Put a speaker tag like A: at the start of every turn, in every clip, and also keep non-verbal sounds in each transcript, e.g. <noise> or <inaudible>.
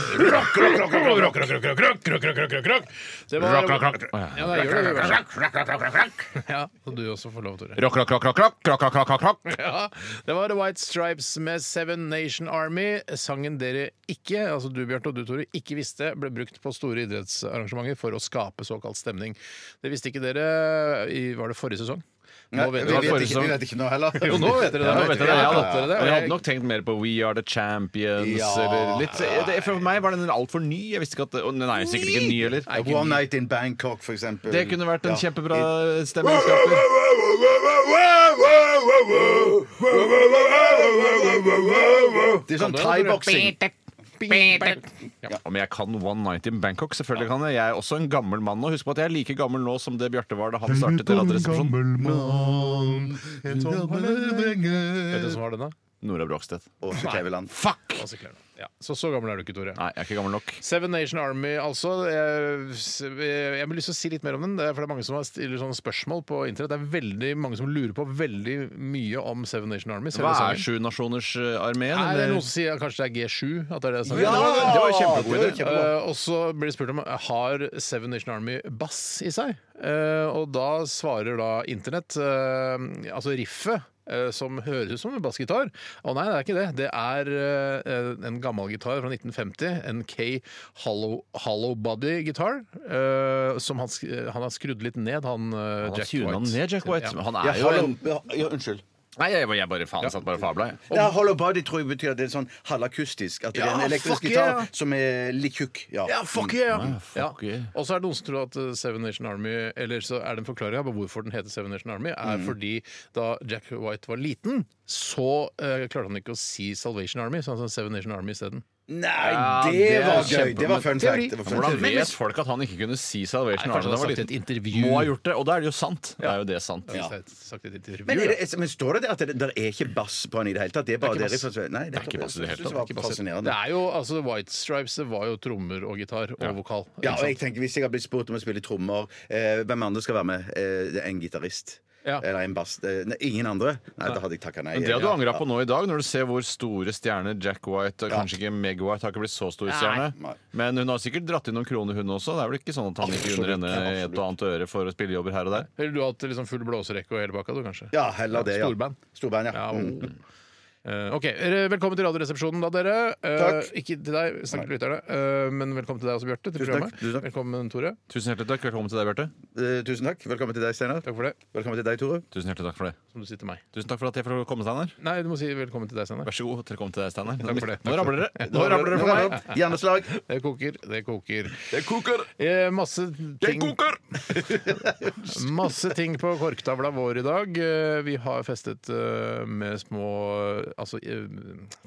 A: Rock, rock, rock, rock, rock, rock, rock, rock, rock, rock. Det var-
B: Rock, rock, rock.
A: Ja, da gjør det, du.
B: Rock, rock, rock, rock, rock, rock. <laughs>
A: Ja, så du også får lov, Tore.
B: Rock, rock, rock, rock, rock, rock, rock, rock, rock, rock.
A: Ja, det var The White Stripes med Seven Nation Army. Sangen dere ikke, altså du Bjarte og du Tore, ikke visste ble brukt på store idrettsarrangementer for å skape såkalt stemning. Det visste ikke dere i Var det forrige sesong? Nå vet
C: vi,
A: dere
B: var
C: vet
B: forrige
A: det.
C: ikke,
B: sesong.
C: vi vet ikke noe
B: <laughs>
C: heller.
A: Jo, nå vet dere det.
B: Ja, nå
A: Nå
B: vet
A: vet
B: dere det, ja, da.
A: dere det.
B: Men jeg hadde nok tenkt mer på We Are The Champions
C: Ja.
B: eller litt det, For meg var den altfor ny. Jeg visste ikke at og Den er jo sikkert ikke ny heller.
C: One Night in Bangkok, for eksempel.
B: Det kunne vært en
C: Ja.
B: kjempebra stemningsskaper.
C: Det er sånn thaiboksing.
B: Om jeg kan One Night in Bangkok? Selvfølgelig kan jeg. Jeg er også en gammel mann. Og husk på at jeg er like gammel nå som det Bjarte var da han startet Radioresepsjonen.
A: Vet du som har den, da?
B: Nora Brogstedt.
C: Og så Kleveland.
B: Fuck!
A: Åse Kleveland. Ja. Så så gammel er du ikke, Tore.
B: Nei, jeg er ikke gammel nok.
A: Seven Nation Army, altså. Jeg, jeg vil lyst til å si litt mer om den. Det er, for det er mange som har stiller sånne spørsmål på internett. Det er veldig mange som lurer på veldig mye om Seven Nation Army. selve
B: Hva
A: sangen.
B: er eh, sjunationersarmeen?
A: sånn Nei, det er noen som sier at kanskje det er G7. At det er det som
B: Ja, det var jo kjempegod idé.
A: Eh, og så blir det spurt om har Seven Nation Army bass i seg. Eh, og da svarer da Internett, eh, altså riffet, eh, som høres ut som en bassgitar. Å nei, det er ikke det. Det er eh, en gammel gitar fra 1950. En K Hollow, hollow Body Guitar. eh, som han, sk- han har skrudd litt ned, han, eh,
B: Han har
A: Jack
B: tunet
A: White.
B: ned Jack White.
A: Ja.
B: men Han
C: Ja,
B: er jo en
C: hollow, ja, unnskyld.
B: Nei, jeg, jeg bare faen satt bare og fabla, jeg.
C: Ja, hollow body tror jeg betyr at det er sånn halvakustisk. At det er
A: Ja,
C: en elektrisk
A: fuck
C: gitar
A: yeah.
C: som er litt tjukk. Ja.
A: Ja, fuck yeah!
B: Ja, fuck yeah.
A: Og så er det noen som tror at eh, Seven Nation Army Eller så er det en forklaring på hvorfor den heter Seven Nation Army,
C: Mm.
A: er fordi da Jack White var liten, så eh, klarte han ikke å si Salvation Army, så han sa Seven Nation Army isteden.
C: Mm. Nei,
B: Ja,
C: det,
B: det er
C: var gøy!
B: kjempe-
C: Det var fun
A: teori.
C: fact. Det var fun
B: Hvordan
C: fact.
B: vet folk at han ikke kunne si Salvation
A: Nei,
B: Army?
A: kanskje
B: da
A: han
B: var
A: har sagt
B: liten?
A: i et intervju.
B: Må ha gjort det, og da er det jo sant. Da er jo det sant.
A: Ja.
B: Ja.
A: Sagt i et intervju,
C: Men, er
A: da.
C: det, men står det det at det, der er ikke bass på den i det hele tatt? Det er bare
A: Det er
C: dere
A: ikke
C: som Nei, det
B: er ikke bass i det hele
C: Jeg synes
B: tatt.
C: var
A: det
C: fascinerende.
A: er jo, altså White Stripes det var jo trommer og gitar og vokal. ikke
C: Ja, og
A: sant?
C: jeg tenker Hvis jeg har blitt spurt om å spille trommer, eh, hvem andre skal være med? Eh, det er en gitarist.
A: Ja.
C: Eller en bass. Eh, nei, ingen andre? Nei, da hadde jeg takka nei.
B: Men det hadde du
C: Ja.
B: angra på nå i dag, når du ser hvor store stjerner Jack White og
C: Ja.
B: Kanskje ikke Meg White har ikke blitt så stor stjerne.
C: Nei.
B: Men hun har sikkert dratt inn noen kroner, hun også. Det er vel ikke sånn at han ikke unner henne
C: Absolutt,
B: et og annet øre for å spille jobber her og der.
A: Eller du har hatt liksom full blåserekke og hele bakka, du, kanskje?
C: Ja, heller det, ja.
A: Storband.
C: Storband, ja.
A: Ja,
C: Mm.
A: Eh, OK. eh, Velkommen til Radioresepsjonen, da, dere. Eh,
C: Takk.
A: Ikke til deg, snakk til lytterne, eh, men velkommen til deg også, Bjarte. Til
C: Tusen takk,
A: programmet.
C: tusen takk.
A: Velkommen, Tore.
B: Tusen hjertelig takk. Velkommen til deg, Bjarte.
C: Eh, tusen takk. Velkommen til deg, Steinar.
A: Takk for det.
C: Velkommen til deg, Tore.
B: Tusen hjertelig takk for det.
A: Som du sier til meg.
B: Tusen takk for at jeg får komme, Steinar.
A: Nei, du må si velkommen til deg, Steinar.
B: Vær så god. Velkommen til deg, Steinar.
A: Takk for det.
B: Nå rabler dere.
C: Nå
B: Nå rabler dere for meg.
C: meg. Hjerneslag.
A: Det koker, det koker.
B: Det koker!
A: Eh, masse ting,
B: koker!
A: <laughs> masse ting på korktavla vår i dag. Eh, vi har festet eh, med små eh, altså eh,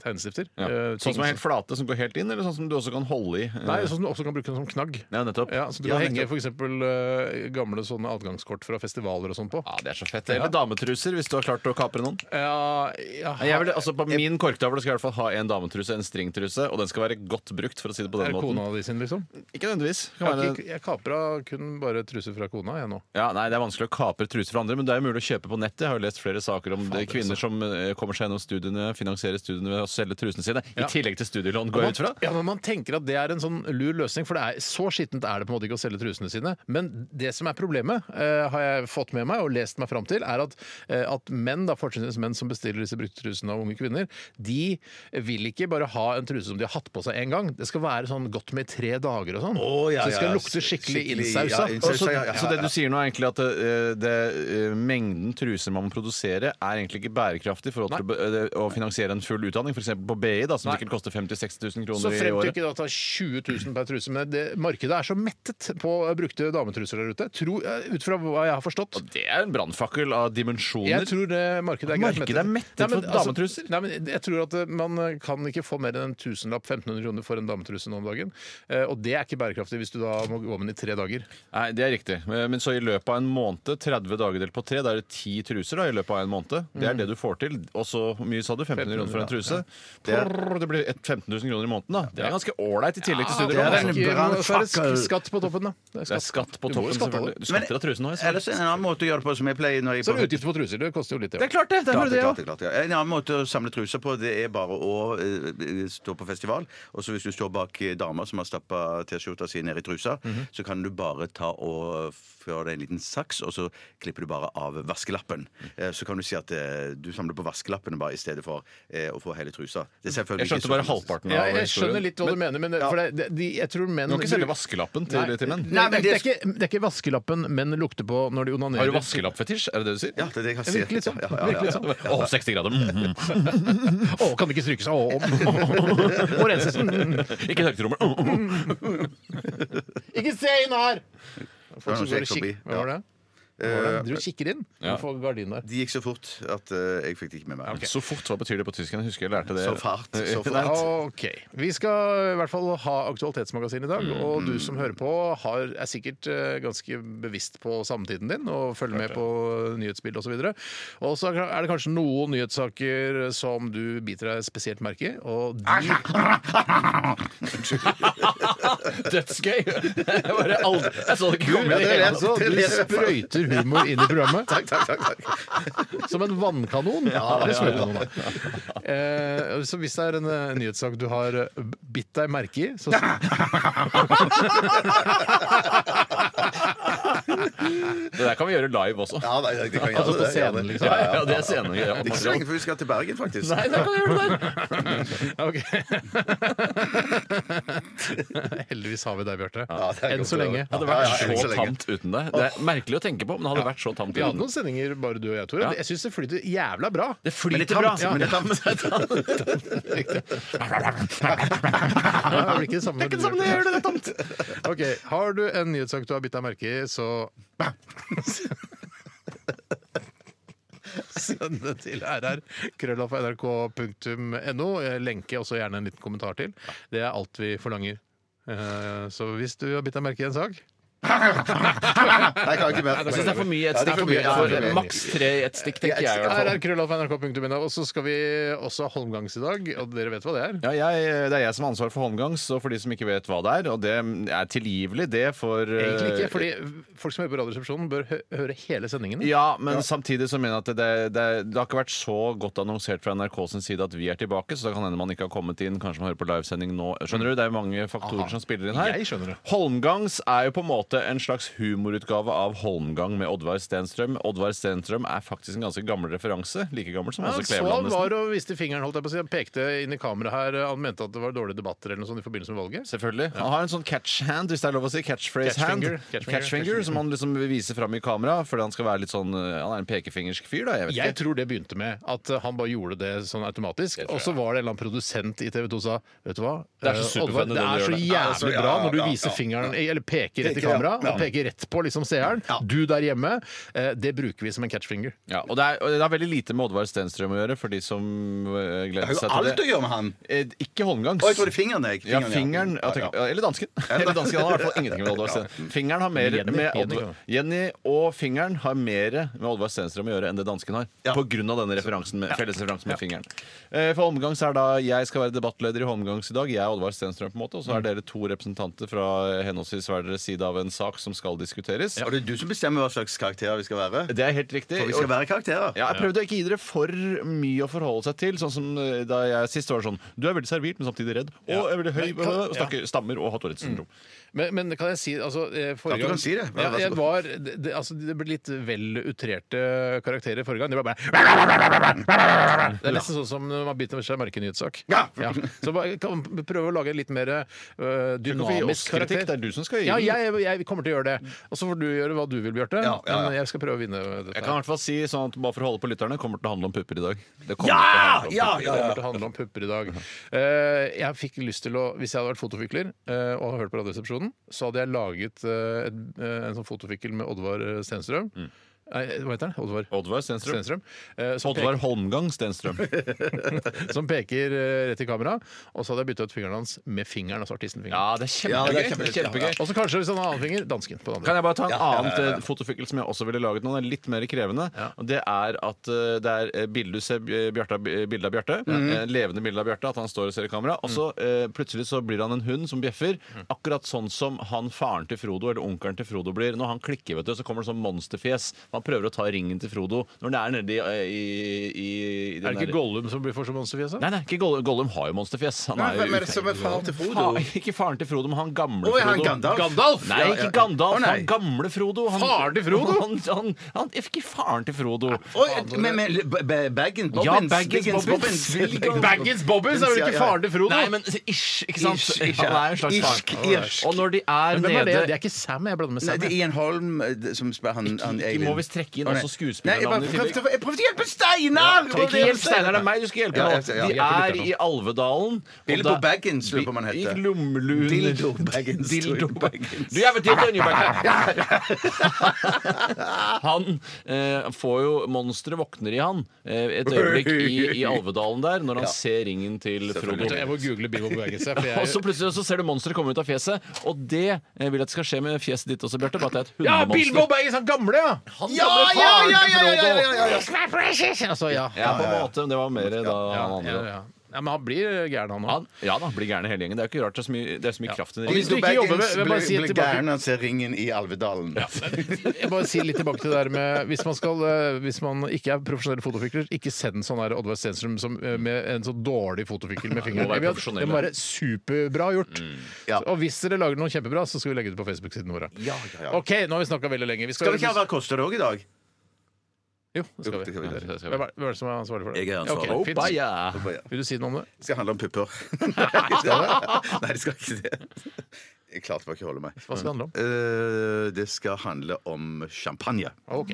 A: tegnestifter.
B: Ja.
A: Eh, ting
B: Sånn som er helt flate, som går helt inn, eller sånn som du også kan holde i?
A: Nei, sånn som du også kan bruke den som knagg.
B: Ja, nettopp.
A: Ja, så du
B: Ja,
A: kan henge
B: nettopp.
A: f.eks. gamle sånne adgangskort fra festivaler og sånn på.
B: Ja, det er så fett. Eller dametruser, hvis du har klart å kapre noen.
A: Ja, ja,
B: Nei, Jeg vil, altså På min korktavle skal jeg i hvert fall ha en dametruse, en stringtruse, og den skal være godt brukt, for å si det på
A: er
B: den
A: det
B: måten.
A: kona di sin, liksom?
B: Ikke nødvendigvis. Kan
A: Jeg, har
B: være-
A: ikke, jeg kapra kun bare truser fra kona, jeg nå.
B: Ja, nei, Det er vanskelig å kapre truser fra andre, men det er jo mulig å kjøpe på nettet. Jeg har jo lest flere saker om det, kvinner som eh, kommer seg gjennom studiene, finansierer studiene ved å selge trusene sine,
A: Ja.
B: i tillegg til studielån, går jeg ut fra.
A: Ja, men Man tenker at det er en sånn lur løsning, for det er, så skittent er det på en måte ikke å selge trusene sine. Men det som er problemet, eh, har jeg fått med meg og lest meg fram til, er at, eh, at menn, da, fortrinnsvis menn som bestiller disse brukte trusene av unge kvinner, de vil ikke bare ha en truse som de har hatt på seg én gang. Det skal være sånn godt med i tre dager og sånn.
C: Å, ja,
A: så det skal
C: ja,
A: lukte skikkelig,
C: skikkelig,
A: innsausa.
C: ja,
B: Og
C: innsausa.
B: så,
C: ja, ja, ja,
B: så det du sier nå, er egentlig at eh, det, eh, mengden truser man må produsere, er egentlig ikke bærekraftig i forhold til å, be- eh, å finansiere en full utdanning, f.eks. på BI, da, som
A: Nei.
B: sikkert koster 50 000-60 000
A: Så
C: Sånn
B: kroner i
A: frem til
B: året.
A: ikke da tar 20 000 per truse. Men det, markedet er så mettet på eh, brukte dametruser der ute. Tro, eh, ut fra hva jeg har forstått.
B: Og det er en brannfakkel av
A: Jeg
B: dimensjoner.
A: tror det markedet er greit
B: Markedet er mettet
A: Nei, men
B: for
A: altså,
B: dametruser.
A: Nei, men jeg tror at eh, man eh, kan ikke få mer enn en tusenlapp, 1500 kroner, for en dametruse nå om dagen. Eh, Og det er ikke bærekraftig hvis du da må gå med den i tre dager.
B: Nei, Det er riktig. Eh, Men så i løpet av en måned, 30 dager delt på tre, da er det ti truser da i løpet av en måned. Det
A: Mm.
B: er det du får til. Og så hvor mye sa du? 1500 kroner for en truse? Det, er, det blir et 15 000 kroner i måneden, da. Det er ganske ålreit i tillegg til
A: det er
B: studielån.
A: en
B: altså.
A: brannfakkel. Skatt på toppen, da. Det
B: Det er skatt på
A: Du må
B: toppen,
A: jo skatte av det.
B: selvfølgelig. Du skatter av trusen nå. jeg ser.
C: Ellers er det en annen måte å gjøre det på, som jeg pleier når jeg
A: Så er det utgifter på truser. Det koster jo litt, det
B: Det
A: også.
B: er klart, det! Det er
C: Klart
B: bare
C: det,
B: det, ja.
C: klart det, klart det, ja. En annen måte å samle truser på, det er bare å eh, stå på festival. Og så hvis du står bak eh, damer som har stappa T-skjorta si ned i trusa,
A: Mhm.
C: så kan du bare ta og føre deg en liten saks, og så klipper du bare av vaskelappen.
A: Mm.
C: Eh, Så kan du si at eh, du samler på vaskelappene bare i stedet for eh, å få hele trusa.
A: Mm.
C: Det er selvfølgelig
B: Jeg skjønte
C: ikke
B: bare
C: så-
B: halvparten
A: sånn- Ja,
B: av
A: jeg skjønner litt hva du mener, men eh, for det, det, de, jeg tror menn
B: Du kan ikke selge
A: bruker-
B: vaskelappen til, til menn.
A: Nei,
C: Nei, men
A: det,
C: det-
A: er ikke, det er ikke vaskelappen menn lukter på når de onanerer.
B: Har du vaskelappfetisj? Er det det du sier?
C: Ja, det er det jeg har
A: Det virker litt sånn.
C: Ja, ja, ja, ja.
A: Virker litt sånn.
B: Å, 60 grader. mhm.
A: Å, kan det ikke strykes? Å,
B: <laughs>
A: å. Må renses. Mm.
B: Ikke tørkerommet. Mhm.
A: Ikke se inn her!
C: var
A: Folk som går
C: noen som
A: og
C: gikk forbi.
A: kikker. Hva var det? Hva var det? Du kikker inn
B: Ja.
A: og får gardinen der.
C: De gikk så fort at eh, jeg fikk det ikke med meg.
B: Så fort, hva betyr det på tysk? Jeg husker jeg lærte det.
C: Så fart,
A: <laughs>
C: så fart.
B: Nei,
A: OK. Vi skal i hvert fall ha Aktualitetsmagasin i dag. Og du som hører på, har, er sikkert eh, ganske bevisst på samtiden din og følger med på nyhetsbildet osv. Og så er det kanskje noen nyhetssaker som du biter deg spesielt merke i. Og de
B: Dødsgøy! Jeg, bare aldri, jeg så det ikke komme. i det
A: Men det er
B: hele
A: altså,
B: tatt.
A: du sprøyter humor inn i programmet. <laughs> Takk, takk, takk. Som en vannkanon. Eller sprøytekanon, da. Eh, så hvis det er en eh, nyhetssak du har eh, bitt deg merke i, så
B: Det der kan vi gjøre live også.
C: Ja, nei, det kan jeg
A: Altså, på
C: gjøre, det,
A: scenen,
C: ja, det-
A: liksom.
B: Ja, ja, det er scenen. Ja,
C: Det er ikke så lenge før vi skal til Bergen, faktisk.
B: Nei, der kan vi gjøre det der.
A: Ok. <laughs> Heldigvis har vi deg, Bjarte.
C: Ja, det er
A: Enn
C: godt
A: så
C: å
A: lenge.
C: høre.
B: Det hadde
C: Ja, ja,
B: vært
C: enn
B: så
C: lenge.
B: tamt uten deg. Det er merkelig å tenke på, men det hadde vært så tamt
A: Vi hadde
B: uten.
A: noen sendinger bare du og jeg, Tore.
B: Ja.
A: Jeg syns det flyter jævla bra.
B: Det
C: Men det er
B: flyter bra.
C: tamt. Men <laughs> det er tamt.
A: Ja, det blir ikke det samme. Det er ikke det samme det gjør det, det er tamt. Ok, Har du en nyhetssak du har bitt deg merke i, så Send det til rr.krøllalfa.nrk.no. Lenke også gjerne en liten kommentar til. Det er alt vi forlanger. Eh, Så hvis du har bitt deg merke i en sak
C: Nei, jeg kan ikke mer.
B: Jeg syns det er for mye.
C: Ja, det er for mye. Ja, det er for mye.
B: Maks tre i ett stikk, tenker jeg. i hvert fall.
A: rr.krøllalfa.nrk.no. Og så skal vi også ha holmgangs i dag, og dere vet hva det er?
B: Ja, jeg, det er jeg som har ansvar for håndgangs, og for de som ikke vet hva det er. Og det er tilgivelig, det, for eh,
A: Egentlig ikke, fordi folk som hører på Radioresepsjonen, bør hø høre hele sendingen.
B: Ja, men samtidig så mener jeg at det, det, det har ikke vært så godt annonsert fra NRK sin side at vi er tilbake, så det kan hende man ikke har kommet inn. Kanskje man hører på livesending nå. Skjønner du? Det er mange faktorer
A: Aha.
B: som spiller inn her.
A: Jeg skjønner det.
B: Holmgangs er jo på en måte en slags humorutgave av Holmgang med Oddvar Stenstrøm. Oddvar Stenstrøm er faktisk en ganske gammel referanse. Like gammel som
A: Ja,
B: Åse
A: han så
B: Altså, Kleveland.
A: han
B: nesten.
A: var og viste fingeren, holdt jeg på å si. Han pekte inn i kameraet her. Han mente at det var dårlige debatter eller noe sånt i forbindelse med valget.
B: Selvfølgelig. Han har en sånn catch hand, hvis det er lov å si. Catchphrase hand.
A: Catchfinger.
B: Catchfinger,
A: Catchfinger. Catchfinger.
B: Som han liksom viser fram i kamera fordi han skal være litt sånn eh, Han er en pekefingersk fyr, da. Jeg vet
A: Jeg
B: ikke.
A: tror det begynte med at eh, han bare gjorde det sånn automatisk. Og så var det en eller annen produsent i TV 2 som sa Vet du hva,
B: Det er
A: Eh,
B: så
A: Oddvar,
B: superfett
A: det
B: når
A: er
B: du gjør
A: så
B: det.»
C: Altså,
A: jævlig
C: ja,
A: bra når du
C: ja,
A: viser
C: ja.
A: fingeren Eller peker rett i
C: Peker, ja.
A: kameraet, og
C: Ja.
A: peker rett på liksom seeren. Du der hjemme. eh, Det bruker vi som en catchfinger.
B: Ja, og det, er, og det har veldig lite med Oddvar Stenstrøm å gjøre, for de som eh,
C: Jeg
B: gleder
C: har jo
B: seg til
C: alt å
B: det.
C: gjøre med han.
B: Eh, Ikke håndgangs.
C: Å, jeg tror det er fingeren, jeg.
B: Ja, fingeren ja, tenk- ja, Eller dansken. Eller dansken han har i hvert fall ingenting med Oddvar Stenstrøm. Fingeren har mer
A: Jenny,
B: med
A: Jenny,
B: Oddvar, Jenny og fingeren har mer med Oddvar Stenstrøm å gjøre enn det dansken har.
C: Ja.
B: På grunn av denne referansen med, felles referansen med fingeren. Eh, For Holmgangs er da jeg skal være debattleder i Holmgangs i dag. Jeg er Oddvar Stenstrøm, på en måte. Og så er dere to representanter fra eh, henholdsvis hver deres side av en sak som skal diskuteres.
C: Og det er du som bestemmer hva slags karakterer vi skal være.
B: Det er helt riktig.
C: For vi skal være karakterer.
B: Ja, jeg prøvde å ikke gi dere for mye å forholde seg til. Sånn som eh, da jeg sist var det sånn Du er veldig servilt, men samtidig redd. Og er veldig høy,
A: Men kan-
B: og snakker stammer og har Tourettes syndrom.
A: Men, men kan jeg si altså, eh,
C: Ja,
A: forrige
C: du
A: gang,
C: kan si det. Vær-
A: Ja,
C: vær så
A: jeg
C: god.
A: var, det, det- altså, det ble litt vel utrerte karakterer forrige gang. Det, var bare det er nesten sånn som når man biter seg merke i en nyhetssak.
C: Ja.
A: Så bare, kan man prøve å lage en litt mer øh,
B: Du kan få gi oss
A: dynamisk
B: kritikk.
A: karakter.
B: Det er du som skal gi
A: Ja,
B: den.
A: jeg, jeg, jeg kommer til å gjøre det. Og så får du gjøre hva du vil, Bjarte.
B: Ja, ja, ja.
A: Men jeg skal prøve å vinne dette.
B: Jeg kan i hvert fall si sånn at bare for å holde på lytterne, kommer til å handle om pupper i dag. Det kommer
C: Ja!
B: til å handle om pupper.
C: Ja,
A: Det kommer
C: ja, ja.
A: til å handle om pupper i dag. Eh, jeg fikk lyst til å, Hvis jeg hadde vært fotofikler eh, og hadde hørt på Radioresepsjonen, så hadde jeg laget eh, et, eh, en sånn fotofikkel med Oddvar eh, Stenstrøm. Nei, hva heter han? Oddvar
B: Oddvar Stenstrøm.
A: Stenstrøm. eh, som,
B: Oddvar Holmgang Stenstrøm.
A: peker, som peker eh, rett i kamera. Og så hadde jeg bytta ut fingeren hans med fingeren, altså artistenfingeren.
B: Ja, det er kjempegøy.
C: Ja, det er
B: Det er
C: kjempegøy.
B: kjempegøy.
A: Og så kanskje hvis han har annen finger, dansken på den andre.
B: Kan jeg bare ta en
C: ja,
B: annen
C: ja, ja.
B: eh, fotofikkel som jeg også ville laget nå? Den er litt mer krevende.
A: Ja.
B: Og det er at eh, det er eh, bildet du ser eh, Bjarte, eh, bildet av Bjarte.
C: Mm.
B: eh, Levende bilde av Bjarte. At han står og ser i kamera. Og så eh, plutselig så blir han en hund som bjeffer.
C: Mm.
B: Akkurat sånn som han faren til Frodo eller onkelen til Frodo blir. Når han klikker, vet du, så kommer det sånn monsterfjes. Man prøver å ta ringen til Frodo når den er nedi eh, i, i, i den
A: Er
B: der-
A: det ikke Gollum som blir for så altså? monsterfjes? da?
B: Nei, nei, ikke Gollum. Gollum har jo monsterfjes. Han
C: Nei,
B: jo
C: Hvem er det som er far til Frodo?
B: Fa- ikke faren til Frodo, men han gamle
C: Å, er han
B: Frodo.
C: Gandalf?
B: Nei,
C: Ja, ja, ja.
B: ikke Gandalf.
C: Å, nei.
B: Han gamle Frodo. Han,
A: Faren til Frodo?
B: <laughs> Han, han, han, ikke faren til Frodo.
C: Oi, men, men ba- ba- Baggins
B: Ja,
C: Bobbins,
B: Baggins,
C: Biggins,
B: Bobbins. <laughs>
C: Biggins.
A: Baggins Bobbins er vel ikke faren til Frodo?
B: Nei, men ish, ikke sant?
C: Ish, ish, ja.
B: han er en slags
C: Irsk,
B: faren.
C: irsk.
B: Og når de er
A: Men hvem er det?
B: nede
A: Det er ikke Sam, jeg blander med
C: Nei,
A: Sam.
C: det er
A: jeg.
C: Ian Holm eh, som spør han, han
B: Ikke- ikke
C: Eivind.
B: må vi trekke inn
C: Å, nei.
B: også skuespillernavnet
C: Nei,
B: i
C: jeg, bare
B: tillegg.
C: prøvde, jeg prøvde å hjelpe Steinar!
B: Ikke hjelp Steinar, det er meg du skal hjelpe
C: Ja,
B: nå.
C: jeg- ja, jeg
B: De er i Alvedalen. og
C: Bilbo
B: da-
C: Baggins, lurer jeg på om han heter.
B: I Lomluner.
C: Dildo Baggins, tror jeg.
B: Dildo Baggins. Du, jeg vet ikke, Tønje Baggins. <laughs> Han eh, får jo Monsteret våkner i han eh, et øyeblikk i, i Alvedalen der,
A: <laughs>
B: når han ser ringen til Frodo.
A: Jeg må google Bibo Baggins. jeg,
B: <laughs>
A: for
B: Og så
A: jeg-
B: plutselig så ser du monsteret komme ut av fjeset, og det eh, vil jeg at skal skje med fjeset ditt også, Bjarte. Bare at det er et
A: Ja,
B: hundemonster.
A: Bilbo Baggins, han gamle, ja! Han
C: Ja,
A: gamle
C: ja,
A: faren
C: ja,
A: til
C: ja, ja,
A: Frodo.
C: ja, ja, ja, ja.
A: My precious! Altså, ja.
B: Ja, på en måte, men det var mer da han
A: Ja,
B: andre.
A: ja, ja. ja, men han blir gæren, han
B: Han,
A: òg.
B: ja da, blir gæren i hele gjengen. Det er jo ikke rart, det er så mye, det er så mye kraft i den
A: Og hvis
B: ringen.
A: du ikke jobber med- jeg bare sier
C: ble
A: tilbake-
C: gæren når han ser ringen i Alvedalen. <laughs>
A: Jeg bare sier litt tilbake til det der med Hvis man, skal, eh, hvis man ikke er profesjonell fotofikler, ikke send sånn her Oddvar Stenstrøm som, eh, med en så dårlig fotofikkel med fingeren.
B: være
A: Det må-
B: profesjonell.
A: det må være superbra gjort.
C: Ja.
A: Og hvis dere lager noe kjempebra, så skal vi legge det ut på Facebook-siden vår. OK, nå har vi snakka veldig lenge. Vi skal,
C: Skal vi ikke ha Hva koster det òg i dag?
A: Jo, det skal
C: Jo,
A: vi.
C: det skal vi.
A: Hvem er, hvem er det som er ansvarlig for det?
C: Jeg er ansvarlig.
A: Ok, fint.
B: Oppa, ja.
A: Vil du si noe om det?
C: Det skal handle om
A: <laughs>
C: pupper. <laughs> Nei, skal det? Nei, det skal ikke det. Jeg klarte bare ikke å holde meg.
A: Hva skal det handle om?
C: Eh, det skal handle om champagne.
A: Ok.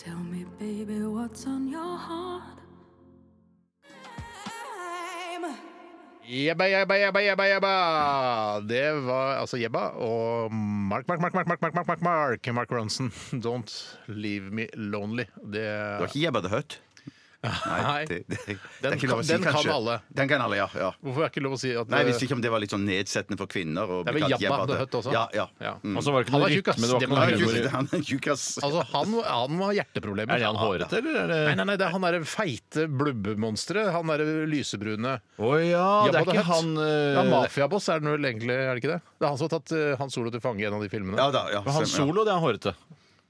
D: Tell me, baby, what's on your heart?
A: Jebba, jebba, jebba, jebba, jebba. Det var altså Jebba og Mark, Mark, Mark, Mark, Mark, Mark, Mark, Mark, Mark, Mark Ronson. Don't leave me lonely. Det,
C: Det var ikke Jebba the Hutt.
A: Nei.
C: det, det, det
A: Den
C: er ikke lov å
A: kan-
C: si,
A: den kan
C: kanskje.
A: alle.
C: Den kan alle, ja, ja.
A: Hvorfor er det ikke lov å si at
C: Nei, Jeg visste ikke om det var litt sånn nedsettende for kvinner. å
A: Det er
C: bli
A: vel
C: kalt
A: Jabba the
C: Hutt.
A: Hutt også.
C: Ja, ja.
A: Ja.
B: Og så var det ikke Mm.
A: Mm.
B: noe
A: Han var tjukk,
B: rytme,
A: ass.
B: det var ikke
A: Det må
B: noe
A: være
C: Han er
B: humor.
C: tjukk, han er tjukk, ass.
A: Altså, han, han må ha hjerteproblemer.
B: Er det han hårete, eller er det
A: Nei, nei, nei, det er han derre feite blubbemonsteret. Han derre lysebrune.
B: Å ja, det
A: Jabba
B: er
A: the
B: ikke
A: Hutt.
B: han
A: Ja,
B: eh,
A: Mafiaboss er den vel egentlig, er det ikke det? Det er han som har tatt eh, Han Solo til fange i en av de filmene.
C: Ja, da, ja,
B: men Han
C: stemmer, ja.
B: Solo, det er han hårete.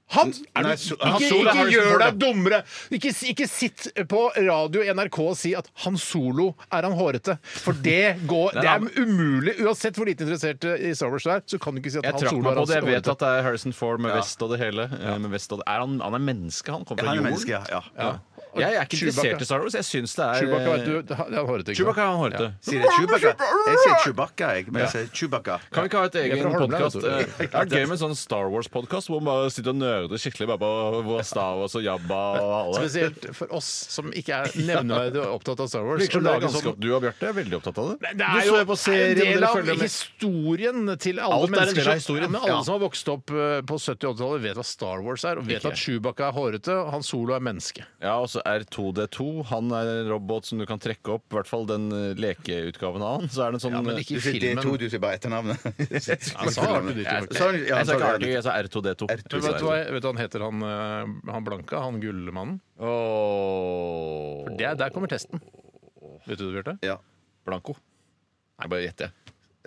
A: Han, er du,
C: Nei, so- Han
A: ikke
C: Solo er
A: ikke
C: Harrison
A: gjør
C: Ford,
A: deg dummere! Ikke, si- ikke sitt på radio NRK og si at Han Solo er han hårete. For det
B: <laughs>
A: går
B: Nei,
A: Det
B: han-
A: er umulig. Uansett hvor lite interessert eh, i Star Wars du er, så kan du ikke si at
B: Jeg
A: Han
B: trakk
A: Solo
B: meg på
A: er
B: det.
A: hans
B: Jeg vet
A: hårete.
B: at det er Harrison Ford med vest og det hele. eh, Med vest og det. Er han, han er menneske, han kommer
C: Han
B: fra
C: er
B: jorden.
C: menneske, ja. ja.
B: Jeg er ikke
A: Chewbacca.
B: interessert i Star Wars. Jeg syns det er
A: Chewbacca,
B: eh,
A: vet du, det er han hårete. ikke sant?
B: Chewbacca er han hårete.
C: Sier jeg Chewbacca? Jeg sier Chewbacca, jeg. Men jeg sier Chewbacca.
B: Kan vi ikke ha et
A: Jeg er
B: egen
A: fra Holmlia,
B: podkast?
A: <laughs> vet du.
B: Det er gøy med en sånn Star Wars-podkast hvor man bare sitter og nerder skikkelig bare på hvor Star Wars og Jabba og alle.
A: Spesielt for oss som ikke er nevneverdig opptatt av Star Wars.
B: Virker som
A: å
B: dere er
A: lage
B: ganske
A: sånn-
B: opp- Du og Bjarte er veldig opptatt av det.
A: Det
B: Du
A: er jo
B: så jo på serien,
A: en del
B: dere
A: av
B: følger med.
A: historien til alle
B: Alt er en
A: mennesker.
B: del av
A: som-
B: historien.
A: Ja, men alle
B: Ja.
A: som har vokst opp eh, på 70- og 80-tallet, vet hva Star Wars er, og vet
B: Ikke.
A: at Chewbacca er hårete, og han Solo er menneske.
B: Ja, og så R2D2. Han er en robot som du kan trekke opp. I hvert fall den eh, lekeutgaven av han. Så er det en sånn
A: Ja, men ikke i
C: Mm, Du sier det er to,
A: filmen.
C: du sier bare etternavnet.
A: Han sa Arthur Dytter,
B: Jeg
A: faktisk.
B: sa
C: Sorry, ja,
B: jeg sa ikke
C: sorry.
B: R2, jeg sa R2D2.
A: Men Vet du hva vet du hva han heter, han, eh, han blanka? Han gullmannen?
B: Åh.
A: Det, er- der kommer testen. Vet du det, Bjarte?
C: Ja.
B: Blanco. Nei, bare gjett det.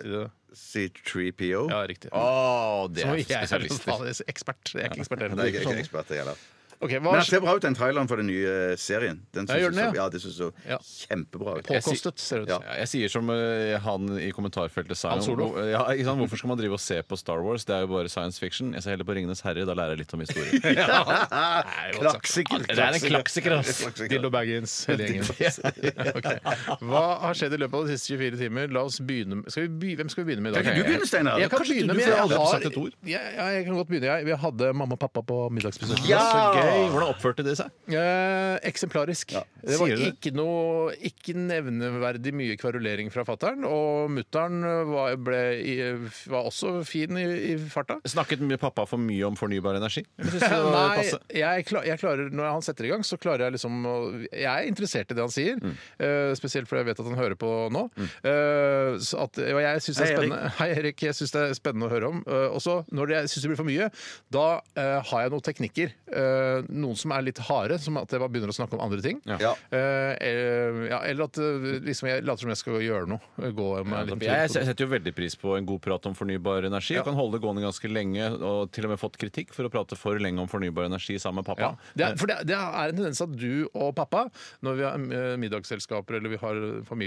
A: Sier du det?
C: Sier 3PO.
A: Ja, riktig.
B: Åh, det
A: Som
B: er
A: jeg er
B: spesialister.
A: faen, ekspert. Jeg er ikke ekspert.
C: Nei, jeg er ikke
A: heller.
C: ekspert, jeg heller.
A: Ok,
C: Men
A: hva
C: han ser bra ut, den traileren for den nye eh, serien. Den
A: Ja,
C: synes
A: gjør den det,
C: jeg så,
A: ja?
C: ja, det synes jeg så
A: Ja.
C: kjempebra ut.
B: sier-
A: Påkostet, ser det ut
C: Ja.
A: som.
B: Ja, jeg sier som eh, han i kommentarfeltet sa
A: Han Solo?
B: hvor- Ja, ikke sant? Hvorfor skal man drive og se på Star Wars? Det er jo bare science fiction. Jeg ser heller på Ringenes herre. Da lærer jeg litt om historie. <laughs>
C: <laughs> Klaksiker!
B: Det er en klaksiker, ass.
A: Dildo Baggins,
C: <laughs>
A: hele gjengen. Ok. Hva har skjedd i løpet av de siste 24 timer? La oss begynne med- skal vi begy- Hvem skal vi begynne med i dag?
C: Kan ikke du begynne, Steinar?
A: Jeg kan
B: Kanskje du,
A: begynne,
B: for
A: men jeg,
B: jeg har aldri
A: har,
B: sagt et ord.
A: Ja, ja, jeg kan godt begynne. Jeg. Vi hadde mamma og pappa på middagsbesøk.
B: Ja! Så gøy. Hvordan oppførte de seg?
A: Eh, eksemplarisk. det var
B: sier du det?
A: ikke noe Ikke nevneverdig mye kverulering fra fattern. Og mutter'n var, ble i- var også fin i, i farta.
B: Snakket mye pappa for mye om fornybar energi? <laughs> Jeg synes det var
A: <laughs> Nei,
B: passe.
A: jeg, kla- jeg klarer, når han setter i gang, så klarer jeg liksom å Jeg er interessert i det han sier,
C: Mm.
A: eh, spesielt fordi jeg vet at han hører på nå. Eh, så at, og jeg syns det er
C: Hei, Erik.
A: spennende Hei, Erik. Jeg syns det er spennende å høre om. Eh, og så, når jeg syns det blir for mye, da eh, har jeg noen teknikker. Eh, noen som er litt harde, som at jeg bare begynner å snakke om andre ting.
C: Ja.
A: Eh, eller, ja, eller at eh, liksom jeg later som jeg skal gjøre noe. Gå med en liten
B: Jeg, jeg
A: tur.
B: setter jo veldig pris på en god prat om fornybar energi. Og kan holde det gående ganske lenge, og til og med fått kritikk for å prate for lenge om fornybar energi sammen med
A: Ja.
B: pappa.
A: Det
C: Eh.
A: er, for det, det er en tendens at du og pappa, når vi har eh, middagsselskaper eller vi har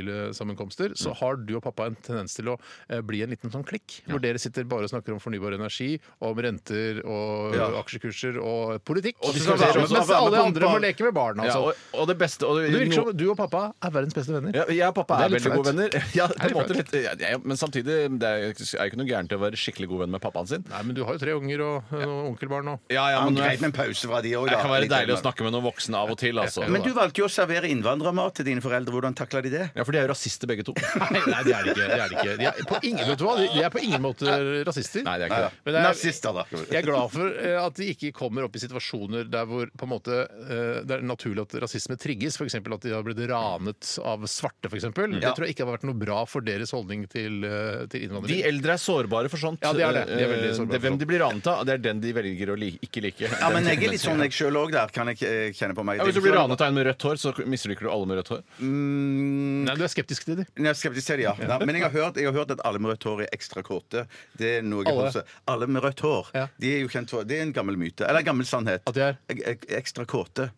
A: familiesammenkomster,
C: Mm.
A: så har du og pappa en tendens til å eh, bli en liten sånn klikk, hvor dere sitter bare og snakker om fornybar energi, om renter og
C: Ja.
A: aksjekurser og politikk.
C: Og så
A: Mens
C: skal være med- være med
A: alle
C: på
A: andre må
C: barn.
A: leke med barn,
B: Ja,
A: altså.
B: og, og det beste og det,
A: Det virker som du og pappa er verdens beste venner.
B: ja, jeg og pappa
A: Det er
B: er,
A: litt
B: veldig
A: flaut.
B: gode <laughs> venner. Ja, på
A: litt
B: en måte
A: flaut.
B: litt, ja, ja, men samtidig det er er jo ikke noe gærent i å være skikkelig god venn med pappaen sin.
A: Nei, men du har jo tre unger og eh, noen onkelbarn og
B: Ja, ja,
C: Ja, men
B: men
C: greit med
B: det
C: en pause fra de òg, da.
B: kan være deilig å snakke med noen voksne av og til. Altså.
C: Men du valgte jo å servere innvandrermat til dine foreldre. Hvordan takla de det?
B: Ja, for de er jo rasister <laughs> begge to.
A: Nei, nei, det er de ikke. Det er de, ikke. De, er på ingen, vet du hva? De, de er på ingen måte rasister.
B: Nei, det er ikke det.
A: Men det er-
C: Nazister, da.
A: Jeg er glad for eh, at de ikke kommer opp i situasjoner der hvor på en måte, eh, det er naturlig at rasisme trigges, f.eks. at de har blitt ranet av svarte, f.eks. eksempel Det
C: Ja.
A: tror jeg ikke har vært noe bra for deres holdning til, eh, til
B: De
A: innvandrere.
B: eldre er sårbare for sånt.
A: Ja, de er det. De er
B: Eh,
A: veldig sårbare
B: det-
A: for
B: Hvem
A: sånt.
B: de blir ranet av, det er den de velger å li ikke like.
C: Ja,
B: Den typen
C: men jeg er litt
B: mennesker.
C: sånn jeg sjøl òg der, kan jeg eh, kjenne på meg.
B: ja, Hvis du blir ranet av en med rødt hår, så misliker du alle med rødt hår.
A: Nei, du er skeptisk til de.
C: Nei, Jeg er skeptisk til det, ja. Nei, men jeg har, hørt, jeg har hørt at alle med rødt hår er ekstra kåte. Det er noe jeg
A: Alle?
C: også- alle med rødt hår.
A: Ja.
C: De er jo kjent for, det er en gammel myte. Eller en gammel sannhet.
A: At de er?
C: Ek- ek- Ekstra kåte.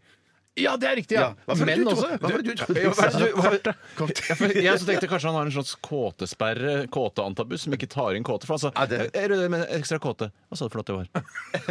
A: Ja, det er riktig! Ja.
C: Hva var det
A: Menn
C: du tro-
A: også.
C: Hva var det du trodde?
B: Ja, hva er det du- hva- Ja, for Jeg så tenkte kanskje han har en slags kåtesperre, kåteantabus, som ikke tar inn kåte. For han sa
C: Ja, det-
B: er du med ekstra kåte? Hva sa du for noe <laughs> at det var?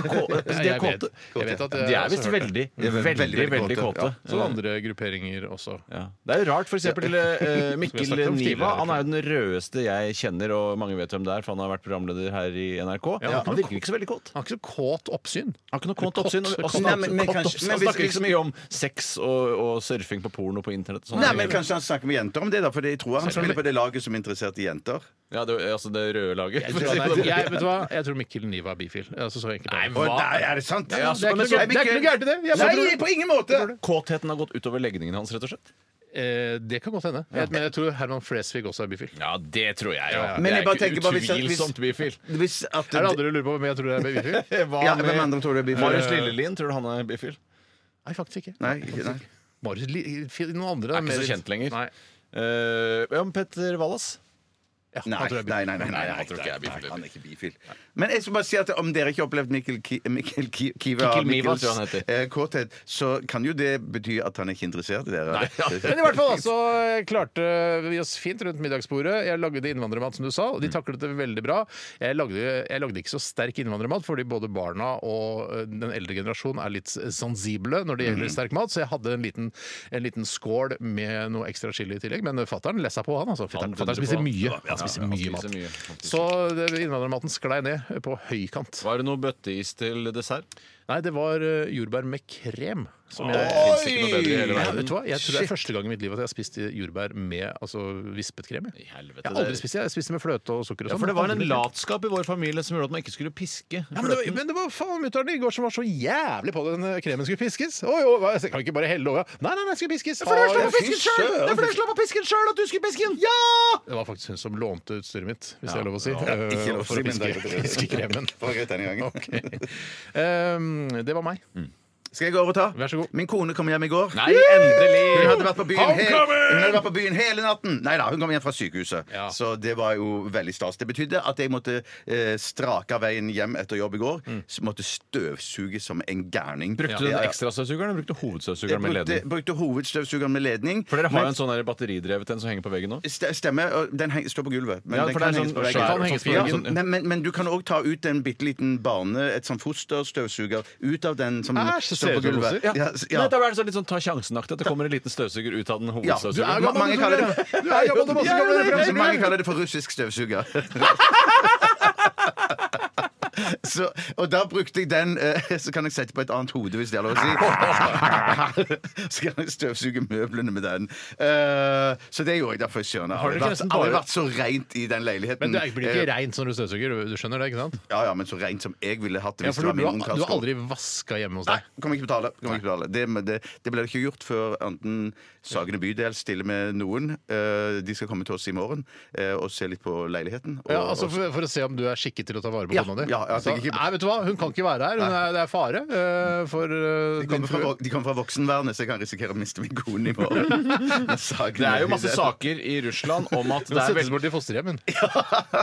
B: Kå, altså,
A: Ja,
B: de er
A: jeg vet.
B: kåte.
A: Jeg vet at jeg
B: De
A: har
B: er
A: også
B: visst
A: hørt det.
B: veldig,
C: er
B: veldig,
C: veldig,
B: veldig,
C: veldig kåte.
B: kåte.
A: Som andre grupperinger også.
B: Ja. Det er jo rart, for eksempel <laughs> eh,
A: Som
B: Mikkel
A: jeg snakket om tidligere,
B: Niva. Han er jo den rødeste jeg kjenner, og mange vet hvem det er, for han har vært programleder her i NRK. Han virker ikke så veldig kåt.
A: Han har ikke så kåt oppsyn.
B: Han har ikke noe kåt oppsyn. og- og
A: Kåt-
B: snakker-
C: Nei, men- men
B: kåt
C: kanskje-
B: oppsyn.
C: men
B: Han
C: hvis-
B: snakker ikke så mye om sex og, og surfing på porno på internett. og sånn. sånne
C: Nei,
B: ting.
C: men Kanskje han snakker med jenter om det, da, for jeg tror han spiller på det laget som er interessert i jenter.
B: Ja, det, altså det røde laget.
A: Jeg tror, han
B: <laughs>
A: er, jeg, vet du hva? jeg tror Mikkel Niva er bifil. Altså, så enkelt er det.
C: Å, nei, er det sant?
B: Ja,
A: Det er ikke noe gærent- det er ikke noe gærent i det. Jeg bare tror-
C: Nei, på ingen måte!
B: Kåtheten har gått utover legningen hans, rett og slett?
A: Eh, det kan godt hende. Jeg, men jeg tror Herman Flesvig også er bifil.
B: Ja, det tror jeg jo.
A: ja.
C: Men jeg bare tenker bare hvis-
B: utvilsomt bifil.
C: Hvis at
A: Er det andre du lurer på hvem jeg tror er bifil?
B: Hva
C: Ja, hvem andre tror du er
B: <laughs>
C: bifil?
B: Marius Lillelien, tror du han er bifil?
A: Nei, faktisk ikke.
C: Nei, ikke- nei.
A: Marius, Li- finn noen andre.
B: Er ikke
A: mer-
B: så kjent lenger.
A: Nei.
B: Eh, ja, men Petter Wallas?
A: Ja,
C: Nei,
A: han tror jeg er bifil.
C: nei, nei, nei, nei,
B: han tror ikke jeg er bifil.
C: Nei, Han er ikke bifil. Men jeg skal bare si at om dere ikke har opplevd Mikkel, Ki Mikkel Ki Kiva
B: Kikil Miva,
C: Mikkels,
B: tror jeg han heter.
C: eh, kåthet, så kan jo det bety at han er ikke interessert i dere.
A: Men i hvert fall altså, klarte vi oss fint rundt middagsbordet. Jeg lagde innvandrermat, som du sa, og de taklet det veldig bra. Jeg lagde, jeg lagde ikke så sterk innvandrermat, fordi både barna og eh, den eldre generasjonen er litt eh, sensible når det gjelder sterk mat, så jeg hadde en liten, en liten skål med noe ekstra chili i tillegg. Men eh, fatter'n lessa på, han. altså. Fatter'n
B: Han
A: fatter'n
B: dundrer
A: spiser
B: på.
A: mye.
B: Ja,
A: Han spiser mye mat.
B: mye, faktisk.
A: Så det- innvandrermaten sklei ned på høykant.
B: Var det noe bøtteis til dessert?
A: Nei, det var eh, jordbær med krem. Som
B: Det
A: jeg
B: finnes ikke noe bedre i hele
A: ja,
B: verden.
A: vet du hva? Jeg tror det er første gang i mitt liv at jeg har spist jordbær med altså, vispet krem. Jeg.
B: I helvete,
A: jeg har aldri
B: det-
A: spist det. Jeg spiste med fløte og sukker. og
B: Ja,
A: sånn.
B: for det var en
A: Aldri.
B: latskap i vår familie som gjorde at man ikke skulle piske.
A: ja, men, det var, men det var faen mutter'n i går som var så jævlig på den eh, kremen skulle piskes. Oi, oi, hva- jeg kan ikke bare helle over. Nei, nei, nei, jeg skal piskes. Å, fy søren.
B: slapp å piske den sjøl at du skulle piske den! Ja!
A: Det var faktisk hun som lånte utstyret mitt, hvis det er lov å si. eh,
C: <laughs> ikke lov å
A: for å
C: si,
A: piske,
C: men
B: <laughs>
C: <laughs> det er greit.
A: piske kremen.
C: Det var greit denne gangen.
A: Ok. Um, det Ehm, var meg.
C: Skal jeg overta?
A: Vær så god.
C: Min kone kom hjem i går.
B: Nei, endelig!
C: Hun hadde vært på byen, he
A: Homecoming!
C: hun hadde vært på byen hele natten! Nei da, hun kom hjem fra sykehuset.
A: Ja.
C: Så det var jo veldig stas. Det betydde at jeg måtte eh, strake av veien hjem etter jobb i går. Så måtte støvsuge som en gærning.
B: Brukte du
C: Ja, ja,
B: den
C: ja.
B: ekstrastøvsugeren eller brukte du
C: Jeg
B: hovedstøvsugeren med
C: brukte,
B: ledning?
C: brukte hovedstøvsugeren med ledning.
B: For dere har
C: men-
B: jo en sånn der batteridrevet en som henger på veggen nå.
C: Ste- Stemmer. og Den heng, står på gulvet. Men
B: Ja,
C: den
B: for det
C: kan
B: er
C: henges
B: sånn
C: på
B: skjær-
C: veggen.
A: henges på
C: Ja,
B: veggen, sånn, ja.
C: men, men, men du kan òg ta ut en bitte liten barne, et sånn fosterstøvsuger, ut av den som
A: Æsj, så
C: står
A: ser det ut
C: på
A: som
C: gulvet.
A: foster.
C: Ja, s- ja.
B: Nei, da er det sånn litt sånn ta sjansen-aktig at det kommer en liten støvsuger ut av den
C: Ja,
B: hovedstøvsugeren.
C: ma- mange kaller det
A: Du er gammel, du er masse
C: Ja,
A: gammel
C: det er
A: referanse.
C: det. Mange kaller det for russisk
A: <laughs>
C: støvsuger. Så, og da brukte jeg den eh, Så kan jeg sette på et annet hode, hvis det er lov å
A: <laughs>
C: si. Så kan jeg støvsuge møblene med den. Eh, så det gjorde jeg derfor. Jeg skjønner.
A: Har dere ikke
C: Aldri vært,
A: nesten
C: aldri
A: bare-
C: vært så rent i den leiligheten.
A: Men det er- blir
C: Eh,
A: ikke reint når du støvsuger, du- du skjønner det, ikke sant?
C: Ja, ja, men så rent som jeg ville hatt det
A: Ja,
C: hvis
A: for
C: det
A: du, du,
C: var min
A: har, du har
C: ungkarsko.
A: aldri vaska hjemme hos
C: Nei,
A: deg.
C: kommer ikke betale. Kommer ikke betale. Det, men det, det ble ikke gjort før enten Sagene bydel stiller med noen. eh, de skal komme til oss i morgen eh, og se litt på leiligheten. Og,
A: Ja, altså for, for å se om du er skikket til å ta vare på
C: Ja,
A: kona di.
C: ja, jeg
A: Så-
C: tenker ikke-
A: Nei, vet du hva, hun kan ikke være her. Hun er, det er fare eh, for eh,
C: de kommer,
A: din
C: fra,
A: frue.
C: vok- de kommer fra voksenvernet, så jeg kan risikere å miste min kone i morgen. Men Sagene
B: Det er jo masse
C: Bydel-
B: saker i Russland om
C: <laughs>
B: at det
A: Hun
B: er
A: settes
B: veldig
A: bort i fosterhjem, hun.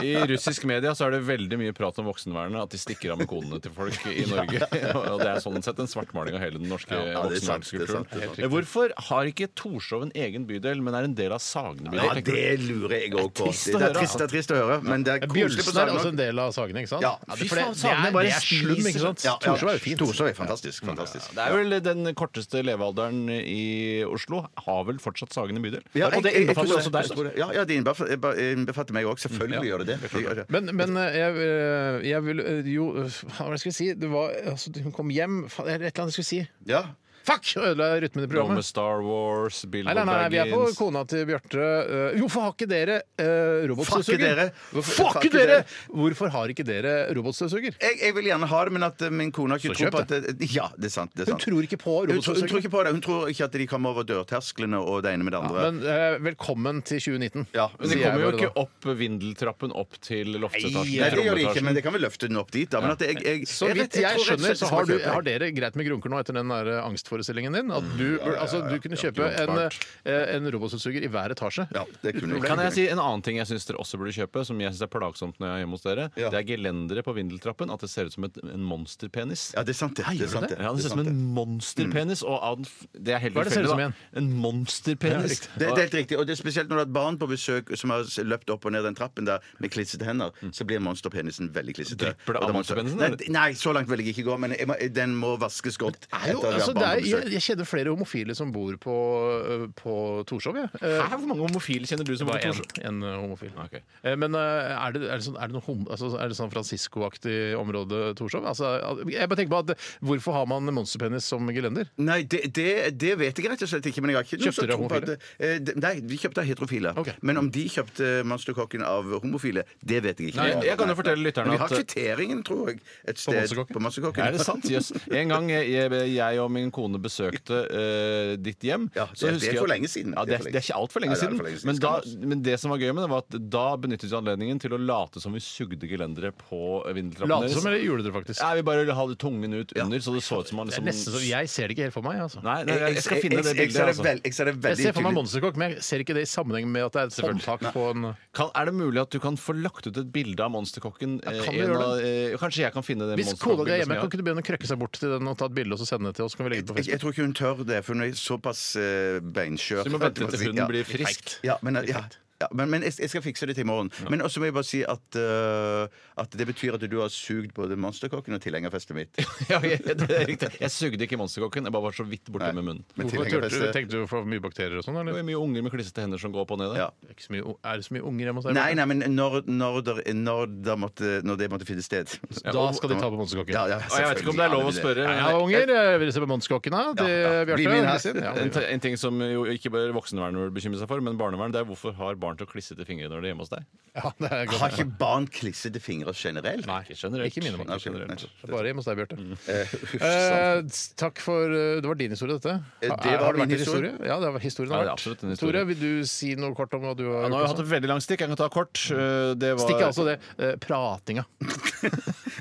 B: I russisk media så er det veldig mye prat om voksenvernet, at de stikker av med konene til folk
C: <laughs>
B: i Norge. <laughs> Og det er sånn sett en svartmaling av hele den norske
C: Ja, det er sant, det er
B: voksenvernskulturen.
C: sant, det er sant.
B: Hvorfor har ikke Torshov en egen bydel, men er en del av Sagene bydel?
C: Ja,
B: tenker du?
C: det lurer jeg òg på.
B: trist å
C: Det
B: høre,
C: er
B: altså.
C: trist, det er trist å høre, men det er koselig
A: Bjølsen er
C: på Sagene
A: også en
C: òg.
A: del av Sagene, ikke sant?
C: Ja.
A: det,
B: Fy
A: for det,
B: faen,
A: det, er,
B: Sagene bare
A: det er slum, ikke sant?
B: spiser- Ja,
C: ja.
A: Torshov er jo fint.
C: Torshov er fantastisk. fantastisk.
B: Det er vel den korteste levealderen i Oslo. Har vel fortsatt Sagene bydel?
C: Ja,
B: og det
C: jeg- jeg- jeg
B: innbefatter
C: tror-
B: også deg.
C: Ja, ja, det innbefatter innbefatter meg òg. Selvfølgelig gjør det det. Jeg gjør det.
A: Men, men eh, jeg, eh, jeg vil eh, Jo, eh, hva var det jeg skulle si? Det var, altså, hun kom hjem faen, det er Et eller annet jeg skulle si.
C: Ja.
A: Fuck! Jeg Ødela
B: Noe
A: rytmen i
B: med
A: programmet.
B: Star Wars,
A: Nei,
B: Bilbo
A: nei, nei, vi er på
B: Baggins
A: kona til Bjarte. Eh, Hvorfor har ikke dere uh,
C: Fuck dere.
A: robotstøvsuger? Hvorfor-
C: Fuck
A: Fuck
C: dere.
A: dere! Hvorfor har ikke dere robotstøvsuger?
C: Jeg, jeg vil gjerne ha det, men at eh, min kone har ikke
A: Så
C: tro på
A: kjøp
C: at det, Ja, det er sant. Det er
A: Hun
C: sant.
A: tror ikke på
C: Hun, tror- hun tror
A: robotstøvsuger.
C: ikke på det. Hun tror ikke at de kommer over dørtersklene og det ene med det andre.
A: Men eh, velkommen til 2019.
C: Ja,
B: Men
C: sier
B: de
C: jeg
B: kommer jo
A: bare
B: ikke opp vindeltrappen opp til loftetasjen.
C: Nei, det gjør de
B: trommeetasjen.
C: ikke, men det kan vel løfte den opp dit, da. Men at jeg, jeg,
A: Så
C: jeg
A: vidt jeg
C: vet- jeg tror rett og
A: skjønner,
C: slett
A: så
C: jeg
A: har, du,
C: skal kjøpe det.
A: har dere greit med grunker nå etter den der angstforestillingen din. At du, burde- altså, du kunne kjøpe en, eh, en robotstøvsuger i hver etasje.
C: Ja, det kunne jeg.
B: Kan jeg si en annen ting jeg syns dere også burde kjøpe, som jeg synes er plagsomt når jeg er hjemme hos dere?
C: Ja.
B: Det er gelendere på vindeltrappen. At det ser ut som et, en monsterpenis.
C: Ja, det er sant, det. det, er sant, det.
B: Ja, det
C: er
B: ser ut som
C: sant,
B: en
C: det.
B: monsterpenis. Og av den, f- det er helt
A: Hva er det ser
B: tilfeldig,
A: ut som
B: da.
A: igjen?
B: En monsterpenis.
C: Det, det er helt riktig. Og det er spesielt når du har et barn på besøk som har s- løpt opp og ned den trappen der med klissete hender, så blir monsterpenisen veldig klissete.
B: Drypper det av
C: Og da må-
B: monsterpenisen,
C: Nei,
B: eller?
C: d- Nei, så langt vil jeg ikke gå, men jeg må, den må vaskes godt.
A: Det er jo,
C: etter at vi har
A: altså,
C: barn
A: det
C: på
A: er,
C: besøk.
A: jeg, jeg kjenner flere homofile som bor på, øh, på Torshov. Jeg. Eh,
B: Hæ, hvor mange homofile kjenner du som bor
A: Bare
B: på
A: en,
B: Torshov?
A: en øh, homofil.
B: Ok.
A: Eh, Men øh, er det, er det, sånn, er det noe hom altså, er det San Francisco-aktig område Torshov? Altså, al- jeg bare tenker på at eh, Hvorfor har man monsterpenis som gelender?
C: Nei, det, det, det vet jeg rett og slett ikke. Men jeg har ikke noe
A: Kjøpte
C: sånn
A: dere
C: tro på at- eh, d- Nei, vi kjøpte av heterofile.
A: Ok.
C: Men om de kjøpte eh, Monsterkokken av homofile, det vet jeg ikke.
B: Nei, jeg kan jo fortelle lytterne
C: Men Vi har
B: at- eh,
C: kvitteringen, tror jeg, et sted
A: Monsterkokken?
C: på Monsterkokken.
B: Er det sant?
C: <laughs>
B: Jøss. En gang eh, jeg, jeg, jeg og min kone besøkte eh, ditt hjem
C: Ja,
B: så
C: det-
B: husker
C: det er
B: jeg
C: for
B: at-
C: lenge siden.
B: Ja, det, er- det er ikke altfor lenge
C: Nei, det er
B: siden.
C: for lenge siden.
B: Men, da,
C: Skal
B: men det som var gøy med det, var at da benyttet vi anledningen til å late som vi sugde gelenderet på vindeltrappen
A: Late som, eller gjorde dere faktisk?
B: Nei, vi bare hadde tungen ut under, så det så ut som man
A: Det er
B: liksom
A: nesten så, jeg ser det ikke helt for meg. Altså.
B: Nei, nei, jeg skal finne det
C: Jeg-
B: bildet.
C: jeg- Jeg, ser det
B: Altså.
C: vel- jeg ser det veldig
A: Jeg ser for meg
C: tydelig.
A: monsterkokk, men jeg ser ikke det i sammenheng med at det er et håndtak på en
B: Kan, er det mulig at du kan få lagt ut et bilde av monsterkokken? eh,
A: kan vi
B: en
A: gjøre
B: av- eh, Kanskje jeg kan finne det
A: Hvis kona di
B: monsterkokkbildet som
A: er hjemme,
B: jeg
A: kan
B: har?
A: ikke du begynne å krøkke seg bort til den og ta et bilde og så sende det til oss? Kan vi legge det på
C: Jeg, jeg
A: Facebook?
C: tror ikke hun tør det, for hun er såpass eh,
B: Så
C: beinskjør.
B: vi må vente til hunden blir frisk.
C: Ja, men, ja, ja, men, men jeg, jeg skal fikse det til i morgen. Men også må jeg bare si at, eh, at det betyr at du har sugd både Monsterkokken og tilhengerfestet mitt.
B: <laughs> Ja, jeg- det er riktig. Jeg sugde ikke monsterkokken, jeg bare var så vidt borte
C: Nei,
B: med munnen.
C: men
A: Hvorfor turte du,
C: tilhengerfestet-
A: tenkte du for mye bakterier og sånn?
B: Det
A: eller?
B: er mye unger med klissete hender som går opp og ned der.
C: Ja.
A: Det Er ikke så mye- er det så mye unger hjemme hos deg?
C: Nei, nei, men når, når, der, når, der måtte, når det måtte finne sted.
A: Da skal de ta på monsterkokken.
C: Ja, ja,
B: Og jeg vet ikke om det er lov å
C: selvfølgelig.
B: spørre.
A: Nei,
B: men
A: Jeg har Eh, unger. Jeg vil se på monsterkokken da, til
C: ja. Bli
A: Bjarte.
C: min her.
A: Kristin. Ja,
B: En, te- en ting som jo ikke bare voksenvernet bør bekymre seg for, men barnevern, det er hvorfor har barn barn til å klisse til fingre når de er hjemme hos deg?
A: Ja, det er godt.
C: Har ikke barn klissete fingre generelt?
A: Nei,
B: Ikke generelt.
A: Ikke mine barn.
B: Ikke generelt.
A: Det er Bare hjemme hos deg, Bjarte.
C: Huff, sant.
A: Eh, takk for eh, Det var din historie, dette.
C: Eh, det
A: Har-
C: var
A: har det vært
C: min
A: en Ja, det var historien.
B: Ja, det er
A: har vært.
B: absolutt en historie.
A: Tore, vil du si noe kort om hva du
B: Ja,
A: har
B: nå har vi hatt et veldig langt stikk. Jeg kan ta kort. Eh, Det var,
A: Stikk altså det. eh, pratinga.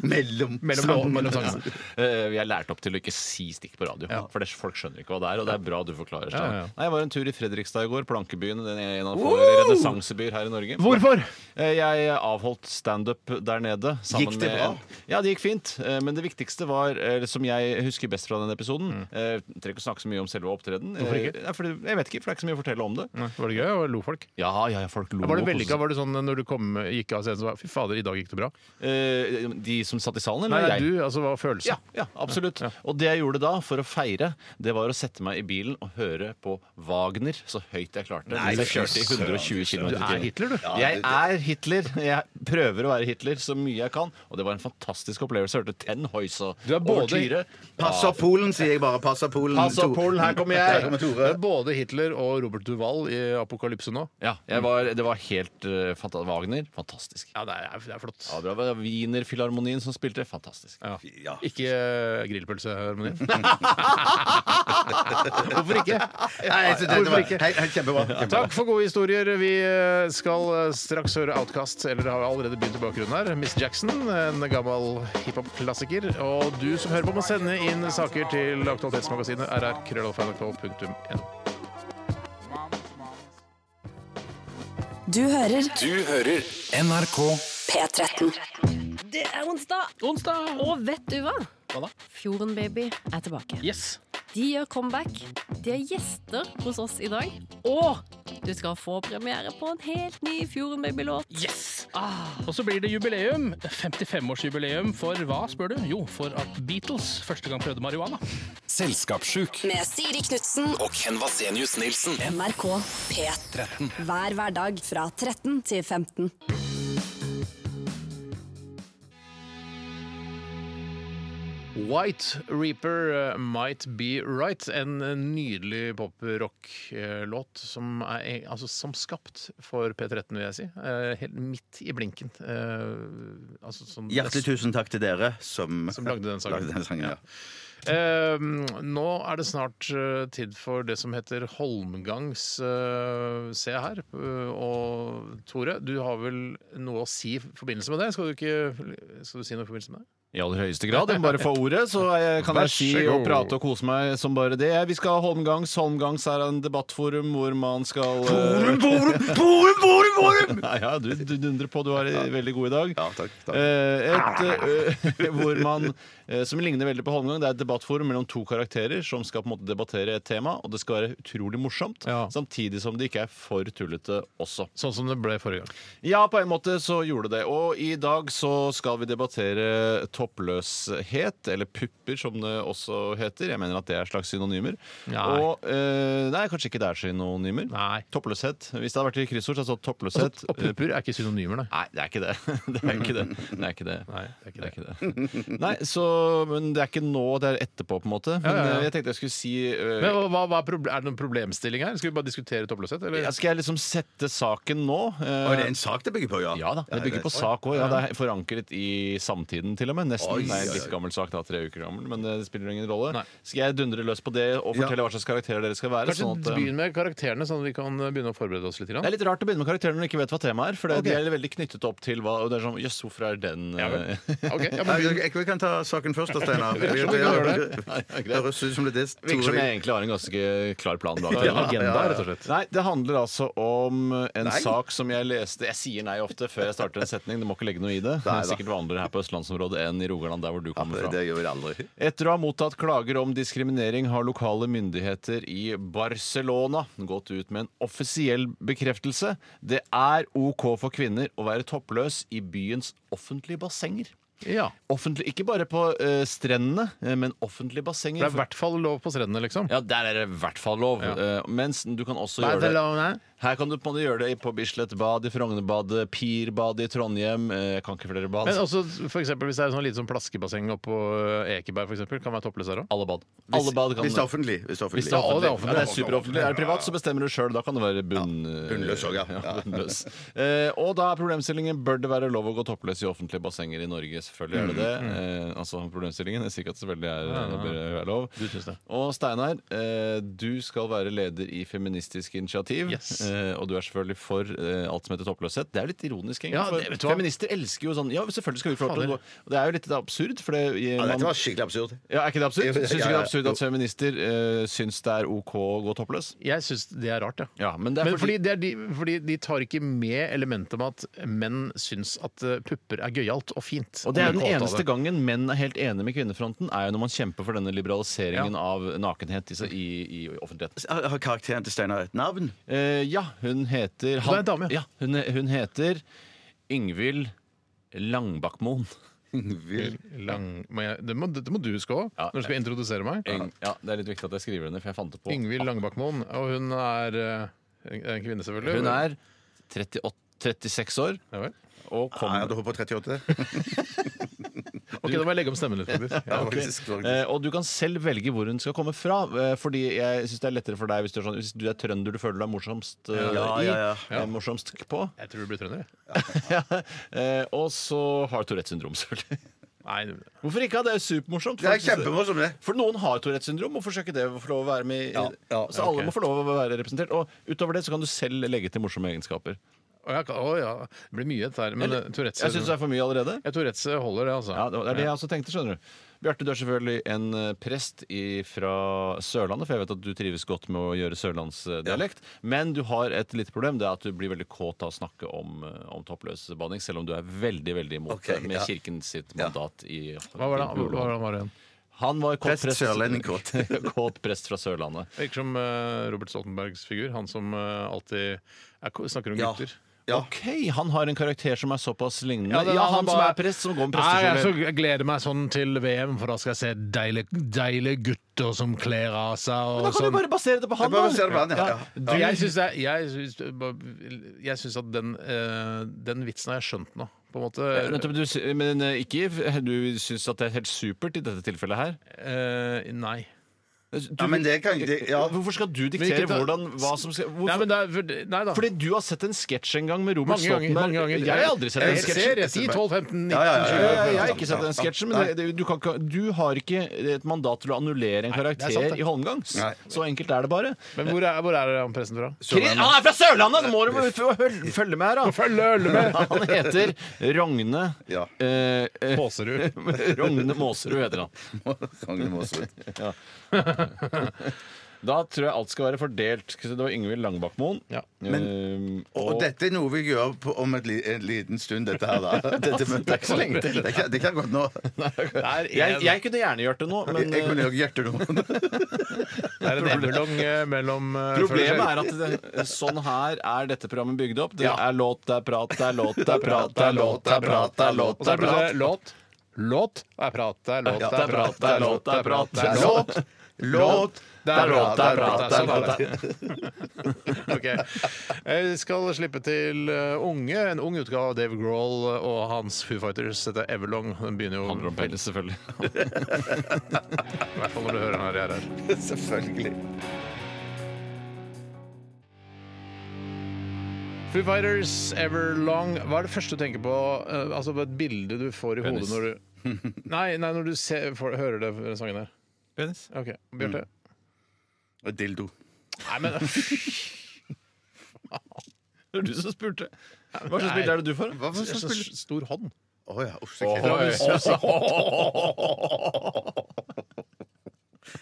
C: Mellom,
A: Mellom
C: sangene.
A: låtene, mellom sangene.
B: <laughs> Eh, Vi er lært opp til å ikke si stikk på radio. For det, folk skjønner ikke hva det er, og det er bra du forklarer. Stein.
A: Ja, ja, ja.
B: Nei, Jeg var en tur i Fredrikstad i går, plankebyen. Den er en av få renessansebyer her i Norge.
A: Hvorfor?
B: Eh, Jeg avholdt standup der nede. sammen
C: Gikk det
B: med
C: bra?
B: en- Ja, det gikk fint. Eh, Men det viktigste var, eh, som jeg husker best fra den episoden eh, Trenger ikke å snakke så mye om selve opptredenen.
A: Mm. Hvorfor ikke?
B: Eh, nei, fordi- Jeg vet ikke, for det er ikke så mye å fortelle om det.
A: Var det gøy? Og lo folk?
B: Ja, ja, ja, folk lo.
A: Var
B: og
A: det
B: koste
A: vellykka?
B: seg.
A: Var det sånn eh, når du kom, gikk av scenen så var Fy fader, i dag gikk det bra?
B: Eh, De som satt i salen, eller
A: Nei,
B: jeg?
A: du, altså, hva var følelsen?
B: Ja, ja, absolutt. Og det jeg gjorde da for å feire, det var å sette meg i bilen og høre på Wagner så høyt jeg klarte. Mens jeg kjørte i 120 km
A: Du er Hitler, du.
B: Jeg er Hitler. Jeg prøver å være Hitler så mye jeg kan. Og det var en fantastisk opplevelse. Jeg Hørte Ten Hoysa
A: Du er både-
C: Pass opp Polen, sier jeg bare. Pass opp Polen.
B: Pass opp
C: To-
B: Polen, her kommer
C: Der
B: jeg!
C: kommer
A: Det er
C: Tore.
A: både Hitler og Robert Duval i Apokalypse nå.
B: Ja, jeg var, det var helt uh, fantastisk. Wagner, fantastisk.
A: Ja, det er, det er flott.
B: Ja, det var Wienerfilharmonien som spilte, fantastisk.
A: Ja.
C: Ja.
A: Ikke eh, grillpølse, <laughs> Harmoni. Hvorfor ikke?
C: Nei, jeg synes dette var- Hei, hei, Kjempebra. kjempebra.
A: Takk for gode historier. Vi eh, skal eh, straks høre Outcast, eller har allerede begynt i bakgrunnen her. Miss Jackson, en gammel hiphop-klassiker. Og du som hører på, må sende inn saker til Aktualitetsmagasinet rr.krøllalfa.nrk.no.
E: Du hører
F: NRK
E: P13.
G: Det er onsdag. Og vet du hva?
A: Hva da?
G: Fjorden Baby er tilbake.
A: Yes!
G: De gjør comeback. De er gjester hos oss i dag. Og du skal få premiere på en helt ny Fjorden Baby-låt.
H: Yes! Og så blir det jubileum. 55-årsjubileum for hva, spør du? Jo, for at Beatles første gang prøvde marihuana.
F: Selskapssjuk
E: Med Siri Knutsen og
F: og Ken Vasenius Nilsen.
E: NRK P13. Hver hverdag fra 13 til 15.
A: White Reaper uh, Might Be Right. En eh, nydelig poprock-låt som, er- altså, som skapt for P13, vil jeg si. Eh, helt midt i blinken. Eh, altså, som,
C: Hjertelig tusen takk til dere som,
A: Som lagde den sangen.
C: lagde den sangen, ja.
A: Eh, nå er det snart eh, tid for det som heter Holmgangs eh, Se her. Eh, og Tore, du har vel noe å si i forbindelse med det? Skal du, ikke, skal du si noe i forbindelse med det?
B: I aller høyeste grad. Jeg må bare få ordet, så jeg, kan
A: Vær
B: jeg si
A: så god.
B: og prate og kose meg som bare det. Vi skal ha Holmgangs. Holmgangs er en debattforum hvor man skal Forum, <laughs> forum, forum, forum! forum! ja, du, du dundrer på. Du har en veldig god i dag.
C: Ja, takk, takk.
B: Eh,
A: Ah.
B: Et, eh, <laughs> hvor man, eh, som ligner veldig på Holmgang, det er et debattforum mellom to karakterer som skal på en måte debattere et tema, og det skal være utrolig morsomt,
A: Ja.
B: samtidig som det ikke er for tullete også.
A: Sånn som det ble forrige gang.
B: Ja, på en måte så gjorde det. Og i dag så skal vi debattere toppløshet, eller pupper som det også heter. Jeg mener at det er slags synonymer.
A: Nei.
B: Og, eh, nei, kanskje ikke det er synonymer.
A: Nei.
B: Toppløshet. Hvis det hadde vært i kryssord, så hadde det stått
A: Altså,
B: toppløshet.
A: Og pupper Eh, er ikke synonymer, nei.
B: Nei, det er ikke det. <laughs> Det er ikke det. Det er ikke det.
A: Nei, det er ikke det.
B: Nei, så, men det er ikke nå, det er etterpå, på en måte. Men
A: ja, ja.
B: eh, jeg tenkte jeg skulle si eh,
A: Men hva, hva er, proble er det noen problemstilling her? Skal vi bare diskutere toppløshet? Eller?
B: ja, Skal jeg liksom sette saken nå? Eh,
C: Og det er en sak det bygger på, ja?
B: Ja da, det bygger på
C: det-
B: sak òg. Ja, det er forankret i samtiden, til og med. Nesten.
C: Oi,
B: det er en
C: oi,
B: litt
C: oi.
B: gammel sak, da, tre uker gammel, men eh, det spiller ingen rolle.
A: Nei.
B: Skal jeg dundre løs på det og
C: Ja.
B: fortelle hva slags karakterer dere skal være?
A: Kanskje
B: Sånn at, eh,
A: begynn med karakterene, sånn at vi kan begynne å forberede oss litt. Grann.
B: det er litt rart å begynne med karakterer når du ikke vet hva temaet er. For det,
A: Ok.
B: de er veldig knyttet opp til hva og det er sånn, Jøss, hvorfor er den
A: Ja, vel.
B: eh,
A: Ok,
B: <laughs>
A: ja,
C: Nei,
A: men begynn.
C: jeg, jeg kan ta saken først, da, Steinar. Det
A: vi kan gjøre
C: høres ut som det er det
B: Virker som
C: Tore-
B: jeg egentlig har en ganske klar plan bak det.
A: Ja, agenda, rett og slett.
B: Nei, det handler altså om en
C: Nei.
B: sak som jeg leste Jeg sier nei ofte før jeg starter en setning, du må ikke legge noe i det. Det
C: Nei
B: er
C: da.
B: sikkert vanligere her på østlandsområdet enn i Rogaland, der hvor du kommer
C: Det,
B: fra.
C: det gjør vi aldri.
B: Etter å ha mottatt klager om diskriminering har lokale myndigheter i Barcelona gått ut med en offisiell bekreftelse. Det er OK for kvinner å være toppløs i byens offentlige bassenger.
A: Ja.
B: Offentlig, ikke bare på eh, strendene, eh, men offentlige
A: Det
B: bassenger.
A: er i hvert fall lov på strendene, liksom.
B: Ja, der er det i hvert fall lov.
A: Ja.
B: Eh, mens du kan også gjøre det
A: Barcelona.
B: Her kan du på en måte gjøre det på Bislett bad, i Frognerbadet, Pirbadet i Trondheim. Eh, Jeg kan ikke flere bad.
A: Men også for eksempel, hvis det er sånn lite sånn plaskebasseng oppå eh, Ekeberg, for eksempel, kan være toppløs der òg.
B: alle bad. Alle bad kan
C: Hvis det er offentlig. Hvis det er offentlig.
A: Hvis det er-
B: offentlig.
A: Ja, offentlig.
B: Ja, det er superoffentlig. Er det privat, så bestemmer du sjøl. Da kan det være bunn...
C: bunnløs
B: <laughs>
C: også, ja.
B: bunnløs. Eh, og da er problemstillingen bør det være lov å gå toppløs i offentlige bassenger i Norge. Selvfølgelig er det
A: Mm,
B: det. Eh, altså problemstillingen. Jeg sier ikke at det selvfølgelig er, det bør være lov.
A: Du syns det.
B: Og Steinar, eh, du skal være leder i Feministisk initiativ.
A: Yes.
B: Eh, og du er selvfølgelig for eh, alt som heter toppløshet. Det er jo litt ironisk, egentlig.
A: Ja,
B: for
A: det- vet du hva?
B: Feminister elsker jo sånn Ja, selvfølgelig skal vi få lov til å
A: Fader.
B: gå. Og det er jo litt absurd, for det
C: Ja,
B: man-
C: dette var skikkelig absurd.
B: ja, Er ikke det absurd?
C: Jo,
B: Syns du
C: ja,
B: ikke det
C: ja.
B: er absurd at feminister eh, syns det er OK å gå toppløs?
A: Jeg syns det er rart, ja.
B: Ja, men det er
A: Men fordi,
B: fordi,
A: det er de, fordi de tar ikke med elementet med at menn syns at eh, pupper er gøyalt og fint.
B: Og det er den
A: blir kåte av
B: eneste
A: det.
B: gangen menn er helt enige med kvinnefronten, er jo når man kjemper for denne liberaliseringen av nakenhet i, i, i offentlighet.
C: Har har karakteren til Steinar et navn?
B: Eh, ja, hun heter
A: er en dame,
B: ja
A: ja.
B: hun, hun heter Yngvild Langbakkmoen.
C: Vil.
A: Lang, må jeg, det, må, det må du huske òg,
B: Ja,
A: når du skal introdusere meg.
B: Yng- Ja, det er litt viktig at jeg skriver henne, for jeg fant det på.
A: Yngvild Langbakkmoen. Og hun er eh, en en kvinne, selvfølgelig.
B: Hun er 38, 36 år
A: Ja vel.
B: og
C: Nei, jeg
B: kommer
C: hadde håpet på 38.
A: Ok, da må jeg legge om stemmen litt, faktisk. Ja, ok.
C: Faktisk, faktisk.
B: Eh, og du kan selv velge hvor hun skal komme fra. Eh, fordi jeg synes det er lettere for deg hvis du er, sånn, hvis du er trønder du føler deg morsomst eh,
C: Ja,
B: i.
C: ja, ja.
B: eh, Morsomst på. <laughs>
A: Jeg tror du blir trønder. jeg.
B: eh, og så har Tourettes syndrom, <laughs> selvfølgelig.
A: Nei, du-
B: Hvorfor ikke? Det er jo supermorsomt.
C: Det er kjempemorsomt, det.
B: For noen har Tourettes syndrom. Hvorfor skal ikke det få lov å være med? i-
C: Ja, ja,
B: så alle
A: ok.
B: må få lov å være representert. Og utover det så kan du selv legge til morsomme egenskaper.
A: Å ja, ka- å, ja. Det blir mye dette her. Men eh, Tourettes
B: Jeg syns det er for mye allerede.
A: Ja, Tourettes holder det, altså.
B: Ja, det er det jeg også tenkte, skjønner du. Bjarte, du er selvfølgelig en eh, prest i, fra Sørlandet, for jeg vet at du trives godt med å gjøre sørlandsdialekt. Men du har et lite problem, det er at du blir veldig kåt av å snakke om, eh, om toppløs banning, selv om du er veldig veldig imot
C: Ok,
B: det med
C: ja.
B: kirken sitt mandat i
A: Hva var det hva var det han var igjen?
B: Han var kåt
C: Prest,
B: prest,
C: sørlending kåt.
B: <laughs> kåt prest fra Sørlandet.
A: Virker som eh, Robert Stoltenbergs figur. Han som eh, alltid er, ko- snakker om
C: Ja.
A: gutter.
C: Ja.
B: OK, han har en karakter som er såpass lignende.
A: Ja,
B: Ja,
A: det- han
B: han, som
A: bare-
B: er prest, som går med
A: Nei, jeg, så,
B: prestekjole.
A: jeg gleder meg sånn til VM, for da skal jeg se deilige, deilige gutter som kler av seg. Og
B: Da kan du
A: sånn.
B: bare basere det på han,
C: bare
B: da!
C: baserer det på han, ja, ja.
B: Du-
A: jeg syns det er- jeg syns- jeg syns at den, eh, den vitsen har jeg skjønt nå, på en måte.
B: Ja, nettopp, du, sy- men eh, ikke f- du syns at det er helt supert i dette tilfellet her?
A: Eh, nei.
B: Du, eh,
C: Ja, men det kan det,
B: <laughs>
C: ja.
B: Hvorfor skal du
A: Men
B: diktere
A: ikke ta-
B: hvordan, hva som skal hvorfor?
A: Nei, men det er, for, nei da.
B: Fordi du har sett en sketsj en gang med Robert
A: mange ganger.
B: Stoltenberg.
A: Mange ganger. Eh,
B: Jeg har aldri sett en
A: Jeg
B: sketsj.
A: ser det. 10, 12, 15, 19,
C: Ja, ja, ja,
B: Jeg,
C: ja,
B: jeg,
C: ja.
B: jeg har ikke sett den sketsjen, men det, det, du, kan ikke, du har ikke et mandat til å annullere en
A: det er
B: karakter
A: sant, det.
B: i Holmgangs.
C: Nei.
B: Så enkelt er det bare.
A: Men hvor er, hvor er han presten fra?
B: Kri- Han er fra Sørlandet! Nå må du f- høl- følge med
A: <laughs>
B: her, da.
A: Følg ølet med!
B: Han heter Rogne
C: Ja.
B: eh, eh,
A: Påserud.
B: Rogne Måserud heter han.
C: Kongen må også ut.
B: Da tror jeg alt skal være fordelt. Skal vi se, Det var Yngvild Langbakkmoen.
A: Ja.
B: Ehm,
C: Og dette er noe vi gjør på, om et li, en liten stund, dette her, da. Dette møtet.
B: Det er ikke så lenge til.
C: Det kan, det kan godt nå.
A: Der
B: jeg,
A: er
B: jeg kunne gjerne gjort det nå,
C: Jeg,
B: men
C: jeg
B: eh,
C: kunne jo hjerte noen.
A: Det er en emmelong eh, mellom eh,
B: problemet
A: følelser.
B: er at det, sånn her er dette programmet bygd opp. Det
A: Ja.
B: er låt, det er prat, det er låt, det er prat, det er låt, det er prat, det er låt,
A: Og
B: det
A: så
B: er
A: er det
B: prat.
A: låt. Låt det er prat, det er låt,
B: Ja, det er prat, det er låt, det er prat.
A: det er låt.
C: Låt, låt,
A: Det er låt, det er prat, det er
B: låt,
A: låt. Ok. Eh, Vi skal slippe til eh, unge, en ung utgave av Dave Grohl og hans Foo Fighters. Dette er Everlong. Den begynner jo
B: Handler om penis,
A: <laughs>
B: selvfølgelig.
A: i hvert fall når du hører den her. jeg er her.
C: Selvfølgelig.
A: Foo Fighters, Everlong. Hva er det første du tenker på? eh, Altså et bilde du får i hodet
B: Penis.
A: når
B: <laughs>
A: du Nei, nei når du ser, får, hører det, den sangen her.
B: Penis. Mm.
A: Ok, Bjarte.
C: Og dildo.
A: Nei, men <laughs>
B: Det var du som spurte. Hva slags bilde er det du får?
C: Hva var det som
A: så
C: spilte?
A: Stor hånd.
C: Å ja. uff, så kjedelig.
B: <laughs>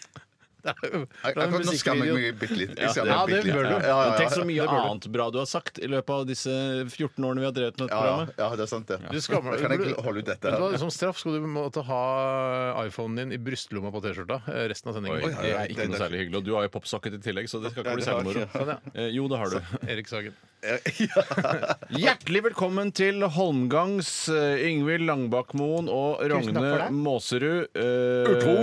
C: Jeg- jeg- Nå skammer jeg meg bitte litt. Jeg skammer
A: Ja,
C: meg bitte
A: det
C: litt.
A: bør du.
C: Ja, ja,
B: Tenk så
C: ja.
B: mye annet bra du har sagt i løpet av disse 14 årene vi har drevet med dette
C: Ja, ja,
B: programmet.
C: ja, det er sant, det.
A: Du skammer
C: Da kan jeg ikke holde ut dette.
A: Vet du hva,
C: her.
A: Som straff skal du måtte ha iPhonen din i brystlomma på T-skjorta eh, resten av
B: Oi,
A: sendingen.
B: det er ikke noe særlig hyggelig. Og du har jo popsocket i tillegg, så det skal ikke bli særlig moro.
A: Sånn, ja.
B: Eh, Jo, det har du.
A: Erik Sagen.
B: Hjertelig velkommen til Holmgangs eh, Yngvild Langbakmoen og
I: Tusen takk for
B: Rogne
I: det.
B: Måserud.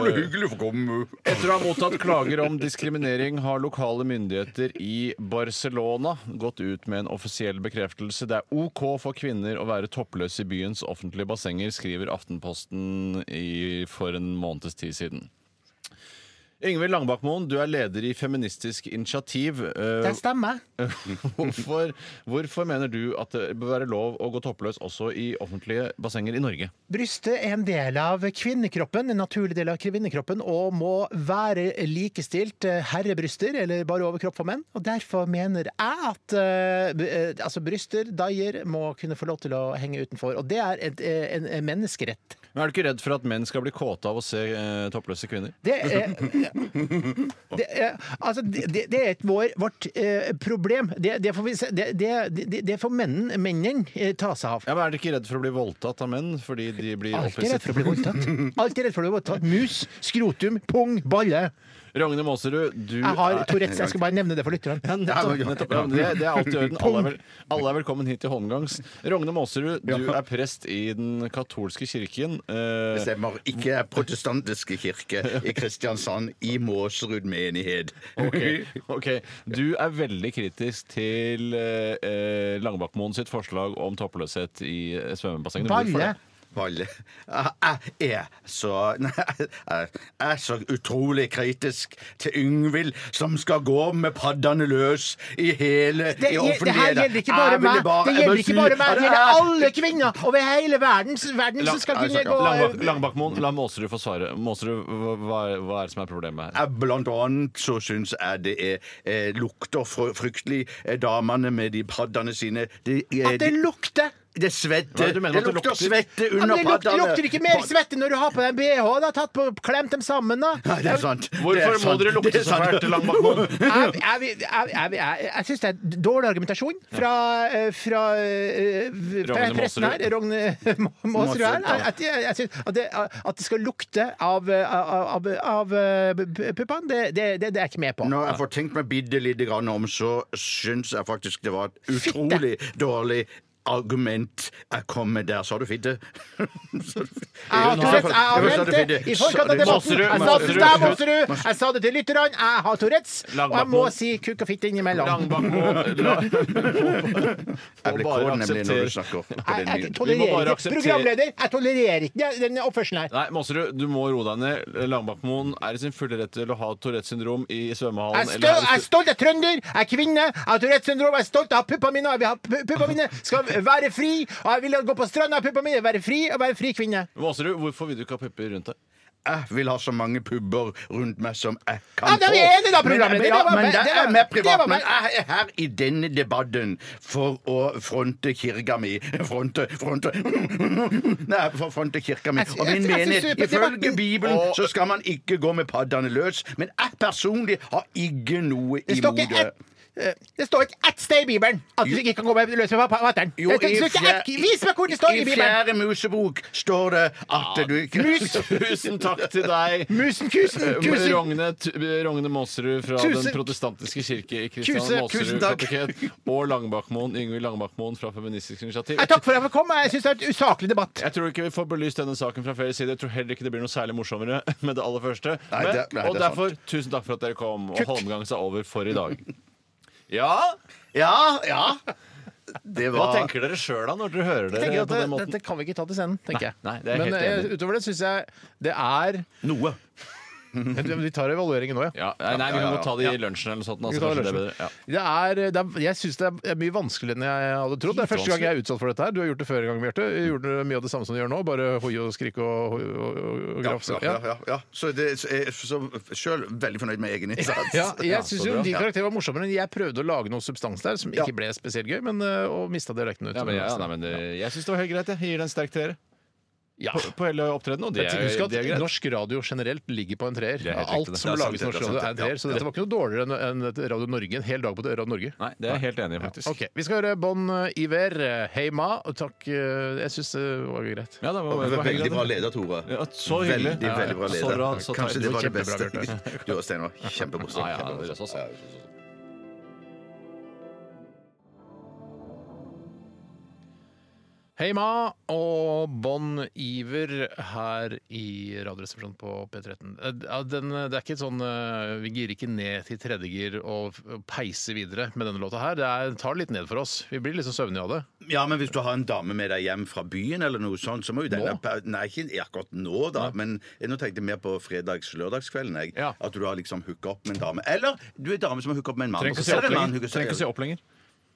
B: eh,
C: hyggelig å få komme.
B: Etter å ha mottatt klager om diskriminering har lokale myndigheter i Barcelona gått ut med en offisiell bekreftelse. Det er OK for kvinner å være toppløse i byens offentlige bassenger, skriver Aftenposten i, for en måneds tid siden. Yngvild Langbakmoen, du er leder i Feministisk initiativ. Eh,
I: stemmer.
B: hvorfor, hvorfor mener du at det bør være lov å gå toppløs også i offentlige bassenger i Norge?
A: Brystet er en del av kvinnekroppen, en naturlig del av kvinnekroppen, og må være likestilt eh, herrebryster, eller bare overkropp for menn. Og derfor mener jeg at eh, b- eh, altså bryster, daier, må kunne få lov til å henge utenfor. Og det er et, eh, en, en menneskerett.
B: Men er du ikke redd for at menn skal bli kåte av å se eh, toppløse kvinner?
A: Det er, det er, altså, det, det det er et vår, vårt eh, problem. Det, det, får vi, se- det, det, det, det får menn- mennene eh, ta seg av.
B: Ja, men Er dere ikke redd for å bli voldtatt av menn fordi de blir
A: Alltid redd
B: opphisset?
A: for å bli voldtatt. Alltid redd for å bli voldtatt. Mus, skrotum, pung, balle.
B: Ragne Maaserud, du
A: Jeg har
B: er-
A: Tourettes, jeg skal bare nevne det for lytteren.
B: Ja, nettopp, nettopp. Ja, men det, det er alltid i orden. Alle er, vel, alle er velkommen hit til Holmgangs. Rogne Maaserud, du er prest i den katolske kirken. Eh,
C: Stemmer. Ikke er protestantiske kirke i Kristiansand, i Måserud menighet.
B: ok, ok. Du er veldig kritisk til eh, eh, Langebakmoen sitt forslag om toppløshet i eh, svømmebassenget. Hvorfor
A: Balle.
B: det?
C: <laughs> Valle. Jeg er så <laughs> Nei, jeg er så utrolig kritisk til Yngvild, som skal gå med paddene løs i hele
A: Det,
C: i
A: det her
C: offentligheten.
A: gjelder ikke bare
C: Jeg ville
A: meg, det
C: jeg
A: gjelder ikke bare
C: si
A: meg,
C: at
A: det gjelder alle kvinner over hele verden, verden som skal kunne gå
B: Langebak, Langebakmoen, la Maaserud få svare. Maaserud, hva, hva- hva er det som er problemet her?
C: Jeg- Blant annet så syns jeg det er, eh, lukter fr- fryktelig. eh, Damene med de paddene sine de, eh,
A: At det
C: de-
A: lukter!
C: Det
B: Hva er
C: svetter.
B: det du mener
C: Det
B: at det
C: lukter
B: lukter?
C: svette
A: Ja,
C: under
A: men det lukter,
C: paddene.
A: lukter ikke mer svette når du har på deg en bh? Da, tatt på, klemt dem sammen, da.
C: Nei, det er sant. Det er
B: Hvorfor må
C: sant.
B: dere
C: Det er
B: lukte så
C: sant.
B: fælt til Langebakmoen?
A: Jeg, jeg, jeg, jeg, jeg, jeg syns det er dårlig argumentasjon fra, eh, fra, eh, fra
B: Rogne
A: presten her, Rogne Maaserud her.
C: Maaserud, ja.
A: At, jeg, jeg synes at, det, at det skal lukte av, eh, av, av, av eh, puppene, det, det, det, det er jeg ikke med på.
C: Når jeg får tenkt meg bitte lite grann om, så syns jeg faktisk det var et utrolig dårlig argument jeg kom med der. Sa du fitte? <laughs> Sa du
A: Jeg
C: fitte?
A: har Tourettes, jeg har nevnt det i forkant av debatten. Jeg sa det til deg, Måserud, jeg sa det til lytterne. Jeg har Tourettes, og jeg må si kuk og fitte innimellom.
C: <laughs> Jeg blir
B: bare
C: kåt nemlig når du
B: akseptere-
C: snakker på
A: Jeg,
C: den
A: jeg
B: Vi
C: måten.
B: må
A: tolererer
B: bare
A: ikke
B: akseptere-
A: Programleder, jeg tolererer ikke den oppførselen her.
B: Nei, Maaserud, du må roe deg ned. Langbakmoen er i sin fulle rett til å ha Tourettes syndrom i svømmehallen.
A: Jeg er
B: eller
A: stø-
B: her i
A: jeg er
B: stu-
A: stolt, jeg er trønder, jeg er kvinne, jeg har Tourettes syndrom, jeg er stolt, jeg har puppa mine, og jeg vil ha pu- puppa mine skal være fri, og jeg vil gå på stranda, puppa mine, være fri og være fri kvinne.
B: Maaserud, hvorfor vil du ikke ha pupper rundt deg?
C: Jeg Eh, vil ha så mange pubber rundt meg som jeg kan
A: Ja, det er vi enige da, programleder.
C: Men-
A: Det
C: Ja,
A: var-
C: men det
A: det var-
C: er mer
A: det
C: privat.
A: var-
C: Men jeg er her i denne debatten for å fronte kirka mi. Fronte, fronte <laughs> Nei, for å fronte kirka mi.
A: Jeg sy-
C: Og min
A: jeg- jeg synes
C: menighet
A: jo på
C: Ifølge
A: debatten-
C: Bibelen så skal man ikke gå med paddene løs. Men jeg personlig har ikke noe
A: Det står
C: imot
A: ikke
C: det.
A: ett eh, det står ikke ett sted i Bibelen at du ikke kan gå med løs med fatter'n.
C: Jo, i fjer-
A: Vis meg hvor det står i
C: I
A: Bibelen!
C: Fjerde Mosebok står det at du ikke
B: <laughs> Tusen takk til deg,
A: Musen, kusen,
B: Eh,
A: kusen!
B: Rogne, Tu- Rogne Maaserud fra
A: Tusen-
B: Den protestantiske kirke i
A: Tusen-
B: Kristian
A: tusen
B: Maaserud
A: takk.
B: kateket, og Langbakmoen, Yngvild Langbakmoen fra Feministisk initiativ.
A: Nei, takk for at jeg fikk komme. Jeg syns det er et usaklig debatt.
B: Jeg tror ikke vi får belyst denne saken fra flere sider. Jeg tror heller ikke det blir noe særlig morsommere <laughs> med det aller første.
C: Nei,
B: Men,
C: det- nei, det
B: og
C: er
B: derfor, tusen takk for at dere kom. Og Holmgangs er over for i dag. <laughs> Ja?
C: Ja, ja. <laughs> Det
B: Hva
C: var
B: tenker dere sjøl da, når dere hører
I: Jeg tenker
B: det
I: at
B: på
I: det,
B: den måten?
I: dette kan vi ikke ta til scenen, tenker jeg.
B: Nei, nei, det er jeg
I: Men
B: helt
I: eh,
B: enig i.
I: utover det syns jeg det er
C: noe.
I: Vi tar evalueringen nå, ja.
B: Ja, nei, nei, vi kan godt ta det i lunsjen eller noe sånt.
I: Vi
B: Altså,
I: tar
B: kanskje det
I: lunsjen.
B: er bedre. Ja.
I: Det er, det er, jeg syns det er mye vanskeligere enn jeg hadde trodd. Det er første gang jeg er utsatt for dette her. Du har gjort det før en gang, Bjarte. Du gjorde mye av det samme som du gjør nå, bare hoi og skrike og, hoi og, og, og
C: Ja,
I: grafse.
C: ja, ja, ja, ja. Så det, så jeg er så sjøl veldig fornøyd med egen innsats.
I: Ja, jeg
B: så
I: syns jo
B: bra.
I: de karakterene var morsommere, men jeg prøvde å lage noe substans der som ikke ble spesielt gøy, men, øh, og mista dialekten ut.
B: Ja, men, ja, nei, men det, jeg syns det var helt greit. Jeg Jeg gir den sterk treer
I: Ja.
B: på, på hele opptredenen. Og det er,
I: Husk at
B: det er greit.
I: norsk radio generelt ligger på en treer.
B: Det er helt
I: Alt
B: riktig, det.
I: som
C: Det er sant,
I: lages i norsk
C: det er
I: radio, er en
C: sant, ja.
I: treer. Så dette var ikke noe dårligere enn enn et Radio Norge en hel dag på det- Radio Norge.
B: Nei, det er jeg helt enig i, faktisk.
I: Ok, Vi skal høre Bon Iver, Hey Ma. Og takk, øh, jeg syns det var greit.
B: Ja, det var, det var helt
C: Veldig
B: greit.
C: bra leder, Tore.
B: Ja, så hyggelig.
C: Veldig, veldig bra
B: Ja, ja.
C: leder.
B: Så bra, så
C: Kanskje
B: deilig.
C: det var det
I: Kjempebra,
C: beste. Du og Steinar, kjempemorsomt.
B: Ja, ja, det er sånn.
C: Ja, det er sånn.
A: Hei Ma og Bon Iver her i Radioresepsjonen på P13. Eh, ja, Den, det er ikke et sånn eh, Vi girer ikke ned til tredjegir og f- og peiser videre med denne låta her. Det er, tar det litt ned for oss. Vi blir liksom søvnige av det.
C: Ja, men hvis du har en dame med deg hjem fra byen eller noe sånt, så må jo denne pa- Nei, ikke akkurat nå, da, men jeg, nå tenkte jeg mer på fredags-lørdagskvelden, jeg.
A: Ja.
C: At du har liksom hooka opp med en dame. Eller du er dame som har hooka opp med en mann.
B: Trenger ikke å
C: Og
B: se
C: så
B: opp
C: er det en mann
B: lenger.
C: hooker seg-
B: Trenger ikke å se opp lenger.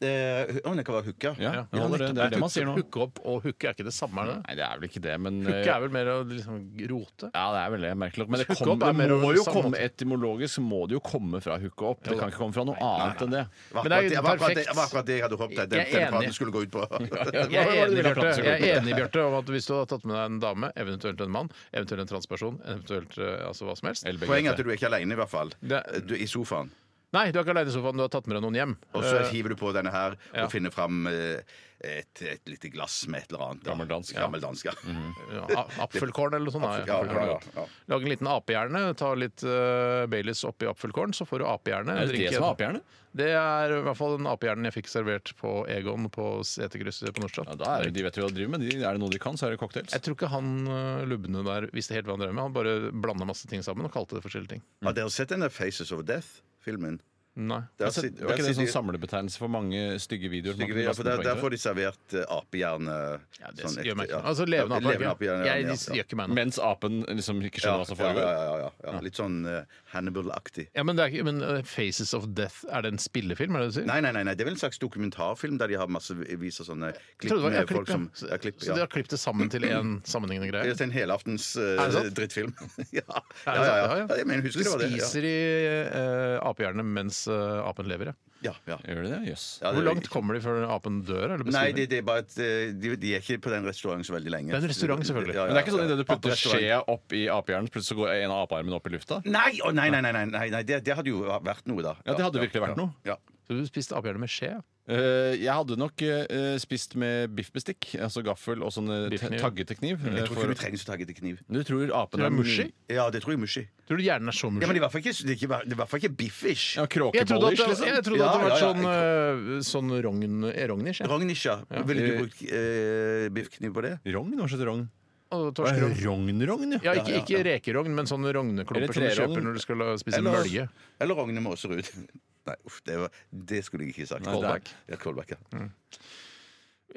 C: Eh, Om det kan være hooka?
B: Ja, det holder det. Det er det man sier nå.
A: Hooke opp og hooke er ikke det samme, er det?
B: Nei, det er vel ikke det, men eh,
A: Hooke er vel mer å liksom rote?
B: Ja, det er veldig merkelig. Men det,
A: Hooke
B: kom,
A: opp er
B: det
A: mer
B: må
A: over
B: jo
A: samme
B: komme
A: måte.
C: altså.
B: etymologisk må det jo komme fra hooke opp. Det kan ikke komme fra noe annet enn det.
C: Det var
A: Men det er
C: akkurat
A: jo
C: det- det var akkurat det-
A: perfekt.
C: det var akkurat det jeg hadde håpet at
A: Jeg
C: den
A: er
C: denne
A: enig.
C: praten skulle gå ut på.
A: Jeg er enig,
B: Hva var det du ville
A: Bjarte,
B: at han skulle
A: jeg er enig Bjarte, om at hvis du hadde tatt med deg en dame, eventuelt en mann, eventuelt en transperson, eventuelt eh, altså hva som helst
B: Eller begge
C: Poenget er
B: deler.
C: at du er ikke aleine, i hvert fall.
A: Det-
C: Du er I sofaen.
A: Nei, du er ikke aleine i sofaen, du har tatt med deg noen hjem.
C: Og så hiver du på denne her
A: Eh, ja.
C: og finner fram eh, et, et lite glass med et eller annet. da.
B: Gammeldansk.
C: Gammeldansk, ja.
B: Mhm.
C: <laughs>
A: Ja, a- Apfelkorn eller noe sånt.
C: Ja,
A: Apfelkorn,
C: ja, ja.
A: Lag en liten apehjerne, ta litt uh, Baileys oppi apfelkorn, så får du apehjerne.
B: Er det
A: Drink
B: det som er
A: en-
B: apehjerne?
A: Det er i hvert fall den apehjernen jeg fikk servert på Egon på seterkrysset på Nordstrand.
B: Ja, da er det, de vet jo hva de driver med. De, er det noe de kan, så er det cocktails.
A: Jeg tror ikke han eh, lubne der visste helt hva han drev med. Han bare blanda masse ting sammen og kalte det forskjellige ting.
C: Har dere sett den der Faces of Death-filmen?
A: Nei.
C: Der
B: Altså,
C: sit-
B: var ikke
C: der
B: det en
C: sitter-
B: sånn samlebetegnelse for mange stygge videoer?
C: Stygge videoer, for der, der får de servert uh, apehjerne.
A: Ja, det
C: sånn
A: gjør meg
C: ekte-
A: ikke
C: ja.
A: noe. Altså levende
C: Ja,
A: ape. ikke?
C: apehjerne, ja,
A: Jeg
C: ja,
A: det gjør ikke meg noe.
B: Mens apen liksom ikke
C: ja.
B: skjønner hva som
C: Ja, ja,
B: foregår?
C: ja, ja, ja. Litt sånn eh, Hannibal-aktig.
A: Ja, men, det er, ikke- men eh, Faces of Death, er det en spillefilm? er det det du sier?
C: Nei, nei, nei, nei, det er vel en slags dokumentarfilm der de har masse viser sånne
A: Jeg
C: klipp
A: trodde det var- ja,
C: med
A: klipp,
C: folk
A: ja.
C: som
A: Så-
C: ja, klipp,
A: Så de
C: ja.
A: har klippet det sammen til én sammenhengende greie?
C: Det er en helaftens
A: Er det
C: uh,
A: sant?
C: drittfilm. <laughs> ja. Ja,
A: Er det
C: ja,
A: sant?
C: ja, ja. Jeg mener, husker
A: de
C: det var det. Ja.
A: spiser i uh, apehjernet mens eh, apen lever, ja.
C: Ja, ja.
B: Gjør de det? Jøss.
C: Ja, det-
A: Hvor langt kommer de før apen dør? Eller
C: Nei,
A: besvimer?
C: det, det er bare at eh, de, de er ikke på den restauranten så veldig lenge.
A: Det er en restaurant, selvfølgelig.
B: Men det er ikke sånn at idet du putter
C: Aperestaurant.
B: skjea opp i apehjernen, plutselig så går en av apearmene opp i lufta?
C: Nei, å, nei, nei, nei, nei, nei, nei det, det hadde jo vært noe, da.
B: Ja, det hadde virkelig vært noe.
C: Ja.
A: Så du spiste apehjerne med skje? ja?
B: Eh, jeg hadde nok eh, spist med biffbestikk, altså gaffel og sånne te-
A: Biffkniv.
B: taggete kniv. eh,
C: Jeg tror
B: for-
C: ikke du trenger så taggete kniv.
B: du tror apen
A: Tror du det
B: er
A: er mushy?
B: mye-
C: Ja, det tror jeg mushy.
A: Tror du hjernen er så
C: Ja, men det
A: mushy?
C: er i hvert fall ikke, det er ikke, det er i hvert fall ikke biffish.
B: Ja,
A: Jeg trodde at
B: Kråkebollish,
A: det, jeg
B: liksom.
A: trodde at det
C: Ja,
A: var
C: ja, ja.
A: sånn, eh, sånn rogn, eh, rognish. Ja.
C: Rognisha. Ville du brukt eh, biffkniv på det?
B: Rogn? Hva slags rogn?
A: Og torskerogn.
B: Rognrogn,
A: Ja, ikke, ikke rekerogn, men sånne rogneklumper
B: Eller
A: som du
B: trerogn.
A: kjøper når du skal la- spise en mølje.
C: eller Rogne Måserud. <laughs> Nei, uff, det, var, det skulle jeg ikke sagt.
B: Nei, det er-
C: Callback. Ja, callback, ja.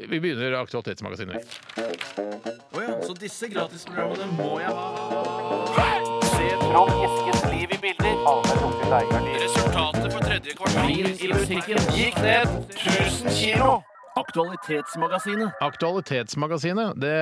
A: Vi begynner Aktualitetsmagasinet.
H: Resultatet for tredje kvartal i musikken gikk ned 1000 kilo. Aktualitetsmagasinet.
A: Aktualitetsmagasinet det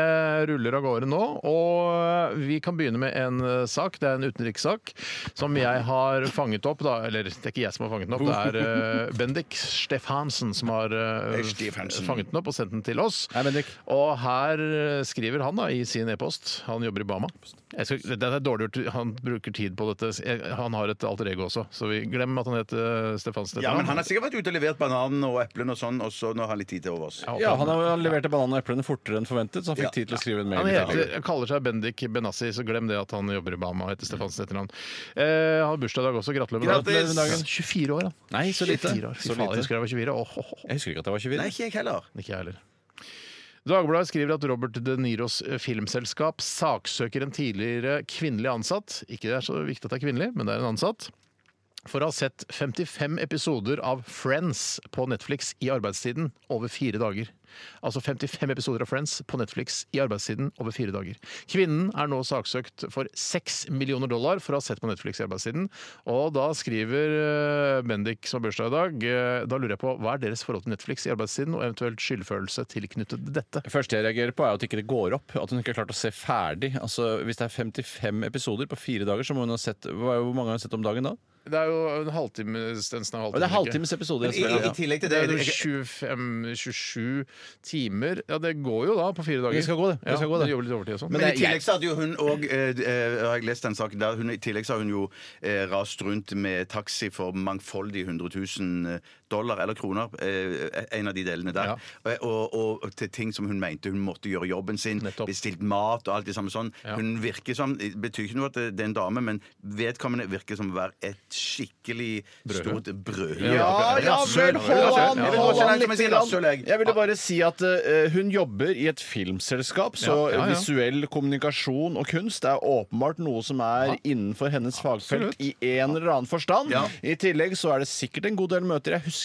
A: ruller av gårde nå. Og vi kan begynne med en eh, sak. Det er en utenrikssak som jeg har fanget opp. Da, eller det er ikke jeg som har fanget den opp, det er eh, Bendik Stefansen som har eh,
C: Stefansen.
A: fanget den opp og sendt den til oss.
B: Hei, Bendik.
A: Og her eh, skriver han da i sin e-post Han jobber i Bama. Jeg skal, det er dårlig gjort. Han bruker tid på dette. Jeg, han har et alter ego også, så vi glem at han heter eh, Stefansen.
C: ja, men han har sikkert vært ute og levert bananen og eplene og sånn, og så nå har han litt tid til overs.
A: Jeg håper
B: Ja, han har levert bananen og eplene fortere enn forventet, så han fikk tid til å skrive en mail.
A: Han
B: i dag.
A: heter, kaller seg Bendik Benassi, så glem det at han jobber i Bahama og heter Stefansen etternavn. Eh, han har bursdag i dag også. Gratulerer med dagen.
C: Gratulerer med dagen.
A: 24 år, han.
B: Nei, så lite.
A: 24 år. Fy
B: Så
A: faen,
B: lite.
A: jeg husker jeg var 24. Åh, åh, åh.
B: Jeg husker ikke at jeg var 24.
C: Nei, ikke jeg heller.
A: Ikke jeg heller. Dagbladet skriver at Robert De Niros filmselskap saksøker en tidligere kvinnelig ansatt. Ikke det er så viktig at det er kvinnelig, men det er en ansatt. For å ha sett 55 episoder av Friends på Netflix i arbeidstiden over fire dager. Altså 55 episoder av Friends på Netflix i arbeidstiden over fire dager. Kvinnen er nå saksøkt for 6 millioner dollar for å ha sett på Netflix i arbeidstiden. Og da skriver eh, Bendik, som har bursdag i dag, eh, da lurer jeg på hva er deres forhold til Netflix i arbeidstiden, og eventuelt skyldfølelse tilknyttet dette?
B: Det første jeg reagerer på, er at ikke det går opp. At hun ikke har klart å se ferdig. Altså, Hvis det er 55 episoder på fire dager, så må hun ha sett hva- Hvor mange har hun sett om dagen da?
A: Det er jo en halvtime, Stensen er
B: Og det er halvtimes episoder.
C: I, i, I
B: Jeg,
C: tillegg til
A: Det
C: det,
A: er jo
C: jeg-
A: 25-27 timer. Ja, det går jo da på fire dager.
B: Det skal gå, det. Det skal gå, det.
A: Ja, jobber litt overtid og sånn.
C: Men i tillegg så hadde jo hun òg eh, Har jeg lest den saken der? Hun, I tillegg så har hun jo eh, rast rundt med taxi for mangfoldige 100 000 eh, dollar eller kroner, eh, en av de delene der, og, og, og til ting som hun mente hun måtte gjøre jobben sin,
A: Nettopp.
C: bestilt mat og alt det samme sånn. Hun virker som Det betyr ikke noe at det er en dame, men vedkommende virker som å være et skikkelig stort brød.
B: Ja, ja vel, hold an!
C: Jeg vil gå
B: hold
C: så
B: an
C: langt som å si
B: lite
C: rasshøl,
B: grann.
C: jeg.
B: Jeg ville bare si at eh, hun jobber i et filmselskap, så
A: Ja, ja, ja.
B: visuell kommunikasjon og kunst er åpenbart noe som er innenfor hennes fagfelt i en eller annen forstand.
C: Ja.
B: I tillegg så er det sikkert en god del møter. Jeg husker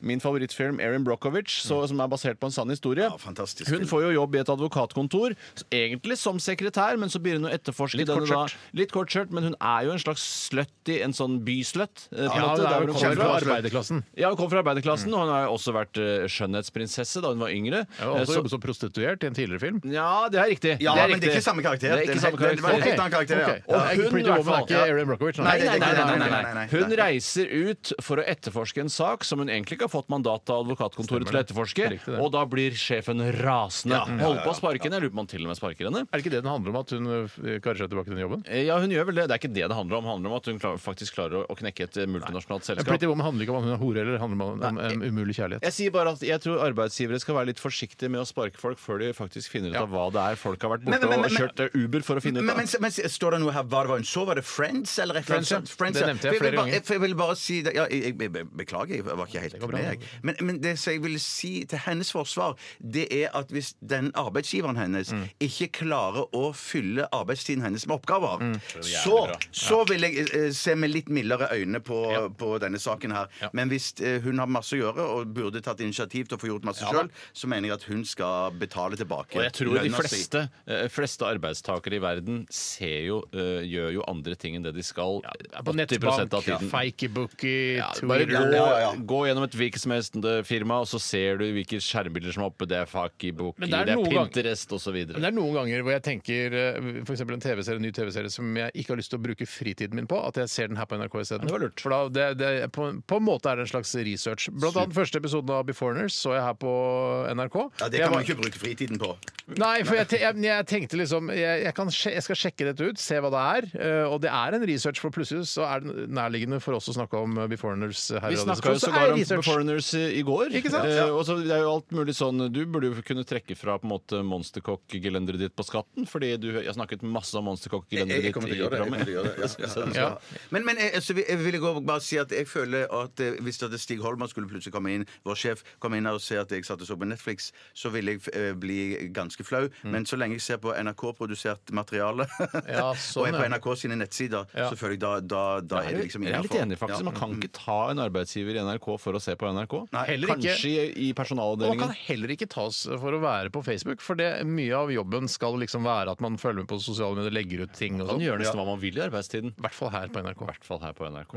B: min favorittfilm Erin Brockovich,
A: Mm.
B: så, som er basert på en sann historie.
C: Ja, fantastisk
B: Hun
C: film.
B: får jo jobb i et advokatkontor, s- egentlig som sekretær, men så begynner hun å etterforske
A: Litt
B: denne
A: kort
B: da.
A: skjørt.
B: Litt kort skjørt, men hun er jo en slags slutty, en sånn bysløtt. eh, på en
A: Ja,
B: måte,
A: det
B: der
A: er
B: hvor
A: jo
B: hun
A: kommer
B: kommer
A: fra
B: fra.
A: arbeiderklassen.
B: Ja, Hun kom fra arbeiderklassen, og hun har jo også vært eh, skjønnhetsprinsesse da hun var yngre.
A: Jeg har
B: Eh,
A: også
B: så-
A: jobbet som prostituert i en tidligere film.
B: ja, det er riktig.
C: Ja,
B: det er
C: men det er
B: riktig.
C: ikke samme karakter.
B: Det er
C: Det er
B: ikke samme
C: helt- det var
B: karakter.
C: litt annen karakter, ja.
A: Ok.
C: Ja.
A: Og hun, Pretty Woman er ikke Erin Brockovich.
C: Nei, det er ikke-
B: Nei, nei, nei, nei,
C: nei, nei.
B: nei. Hun reiser ut for å etterforske en sak som hun egentlig ikke har fått mandat av advokatkontoret til å etterforske,
A: Riktig det.
B: og da blir sjefen rasende. Holder på å sparke henne. Jeg lurer på om han til og med sparker henne.
A: Er det ikke det den handler om, at hun eh, karer seg tilbake til den jobben?
B: Eh, Ja, hun gjør vel det. Det er ikke det det handler om. Det handler om at hun klar, faktisk klarer å, å knekke et eh, multinasjonalt selskap.
A: Pretty Woman handler ikke om at hun er hore, eller handler om, om en umulig kjærlighet.
B: Jeg sier bare at jeg tror arbeidsgivere skal være litt forsiktige med å sparke folk før de faktisk finner ut av hva det er folk har vært
C: Men-
B: borte
C: men- men-
B: og kjørt eh, Uber for å finne ut
C: Men,
B: av.
C: men, men står det noe her Var det var en så? Var det Friends? Eller et eller annet
A: Friends, ja.
C: sånt? Friends,
A: Det nevnte jeg
C: For vil
A: flere
C: bare-
A: ganger.
C: For jeg vil bare si det. Ja, jeg, jeg be- beklager, jeg var ikke helt
A: går bra,
C: med. Jeg. Men, men det som jeg vil si til hennes forsvar, det er at hvis den arbeidsgiveren hennes
A: Mm.
C: ikke klarer å fylle arbeidstiden hennes med oppgaver,
A: Mm.
C: så, så vil jeg eh, se med litt mildere øyne på, på denne saken her. Men hvis eh, hun har masse å gjøre og burde tatt initiativ til å få gjort masse selv sjøl, så mener jeg at hun skal betale tilbake.
B: Og jeg tror de
C: lønna si.
B: fleste, eh, fleste arbeidstakere i verden ser jo, eh, gjør jo andre ting enn det de skal. eh, 80% av tiden.
A: fakebookie,
B: Ja, bare gå,
A: Twitter
B: gå gjennom et hvilket som helst eh, firma, og så ser du hvilke skjermbilder som er oppe. Det er Fakibooki, det
A: Men det er
B: er, det er
A: noen gang-
B: Pinterest osv.
A: Men det er noen ganger hvor jeg tenker eh, for eksempel en TV-serie, en ny TV-serie som jeg ikke har lyst til å bruke fritiden min på, at jeg ser den her på NRK isteden.
B: det var lurt.
A: For da, det, det, på, på en måte er det en slags research. Blant annet første episoden av Beforeigners så jeg her på NRK.
C: Ja, Det
A: Jeg
C: kan
A: var-
C: man ikke bruke fritiden på.
A: Nei, for jeg, te- jeg, jeg tenkte liksom jeg, jeg, kan sje, jeg skal sjekke dette ut, se hva det er. eh, og det er en research, for plutselig så er det nærliggende for oss å snakke om eh, Beforeigners her. i
B: Vi
A: Radio
B: snakka jo
A: Discord, så
B: sågar
A: er
B: om
A: research.
B: Foreigners i går.
A: Ikke sant?
B: Eh, og så det er jo alt mulig sånn Du burde jo kunne trekke fra på en måte Monsterkokk-gelenderet ditt på skatten, fordi du jeg har snakket masse om Monsterkokk-gelenderet ditt i programmet.
C: <laughs> Ja. Men, men jeg, så vil- jeg ville gå og bare si at jeg føler at eh, hvis det Stig Holmer skulle plutselig komme inn, vår sjef, komme inn her og se at jeg satt og så på Netflix, så ville jeg eh, bli ganske flau. Men så lenge jeg ser på NRK-produsert materiale, <laughs>
A: Ja, sånn,
C: og er på
A: ja.
C: NRK sine nettsider,
A: Ja.
C: så føler jeg da, da, da er det liksom
B: jeg er litt
C: innenfor.
B: enig, faktisk.
C: Ja.
B: Man kan ikke ta en arbeidsgiver i NRK for å se på NRK.
C: Nei,
A: heller ikke.
B: Kanskje i, i
A: Og kan
B: personalavdelingen.
A: heller ikke tas for å være på Facebook, for det, mye av jobben skal liksom være at man følger med på sosiale medier, legger ut ting og
B: Man
A: sånn.
B: gjør nesten hva man vil i arbeidstiden.
A: I hvert fall her på NRK. Mm.
B: I hvert fall her på NRK.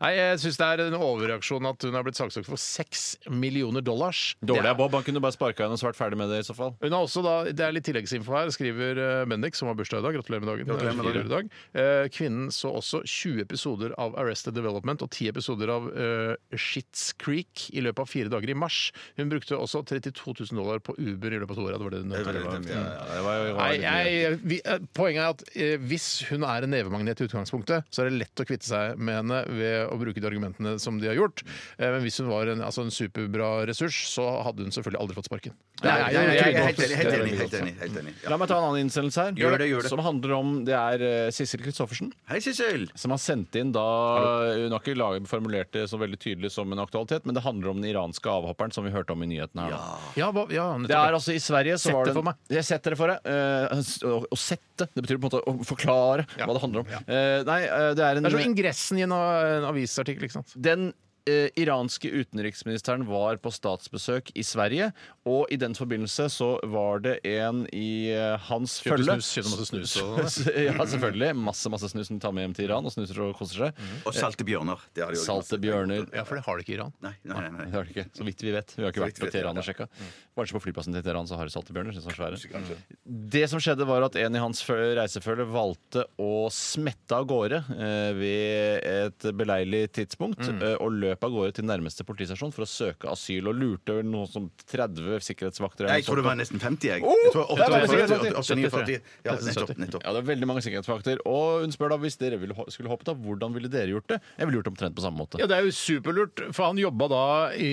A: Nei, Jeg syns det er en overreaksjon at hun er blitt saksøkt for seks millioner dollars.
B: Dårlig
A: Det
B: av
A: er-
B: Bob. Han kunne bare sparka henne og så vært ferdig med det i så fall.
A: Hun har også da, Det er litt tilleggsinfo her, skriver eh, Bendik, som har bursdag i dag. Gratulerer med dagen.
C: Gratulerer med
A: Gratulerer med dag. Eh, Kvinnen så også 20 episoder av Arrested Development og 10 episoder av uh, Shits Creek i løpet av fire dager i mars. Hun brukte også 32 000 dollar på Uber i løpet av to år. Ja, Det var det hun
C: Det er veldig
A: nødvendig.
C: tøft, ja, ja.
B: Ja, det var jo- det var
A: Nei,
B: litt mye.
A: jeg, vi, eh, poenget er at eh, hvis hun er en nevemagnet i utgangspunktet, så er det lett å kvitte seg med henne ved å bruke de argumentene som de har gjort. Eh, men hvis hun var en, altså en superbra ressurs, så hadde hun selvfølgelig aldri fått sparken. Det
C: Nei,
A: er
C: jeg
A: jo
C: jeg-
A: veldig
C: jeg er helt
A: godt.
C: enig. Helt enig.
A: altså.
C: Helt enig, helt enig.
B: La
C: Ja.
B: meg ta en annen innsendelse her,
C: Gjør det, gjør det.
B: som handler om Det er eh, Sissel Kristoffersen.
C: Hei, Sissel!
B: Som har sendt inn da Hun har ikke laget- formulert det så veldig tydelig som en aktualitet, men det handler om den iranske avhopperen som vi hørte om i nyhetene her. nå.
A: Ja, hva, ja, nettopp.
B: Det er altså I Sverige så
A: Sett
B: var
A: det
B: det en-
A: for meg.
B: Jeg setter det for deg. Eh, s- å, å sette Det betyr på en måte å forklare hva det handler om. Eh, nei, eh, det er en
A: Det er som ingressen i en, a- en avisartikkel. ikke sant?
B: den eh, iranske utenriksministeren var på statsbesøk i Sverige, og i den forbindelse så var det en i eh, hans
A: Kjøpte
B: følge
A: snus, kjøpte masse snus og
B: <laughs> Ja, selvfølgelig. Masse, masse snus som de tar med hjem til Iran og snuser og koser seg.
A: Mhm.
C: Og salte bjørner. Det har de jo
B: Salte bjørner
A: Ja, for det har det ikke i Iran.
C: Nei, nei, nei, nei.
B: det har de ikke. Så vidt vi vet. Vi har ikke
C: Så
B: vært
C: vidt
B: på
C: vi vet,
B: Teheran
C: ja. Mm.
B: og sjekka. Kanskje på flyplassen til Teheran så har de saltebjørner. Sånn svære. Det som skjedde, var at en i hans fø- reisefølge
C: Mm.
B: valgte å smette av gårde eh, ved et beleilig tidspunkt, eh, og løp løp av gårde til nærmeste politistasjon for å søke asyl, og lurte vel noe som 30 sikkerhetsvakter. eller
C: Jeg tror
B: noe
C: det var
B: sånt.
C: nesten 50, jeg.
B: Oh,
C: jeg tror
B: det er bare
C: 48,
B: sikkert
C: 48, 49. Ja,
B: 70,
C: nettopp. nettopp.
B: Ja, det er veldig mange sikkerhetsvakter. Og hun spør da, hvis dere ville, ho- skulle hoppet av, hvordan ville dere gjort det? Jeg ville gjort det omtrent på samme måte.
A: Ja, Det er jo superlurt, for han jobba da i,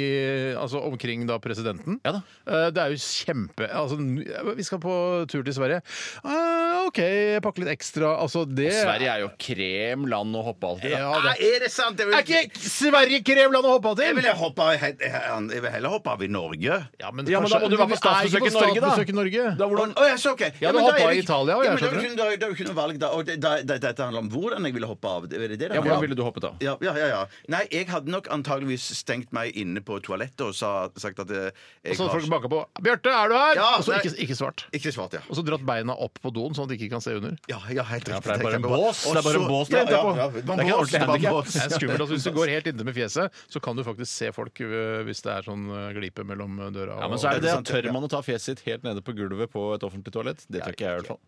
A: altså, omkring da presidenten.
B: Ja da.
A: Eh, Det er jo kjempe altså, n- Vi skal på tur til Sverige. Ah, OK, pakke litt ekstra. Altså, det
B: Sverige er jo kremland å hoppe alltid. da.
A: ja,
C: Ah,
A: det.
C: er det sant? Jeg vil,
A: Er ikke Sverige kremland å hoppe av
C: jeg
A: til?
C: vil, hoppe, av- jeg, jeg vil heller hoppe av i Norge.
A: Ja, men,
B: Ja, men da må du være på statsbesøk i Norge, da.
A: i Norge.
B: Da hvordan...
C: Å, ja, så, ok.
A: Ja, du
C: men da
A: hoppet av
C: er det
A: i
C: ikke-
A: Italia også,
C: ja,
A: jeg
C: men da er
A: skjønner
C: det ikke- Da er det jo ikke noe valg, da. Og det, da, da. Dette handler om hvordan jeg ville hoppe av. Er det det det
B: Ja,
C: handler om?
B: hvordan ville du hoppet av?
C: Ja, ja, ja, ja. Nei, jeg hadde nok antageligvis stengt meg inne på toalettet og sa, sagt at eh, jeg
A: Og så hadde folk
C: har
A: banka på 'Bjarte, er du her?'
C: Ja,
A: og så
C: nei.
A: ikke, ikke svart.
C: Ikke svart, ja.
A: Og så dratt beina opp på doen, sånn at de ikke kan se under.
C: Ja, ja, helt riktig.
B: for det er bare en
C: Tenk deg
B: bås.
C: Og
B: Det er bare en
C: så-
B: bås du
C: ja,
B: venter
C: ja,
B: på.
C: ja,
B: Det er
C: bare
B: ikke
C: en
B: en
C: bås,
B: ordentlig
C: det er bare en
B: handicap.
C: bås.
A: Det er skummelt. Altså, hvis du går helt inntil med fjeset, så kan du faktisk se folk øh, hvis det er sånn øh, glipe mellom øh, døra
B: Ja, men så er det det at Tør man å ta fjeset sitt helt nede på gulvet på et offentlig toalett? Det tør ikke jeg, i hvert fall.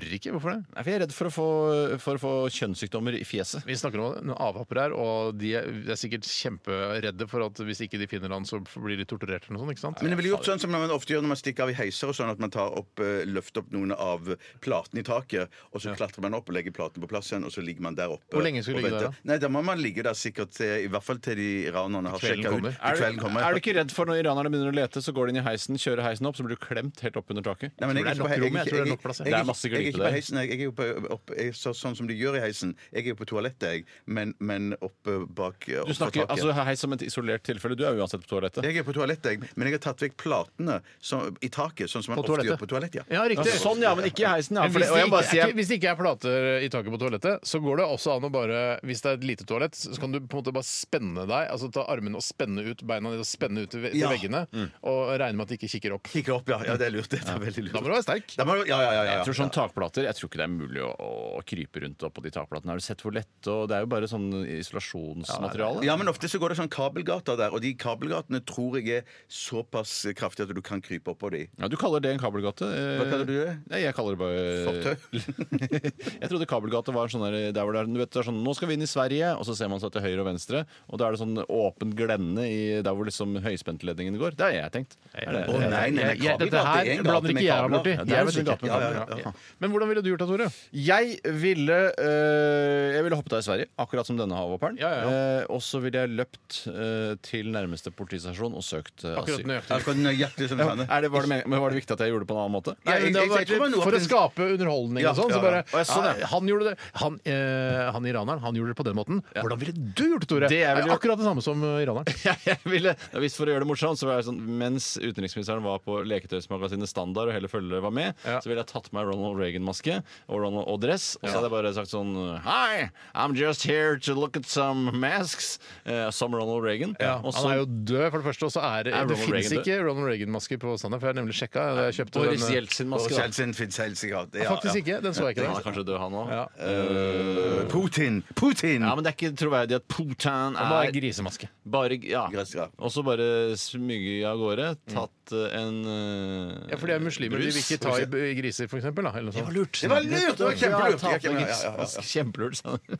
A: Tør ikke. Hvorfor det?
B: Nei, for Jeg er redd for å få, for å få kjønnssykdommer i fjeset.
A: Vi snakker om noen avhopper her, og de er, de er sikkert kjemperedde for at hvis ikke de finner han, så blir de torturert eller noe sånt. ikke sant?
C: Men jeg ville gjort sånn som man ofte gjør når man stikker av i heiser, og sånn at man tar opp, eh, løfter opp noen av platene i taket, og så klatrer man opp og legger platene på plass igjen, og så ligger man der oppe.
A: Hvor lenge skal du
C: og
A: ligge der,
C: venter. Nei, Da må man ligge der sikkert til, i hvert fall til de iranerne har
A: Kvelden
C: sjekka ut.
A: kommer.
C: til
B: Er,
C: Kvelden
B: du-
C: kommer.
B: er du ikke redd for når iranerne begynner å lete, så går de inn i heisen, kjører heisen opp, så blir du klemt helt opp under taket?
C: Nei, men jeg
A: det
C: er
A: er
C: ikke på
A: nok
C: he- jeg
A: rom, jeg tror det er
C: ikke-
A: nok plass,
C: jeg-
A: jeg.
B: Det er
C: jeg-
B: masse
C: jeg er
B: gripe
C: ikke på
B: der.
C: heisen. Jeg jeg er jo på, opp, jeg, så, sånn som de gjør i heisen. Jeg er jo på toalettet, jeg, men, men oppe bak eh,
B: Du
C: oppe
B: snakker
C: på taket.
B: altså heis som et isolert tilfelle. Du er jo uansett på toalettet.
C: jeg er på toalettet, jeg, men jeg har tatt vekk platene som, i taket, sånn som man
A: På
C: ofte
A: toalettet.
C: gjør på toalettet.
A: Ja, riktig.
B: Ja, sånn, ja, men ikke i heisen. Ja,
A: Men
B: for
A: hvis,
B: det, og
A: det
B: jeg
A: ikke,
B: bare sier
A: er- hvis det ikke er plater i taket på toalettet, så går det også an å bare Hvis det er et lite toalett, så kan du på en måte bare spenne deg. Altså ta armene og spenne ut beina dine og spenne ut til ve- til
C: Ja.
A: veggene. Og regne med at de ikke kikker opp.
C: Kikker opp, ja. ja. Det er lurt. Det er veldig lurt.
A: Da må du være sterk.
C: Da må du- ja, ja, ja, ja,
B: Jeg tror
C: ja.
B: sånn takplater, jeg tror ikke det er mulig å, å krype rundt opp på de takplatene. Har du sett hvor lett og Det er jo bare sånn isolasjonsmateriale.
C: Ja, men ofte så går det sånn kabelgater der, og de kabelgatene tror jeg er såpass kraftige at du kan krype oppå de.
B: Ja, du kaller det en kabelgate. eh,
C: Hva kaller du det?
B: Nei, jeg kaller det bare <laughs> jeg trodde kabelgate var sånn der, der hvor det er, du vet, det er sånn Nå skal vi inn i Sverige, og så ser man seg til høyre og venstre, og da er det sånn åpent glenne i der hvor liksom høyspentledningen går. Det har jeg tenkt. Er det-
C: Å, nei, nei, nei,
A: Jeg- Dette
C: kabelgate er
A: her
C: en
A: blander
C: gate
A: ikke
C: med
A: jeg meg
C: kabler.
A: borti.
B: Ja, det er vel
A: Jeg vet
B: en gate
A: ikke.
B: med
A: Ja,
B: kabler,
A: ja,
C: ja.
A: ja. Men hvordan ville du gjort det, Tore?
B: Jeg ville øh, Jeg ville hoppet av i Sverige, akkurat som denne havopperen.
A: Ja, ja,
B: Eh, og så ville jeg løpt øh, til nærmeste politistasjon og søkt øh,
A: Akkurat
B: asyl.
A: nøyaktig.
C: Akkurat nøyaktig som Sanne.
B: Er det, var, det, men- men var det viktig at jeg gjorde det på en annen måte?
A: Nei, men det hadde
C: jeg- jeg- jeg tror
A: vært
C: man
A: litt, for å
C: åpner-
A: skape underholdning
C: Ja,
A: og sånn.
C: ja,
A: Så bare,
C: ja. Og jeg så
A: ja, han gjorde det han, eh, han iraneren, han gjorde det på den måten. Hvordan ville du gjort det, Tore?
B: Det jeg ville gjort-
A: Akkurat det samme som eh, iraneren.
B: Jeg, jeg ville, <laughs> ja, hvis for å gjøre det morsomt, så var jeg sånn Mens utenriksministeren var på leketøysmagasinet Standard og hele følget var med,
A: Ja.
B: så ville jeg tatt på meg Ronald Reagan-maske og, Ronald- og dress. Og så hadde jeg bare sagt sånn Hi, I'm just here to look at some masks. eh, som Ronald Reagan. Og så
A: han er jo død, for det første, og så er det,
B: Er
A: det
B: Ronald
A: fins
B: Reagan
A: ikke Ronald Reagan-maske på standard, for jeg har nemlig sjekka. Jeg kjøpte
B: Boris
A: den, eh,
C: Og
B: Jeltsin-maske. da.
C: Jeltsin fins helt sikkert. Ja,
A: Faktisk
C: ja.
A: ikke. Den så jeg ikke.
B: Han er
A: der.
B: kanskje død, han òg.
A: Ja.
C: Øh, Putin! Putin!
B: Ja, men det er ikke troverdig at Putin
A: Han var
B: er
A: grisemaske.
B: bare ja.
C: Gress, ja.
B: Og så bare smyge av gårde. Tatt eh, en eh,
A: Mm. Ja, for de er muslimer. De vil ikke ta i i griser, for eksempel. Da, eller noe sånt.
B: lurt.
C: Det var lurt! Det var kjempelurt.
B: Ja, tatt
C: Ja,
B: med
C: ja, ja, ja.
B: grismaske. Kjempelurt, sa han.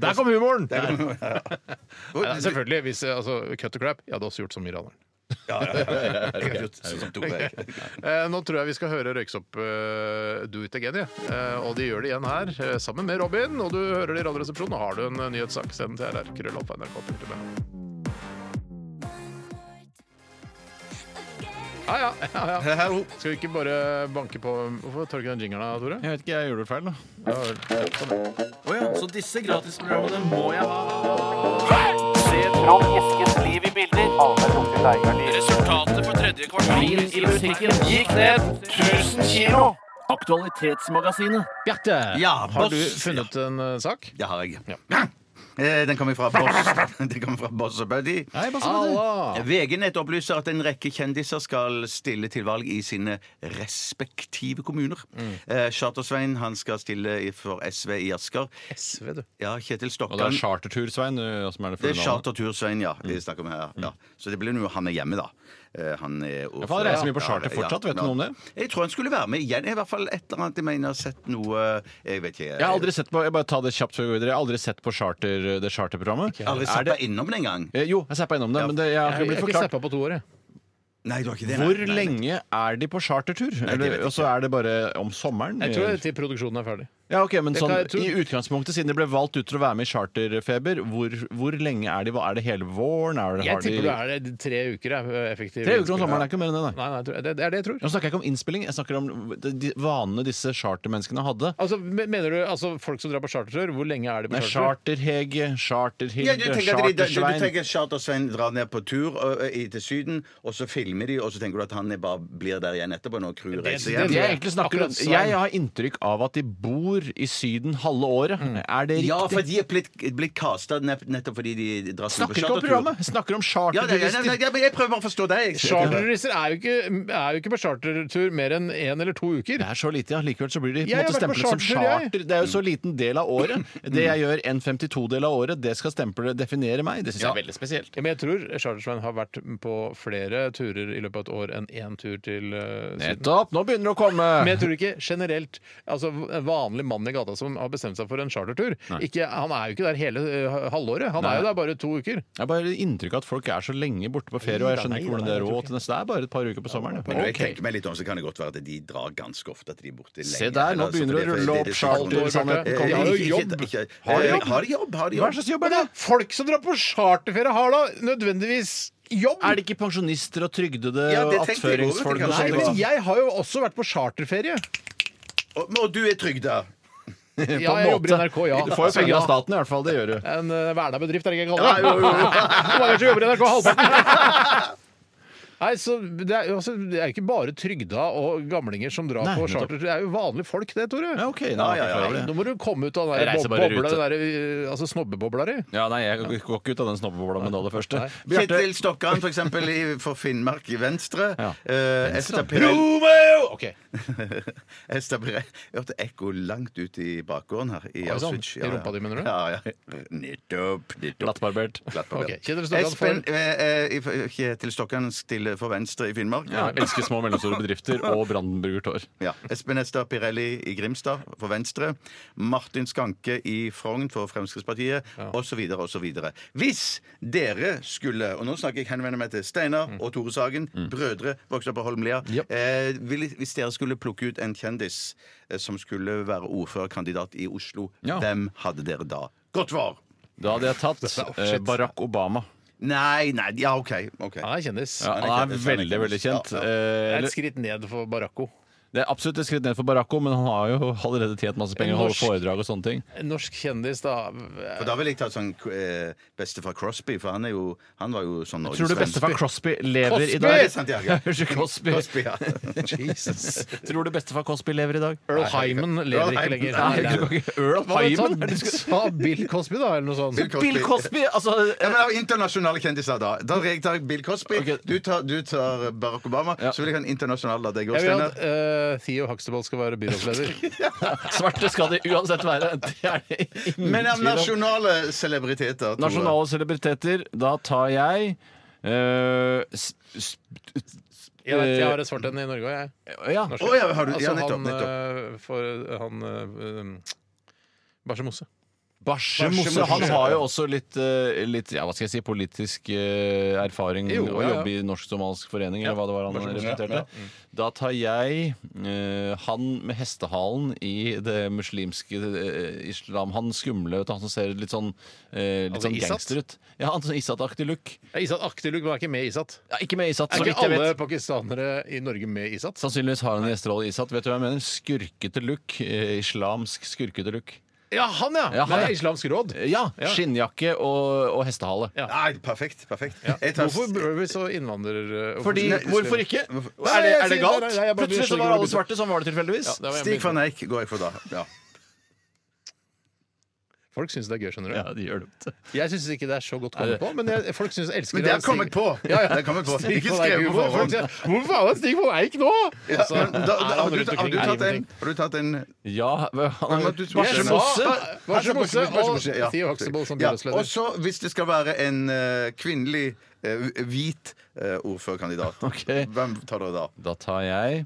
A: Der kom humoren!
C: Der kom- ja, ja.
A: Ja, selvfølgelig. Hvis, eh, altså, cut the crap. Jeg hadde også gjort som iraneren.
C: Ja, ja, ja. Jeg har gjort sånn som Tore. jeg.
A: Eh, nå tror jeg vi skal høre Røyksopp eh, Do It Again. Ja. Eh, og de gjør det igjen her, eh, sammen med Robin. Og du hører det i Radioresepsjonen. Og har du en eh, nyhetssak, send den til RR. Krøllalfa NRK.no. Ja, ja, ja, ja.
C: Hallo.
A: Skal vi ikke bare banke på Hvorfor tar du ikke den jingeren, da, Tore?
B: Jeg vet ikke, jeg gjorde det feil, da.
A: Ja, vel.
B: Så disse gratisprogrammene må jeg ha.
H: Resultatet for tredje kvartal i musikken gikk ned 1000 kilo. Aktualitetsmagasinet. Bjarte.
C: Ja,
A: Har du
C: boss.
A: funnet en eh, sak?
C: Ja, har jeg. Eh, Den kommer fra Boss, <laughs> den kommer fra boss og Buddy.
A: Allah!
C: VG-nett opplyser at en rekke kjendiser skal stille til valg i sine respektive kommuner.
B: Mm.
C: Eh, Charter-Svein han skal stille i- for SV i Asker.
A: SV, du.
C: Ja, Kjetil
B: Og det
C: Stokkan
B: er Mm. chartertur, Svein. eh, Som er det
C: Det er
B: fulle navnet.
C: Charter-Tur-Svein, ja. Vi snakker om her, ja. Så det blir nå han er hjemme, da. Eh, Han er
B: for han reiser mye på charter fortsatt, vet du noe om det?
C: Jeg tror han skulle være med igjen. I hvert fall et eller annet. Jeg mener jeg har sett noe Jeg vet ikke.
B: Jeg har aldri sett på jeg bare tar det kjapt før vi går videre, jeg har aldri sett på charter charter, det charterprogrammet.
C: Aldri
B: Er
C: zappa
B: det-
C: innom den engang.
B: Eh, Jo, jeg zappa innom det, men det, jeg har ikke
A: Jeg har
B: blitt
A: ikke
B: forklart.
A: zappa på to år, jeg.
C: Nei, du har ikke det. nei.
B: Hvor
C: Nei, nei.
B: lenge er de på chartertur?
C: det vet jeg
B: Eller- Og så er det bare om sommeren?
A: Jeg tror det er til produksjonen er ferdig.
B: Ja, ok, men
A: Dette
B: sånn,
A: er- jeg tror-
B: I utgangspunktet, siden de ble valgt ut til å være med i Charterfeber, hvor, hvor lenge er de? Hva- Er det hele våren? Er det, har
A: Jeg
B: de,
A: tipper det er tre uker. er
B: Tre
A: effektiv
B: uker om
A: innspilling.
B: sommeren er ikke mer enn det, nei.
A: Nei, nei, jeg tror- det det er det jeg tror.
B: Nå snakker jeg ikke om innspilling, jeg snakker om de- de vanene disse chartermenneskene hadde.
A: Altså, me- mener du altså, folk som drar på chartertur, hvor lenge er de på
B: Nei,
A: chartertur?
B: Charterhege,
C: Ja,
B: Charterhilde,
C: du tenker at de- du- du
B: Chartersvein
C: tenker at Charter-Svein drar ned på tur ø, ø, i- til Syden, og så filmer de, og så tenker du at han er bare blir der igjen etterpå når crewet reiser
A: det-
B: Det
C: hjem.
B: jeg egentlig snakker om
A: Akkurat Svein.
B: Jeg har inntrykk av at de bor i Syden halve året. Er det riktig?
C: Ja, for de er blitt, blitt casta nett- nettopp fordi de drar på
B: Snakker ikke om programmet! Jeg Snakker om
C: Ja, det, ja, nei,
B: charterturister.
C: nei, men jeg prøver bare å forstå deg. jeg.
A: Charterturister er, jo ikke- er jo ikke på chartertur mer enn én eller to uker.
B: Det er så lite, ja. Likevel så blir de på
A: Jeg
B: en
A: har
B: måte
A: vært på
B: stemplet som
A: chartertur, jeg.
B: charter. Det er jo så liten del av året. Det jeg gjør en 52-del av året, det skal stempelet definere meg. Det syns jeg er veldig spesielt.
A: Ja, men jeg tror Chartersvein har vært på flere turer i løpet av et år enn én tur til eh, Syden.
B: Nettopp! Nå begynner det å komme!
A: Men jeg tror ikke generelt altså en vanlig mann i gata som har bestemt seg for en chartertur ikke, Han er jo ikke der hele eh, halvåret. Han er jo der bare to uker.
B: Jeg har bare inntrykk av at folk er så lenge borte på ferie, og jeg skjønner ikke hvordan det er råd til neste. Det er bare et par uker på sommeren.
C: Men når jeg
B: ja.
C: tenker meg litt om, så kan det godt være at de drar ganske ofte. At de er borte lenge.
B: Se der, nå
C: Altså,
B: begynner
C: fordi-
B: det å rulle
C: fordi
B: opp
C: det er sånn-
B: charter-sannheten.
C: Eh,
B: Kom,
A: de har jo
C: ikke- ikke-
A: jobb.
C: ikke-
B: Har de
C: eh,
B: jobb?
C: Har de jobb? Har de
B: Hva
C: jobb?
B: slags jobb
A: Men
B: er
A: det
B: det?
A: er folk som drar på charterferie, har da nødvendigvis jobb!
B: Er det ikke pensjonister og trygdede
C: Ja,
B: og
C: det tenkte jeg også,
B: attføringsfolk
C: det
B: og
A: Nei,
C: kan
B: sånt?
A: men
B: liksom?
A: jeg har jo også vært på charterferie.
C: Og, og du er trygda.
A: Ja,
B: <laughs> På en
A: jeg jobber i
B: måte.
A: NRK, ja.
B: Du får jo penger
A: Ja.
B: av staten, i hvert fall. Det gjør du.
A: En uh, Verna-bedrift, er det ikke jeg
C: Ja,
A: kaller det?
C: jo, jo, jo.
A: <laughs> Hvor mange som jobber i NRK? Halvparten? <laughs> Nei, så det er, jo- altså, det er jo ikke bare trygda og gamlinger som drar
B: Nei,
A: på
B: nettopp.
A: charter. Det er jo vanlige folk, det, Tore.
B: Ja, OK. Da,
C: Ja, ja, ja.
B: forklarer vi det.
A: Nå må du komme ut av
B: Jeg
A: den der
B: reiser bare
A: bob-
B: i
A: bobla,
B: rute.
A: den der, uh, altså snobbebobla di.
B: Ja, nei, jeg går ikke ut av den snobbebobla med det aller første. Bjarte,
C: Kjetil Stokkan, for eksempel, i, for Finnmark i Venstre.
B: Ja.
C: Eh, Esta Pirelli
A: Romeo! Ok.
C: Esta Pirelli <laughs> Jeg hørte ekko langt ut i bakgården her. I,
A: Oi, sånn.
C: Auschwitz.
A: I rumpa di, mener du?
C: Ja, ja. Nettopp. nettopp.
B: glattbarbert.
C: Glatt på
A: Ok,
C: det.
A: Kjetil Stokkan
C: Espen
A: for
C: eh, eh, i- Kjetil Stokkan stiller for Venstre i Finnmark.
B: Ja, elsker små og mellomstore bedrifter og brandenburgertår.
C: Ja. Espen Esta Pirelli i Grimstad for Venstre. Martin Skanke i Frogn for Fremskrittspartiet, osv., osv. Hvis dere skulle Og nå snakker jeg henvender meg til Steinar
B: Mm.
C: og Tore Sagen, brødre, vokste opp på Holmlia. Eh, vil- hvis dere skulle plukke ut en kjendis eh, som skulle være ordførerkandidat i Oslo,
B: Ja.
C: hvem hadde dere da? Godt svar!
B: Da hadde jeg <laughs> tatt eh, Barack Obama.
C: Nei, nei Ja, OK. ok.
A: Han er kjendis.
B: Ja, han er veldig, veldig kjent.
C: Ja,
B: Eh,
C: ja.
A: Det er
B: eller-
A: et skritt ned for Baracco.
B: Det er absolutt et skritt ned for Baracco, men han har jo allerede tjent masse penger og holder
A: Norsk.
B: foredrag og sånne ting.
A: En Norsk kjendis, da.
C: For da ville jeg tatt sånn eh, bestefar Crosby, for han, er jo, han var jo sånn
B: Tror du
C: norgesvenn.
B: bestefar Crosby lever
A: Cosby!
B: i <laughs>
C: Ja, det er
B: dag?
C: sant, ja, ja.
B: Unnskyld, Cosby.
C: Crosby, ja.
B: <laughs>
A: Jesus.
B: Tror du bestefar Cosby lever i dag?
A: Earl Hyman lever ikke lenger.
B: Nei,
A: Nei,
B: du kan
A: nei.
B: ikke- Earl
A: Hva
B: Hyman?
A: hadde du tatt? Sa Bill Cosby, da, eller noe sånt?
C: Bill Cosby.
B: Bill Cosby! Altså,
C: Ja, men av internasjonale kjendiser, da. Da jeg tar Bill Cosby.
B: Ok.
C: Du, tar, du tar Barack Obama.
B: Ja.
C: Så vil jeg ha en internasjonal av deg òg,
A: Jeg vil at
C: Steinar.
A: eh, Theo Huxtable skal være <laughs> byrådsleder.
B: svarte skal de uansett være. Det er det ingen
C: Men av
B: tvil om.
C: nasjonale celebriteter. Tore.
B: Nasjonale celebriteter, da tar jeg eh, s- s-
A: Jeg, vet, jeg har et svart en i Norge òg, jeg.
B: ja.
A: Norsk.
C: Å, ja, har du- ja,
A: altså,
C: nettopp,
A: han eh, for han eh, um, Barse Mosse.
B: Barse Mosse. Han har jo også litt, eh, litt ja, hva skal jeg si, politisk eh, erfaring
A: Jo,
B: og
A: ja, ja.
B: jobber i Norsk-somalisk forening, eller hva det var han
C: Barse Mosse,
B: representerte.
A: Mm.
B: Da tar jeg eh, han med hestehalen i det muslimske eh, islam. Han skumle, vet du, han som ser litt sånn, eh, litt
A: Altså,
B: sånn
A: Isat?
B: gangster ut. Ja, han sånn Isat-aktig look.
A: Ja, Isat Aktiluk, men han er ikke med i Isat.
B: Ja, ikke med Isat,
A: Er
B: så
A: ikke
B: vidt jeg
A: alle
B: vet.
A: pakistanere i Norge med i Isat?
B: Sannsynligvis har han en gjesterolle i Isat. Vet du hva jeg mener? Skurkete look. eh, Islamsk skurkete look.
A: Ja, han, ja!
B: Ja, han,
A: det
B: ja.
A: er Islamsk råd.
B: Eh, Ja,
A: Ja.
B: skinnjakke og, og hestehale.
C: Nei, perfekt. perfekt. Jeg tar-
A: Hvorfor bør vi så innvandrer... eh,
B: Fordi,
C: Nei,
B: hvorfor ikke?
C: hvorfor-
B: Er det,
A: Nei,
B: er det
A: jeg sier-
B: galt?
A: nei, nei, jeg bare blir
B: Plutselig så
A: skjønner
B: var
A: hvor
B: alle
A: det
B: svarte, sånn var det tilfeldigvis.
A: Ja, det var jeg
C: Stig
A: med.
C: van Eijk går jeg for da. Ja.
A: Folk syns det er gøy, skjønner du.
B: Ja, det gjør det.
A: Jeg syns ikke det er så godt kommet på, men jeg, folk syns elsker
C: Men det har kommet på!
A: Ja, ja.
C: Det har kommet på.
A: Stig
C: Ikke
A: von Eijk
C: skrevet på
A: humor. Folk
C: forhånd.
A: sier, Hvor faen er Stig von Eijk nå?!
C: Ja,
A: Altså,
C: men
A: er han
C: da- har du-
A: rundt
C: har du
A: omkring? Er
C: tatt en-
A: ingenting.
C: har du tatt en
B: Ja, han,
C: Men du-
B: Barse
A: Jeg sa-
B: Mosse?
A: Barse Mosse og
C: Ja.
A: Theo Huxtable som
C: Ja,
A: byrådsleder.
C: Og så, hvis det skal være en eh, kvinnelig, eh, hvit eh, ordførerkandidat,
B: Ok.
C: hvem tar dere da?
B: Da tar jeg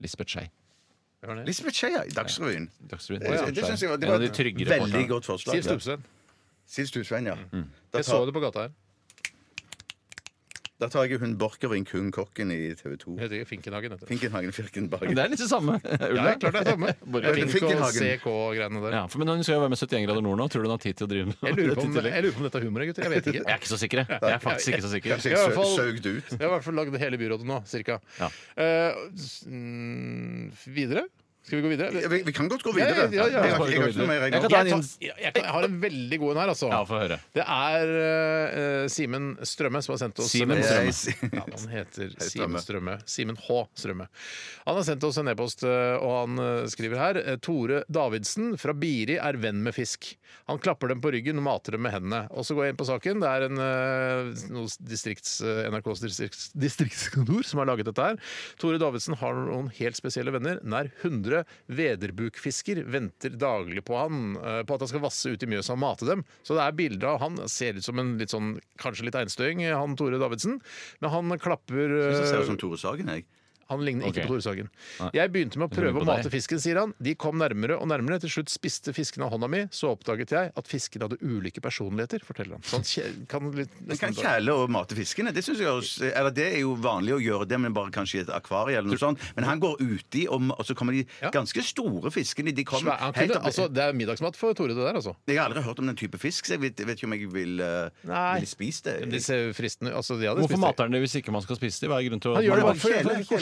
B: Lisbeth Skei.
A: Hvem er det?
C: Lisbeth Skeia i Dagsrevyen.
B: Dagsrevyen.
C: Eh, Det synes jeg var, det
B: En av
C: var
B: de
C: et
B: tryggere
C: veldig
B: folkene.
C: godt forslag.
A: Siv
C: ja.
A: Stubsveen.
C: Siv Stubsveen, ja. Da
A: Jeg så
C: tar,
A: det på gata her.
C: da tar jeg hun Borchgrevink, kun kokken i TV 2.
A: Hun heter ikke Finkenhagen. heter hun.
C: Finkenhagen Firkenberg.
B: Det er litt det samme.
A: Ja, det er klart det er samme.
B: Borger
C: Fink-
A: Fink og
C: Finkenhagen.
A: CK-greiene der.
B: Ja, for, men hun skal jo være med 71 grader nord nå. Tror du hun har tid til å drive med <laughs>
A: Jeg lurer, på om,
B: dette i tillegg?
A: jeg lurer på om dette er humor, gutter. Jeg
B: <laughs>
A: vet
B: Jeg
A: ikke.
B: er ikke så sikker. jeg. Jeg er faktisk ikke så sikker.
A: Ja, i
C: Kanskje jeg
A: hvert fall-
C: sø- søgde ut.
A: Jeg har i hvert fall lagd hele byrådet nå, cirka.
B: Ja.
A: Eh, s- mm, videre? Skal vi gå videre?
C: Ja, Vi, vi kan godt gå
A: Ja, ja, ja,
C: videre.
A: ja, ja.
C: Jeg har ikke- jeg har ikke noe mer
B: Jeg
C: jeg nå.
B: kan ta en inn-
A: Jeg, jeg, kan- jeg har en veldig god en her, altså.
B: Ja, få høre.
A: Det er eh, Simen Strømme som har sendt oss
B: Simen
A: en-
B: Strømme.
A: Ja, han heter Simen
C: Strømme.
A: Strømme. Simen H. Strømme. Han har sendt oss en e-post, eh, og han eh, skriver her eh, Tore Davidsen fra Biri er venn med fisk. Han klapper dem på ryggen og mater dem med hendene. Og så går jeg inn på saken. Det er en eh, noe distrikts, eh, NRKs distrikts, <laughs> distriktskontor som har laget dette her. Tore Davidsen har noen helt spesielle venner. Nær 100 vederbukfisker venter daglig på han, eh, på at han skal vasse ut i Mjøsa og mate dem. Så det er bilde av han. Ser ut som en litt sånn, kanskje litt einstøing, eh, han Tore Davidsen. Men han klapper
C: Jeg synes jeg ser ut
A: eh,
C: som Tore Sagen, jeg.
A: han ligner
B: Ok.
A: ikke på Tore Sagen. Jeg begynte med å prøve
B: ligner på
A: å mate
B: deg.
A: fisken, sier han. De kom nærmere og nærmere. Til slutt spiste fiskene av hånda mi. Så oppdaget jeg at fiskene hadde ulike personligheter, forteller han. Så han kje- kan litt,
C: Men kan
A: nesten,
C: kjæle og mate fiskene. Det, synes jeg, også- eller det er jo vanlig å gjøre det, men bare kanskje i et akvarie eller noe sånt. Men han går uti, og, og så kommer de
A: Ja.
C: ganske store fiskene. De kommer
A: Svær- han
C: helt
A: kunne,
C: opp-
A: altså, det er middagsmat for Tore, det der, altså.
C: Jeg har aldri hørt om den type fisk, så jeg vet, vet ikke om jeg vil, eh,
A: Nei.
C: vil spise det.
A: De ser fristende altså, de hadde
B: Hvorfor
A: spist det.
B: mater han det hvis ikke man skal spise det? Hva er grunnen til å
A: Han gjør det
B: Hva-
A: bare for, for,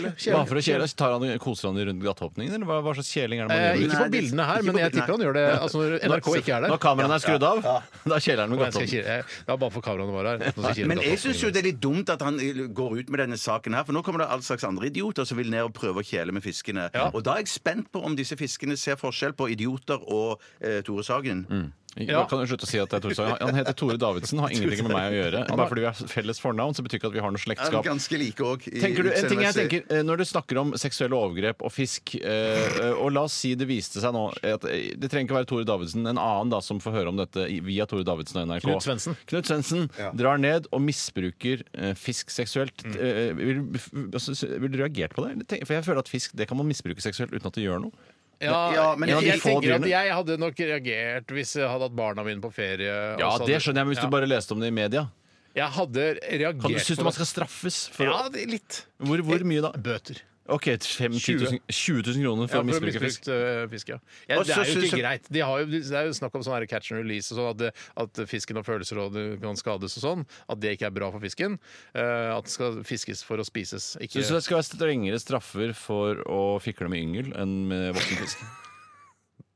A: for,
C: Kjele,
B: hva for å kjele? Tar han, koser han de rundt gateåpningen, eller hva, hva slags kjeling er det man
A: Eh,
B: driver med?
A: ikke på
C: Nei, det-
A: bildene her,
C: ikke
A: men
C: på
A: jeg
C: bildene.
A: tipper han gjør det altså, når NRK ikke er der.
B: Når kameraene er skrudd av, <laughs> da kjeler han med
A: Men jeg skal
B: gateåpningen.
A: ikke- jeg- Det var bare for kameraene våre her. Nå skal jeg
C: Men jeg
A: kile
C: syns jo det er litt dumt at han eh, går ut med denne saken her, for nå kommer det all slags andre idioter som vil ned og prøve å kjele med fiskene. Og da er jeg spent på om disse fiskene ser forskjell på idioter og eh, Tore Sagen.
B: Mm. Ja. Kan du slutte å si at det er Tore Sagen? Han heter Tore Davidsen, har ingenting med meg å gjøre. Bare fordi vi har felles fornavn, så betyr ikke at vi har noe
C: Er de
B: slektskap.
C: ganske like òg.
B: Tenker du, en ting jeg tenker, eh, Når du snakker om seksuelle overgrep og fisk eh, eh, Og la oss si det viste seg nå at eh, Det trenger ikke være Tore Davidsen, en annen da som får høre om dette i- via Tore Davidsen og NRK.
A: Knut Svendsen.
B: Knut Svendsen drar ned og misbruker eh, fisk seksuelt. Eh, vil, altså, vil du reagert på det? Eller tenk- For jeg føler at fisk det kan man misbruke seksuelt uten at det gjør noe.
A: Ja,
C: Ja,
A: men
C: men
A: jeg,
B: en av de
A: jeg
B: få
A: tenker at
B: dyrene.
A: jeg hadde nok reagert hvis jeg hadde hatt barna mine på ferie. og
B: Ja,
A: så hadde-
B: Det skjønner jeg, men hvis
A: Ja.
B: du bare leste om det i media
A: Jeg hadde reagert
B: kan du Syns du
A: på
B: man
A: det.
B: skal straffes? For,
A: Ja,
B: å-
A: det, litt.
B: hvor, hvor mye da?
A: Bøter.
B: Ok, 5 000 20 000 kroner for å
A: Ja, for å
B: misbruke fisk.
A: misbrukt øh, fisk, ja. ja
C: Og
A: det
C: så
A: er jo
C: synes
A: ikke
C: jeg-
A: greit. De har jo, det er jo snakk om sånn her catch and release, og sånn at, det, at fisken har følelser og det kan skades og sånn. At det ikke er bra for fisken. Eh, at det skal fiskes for å spises. Ikke,
B: Syns du det skal være strengere straffer for å fikle med yngel enn med voksen fisk?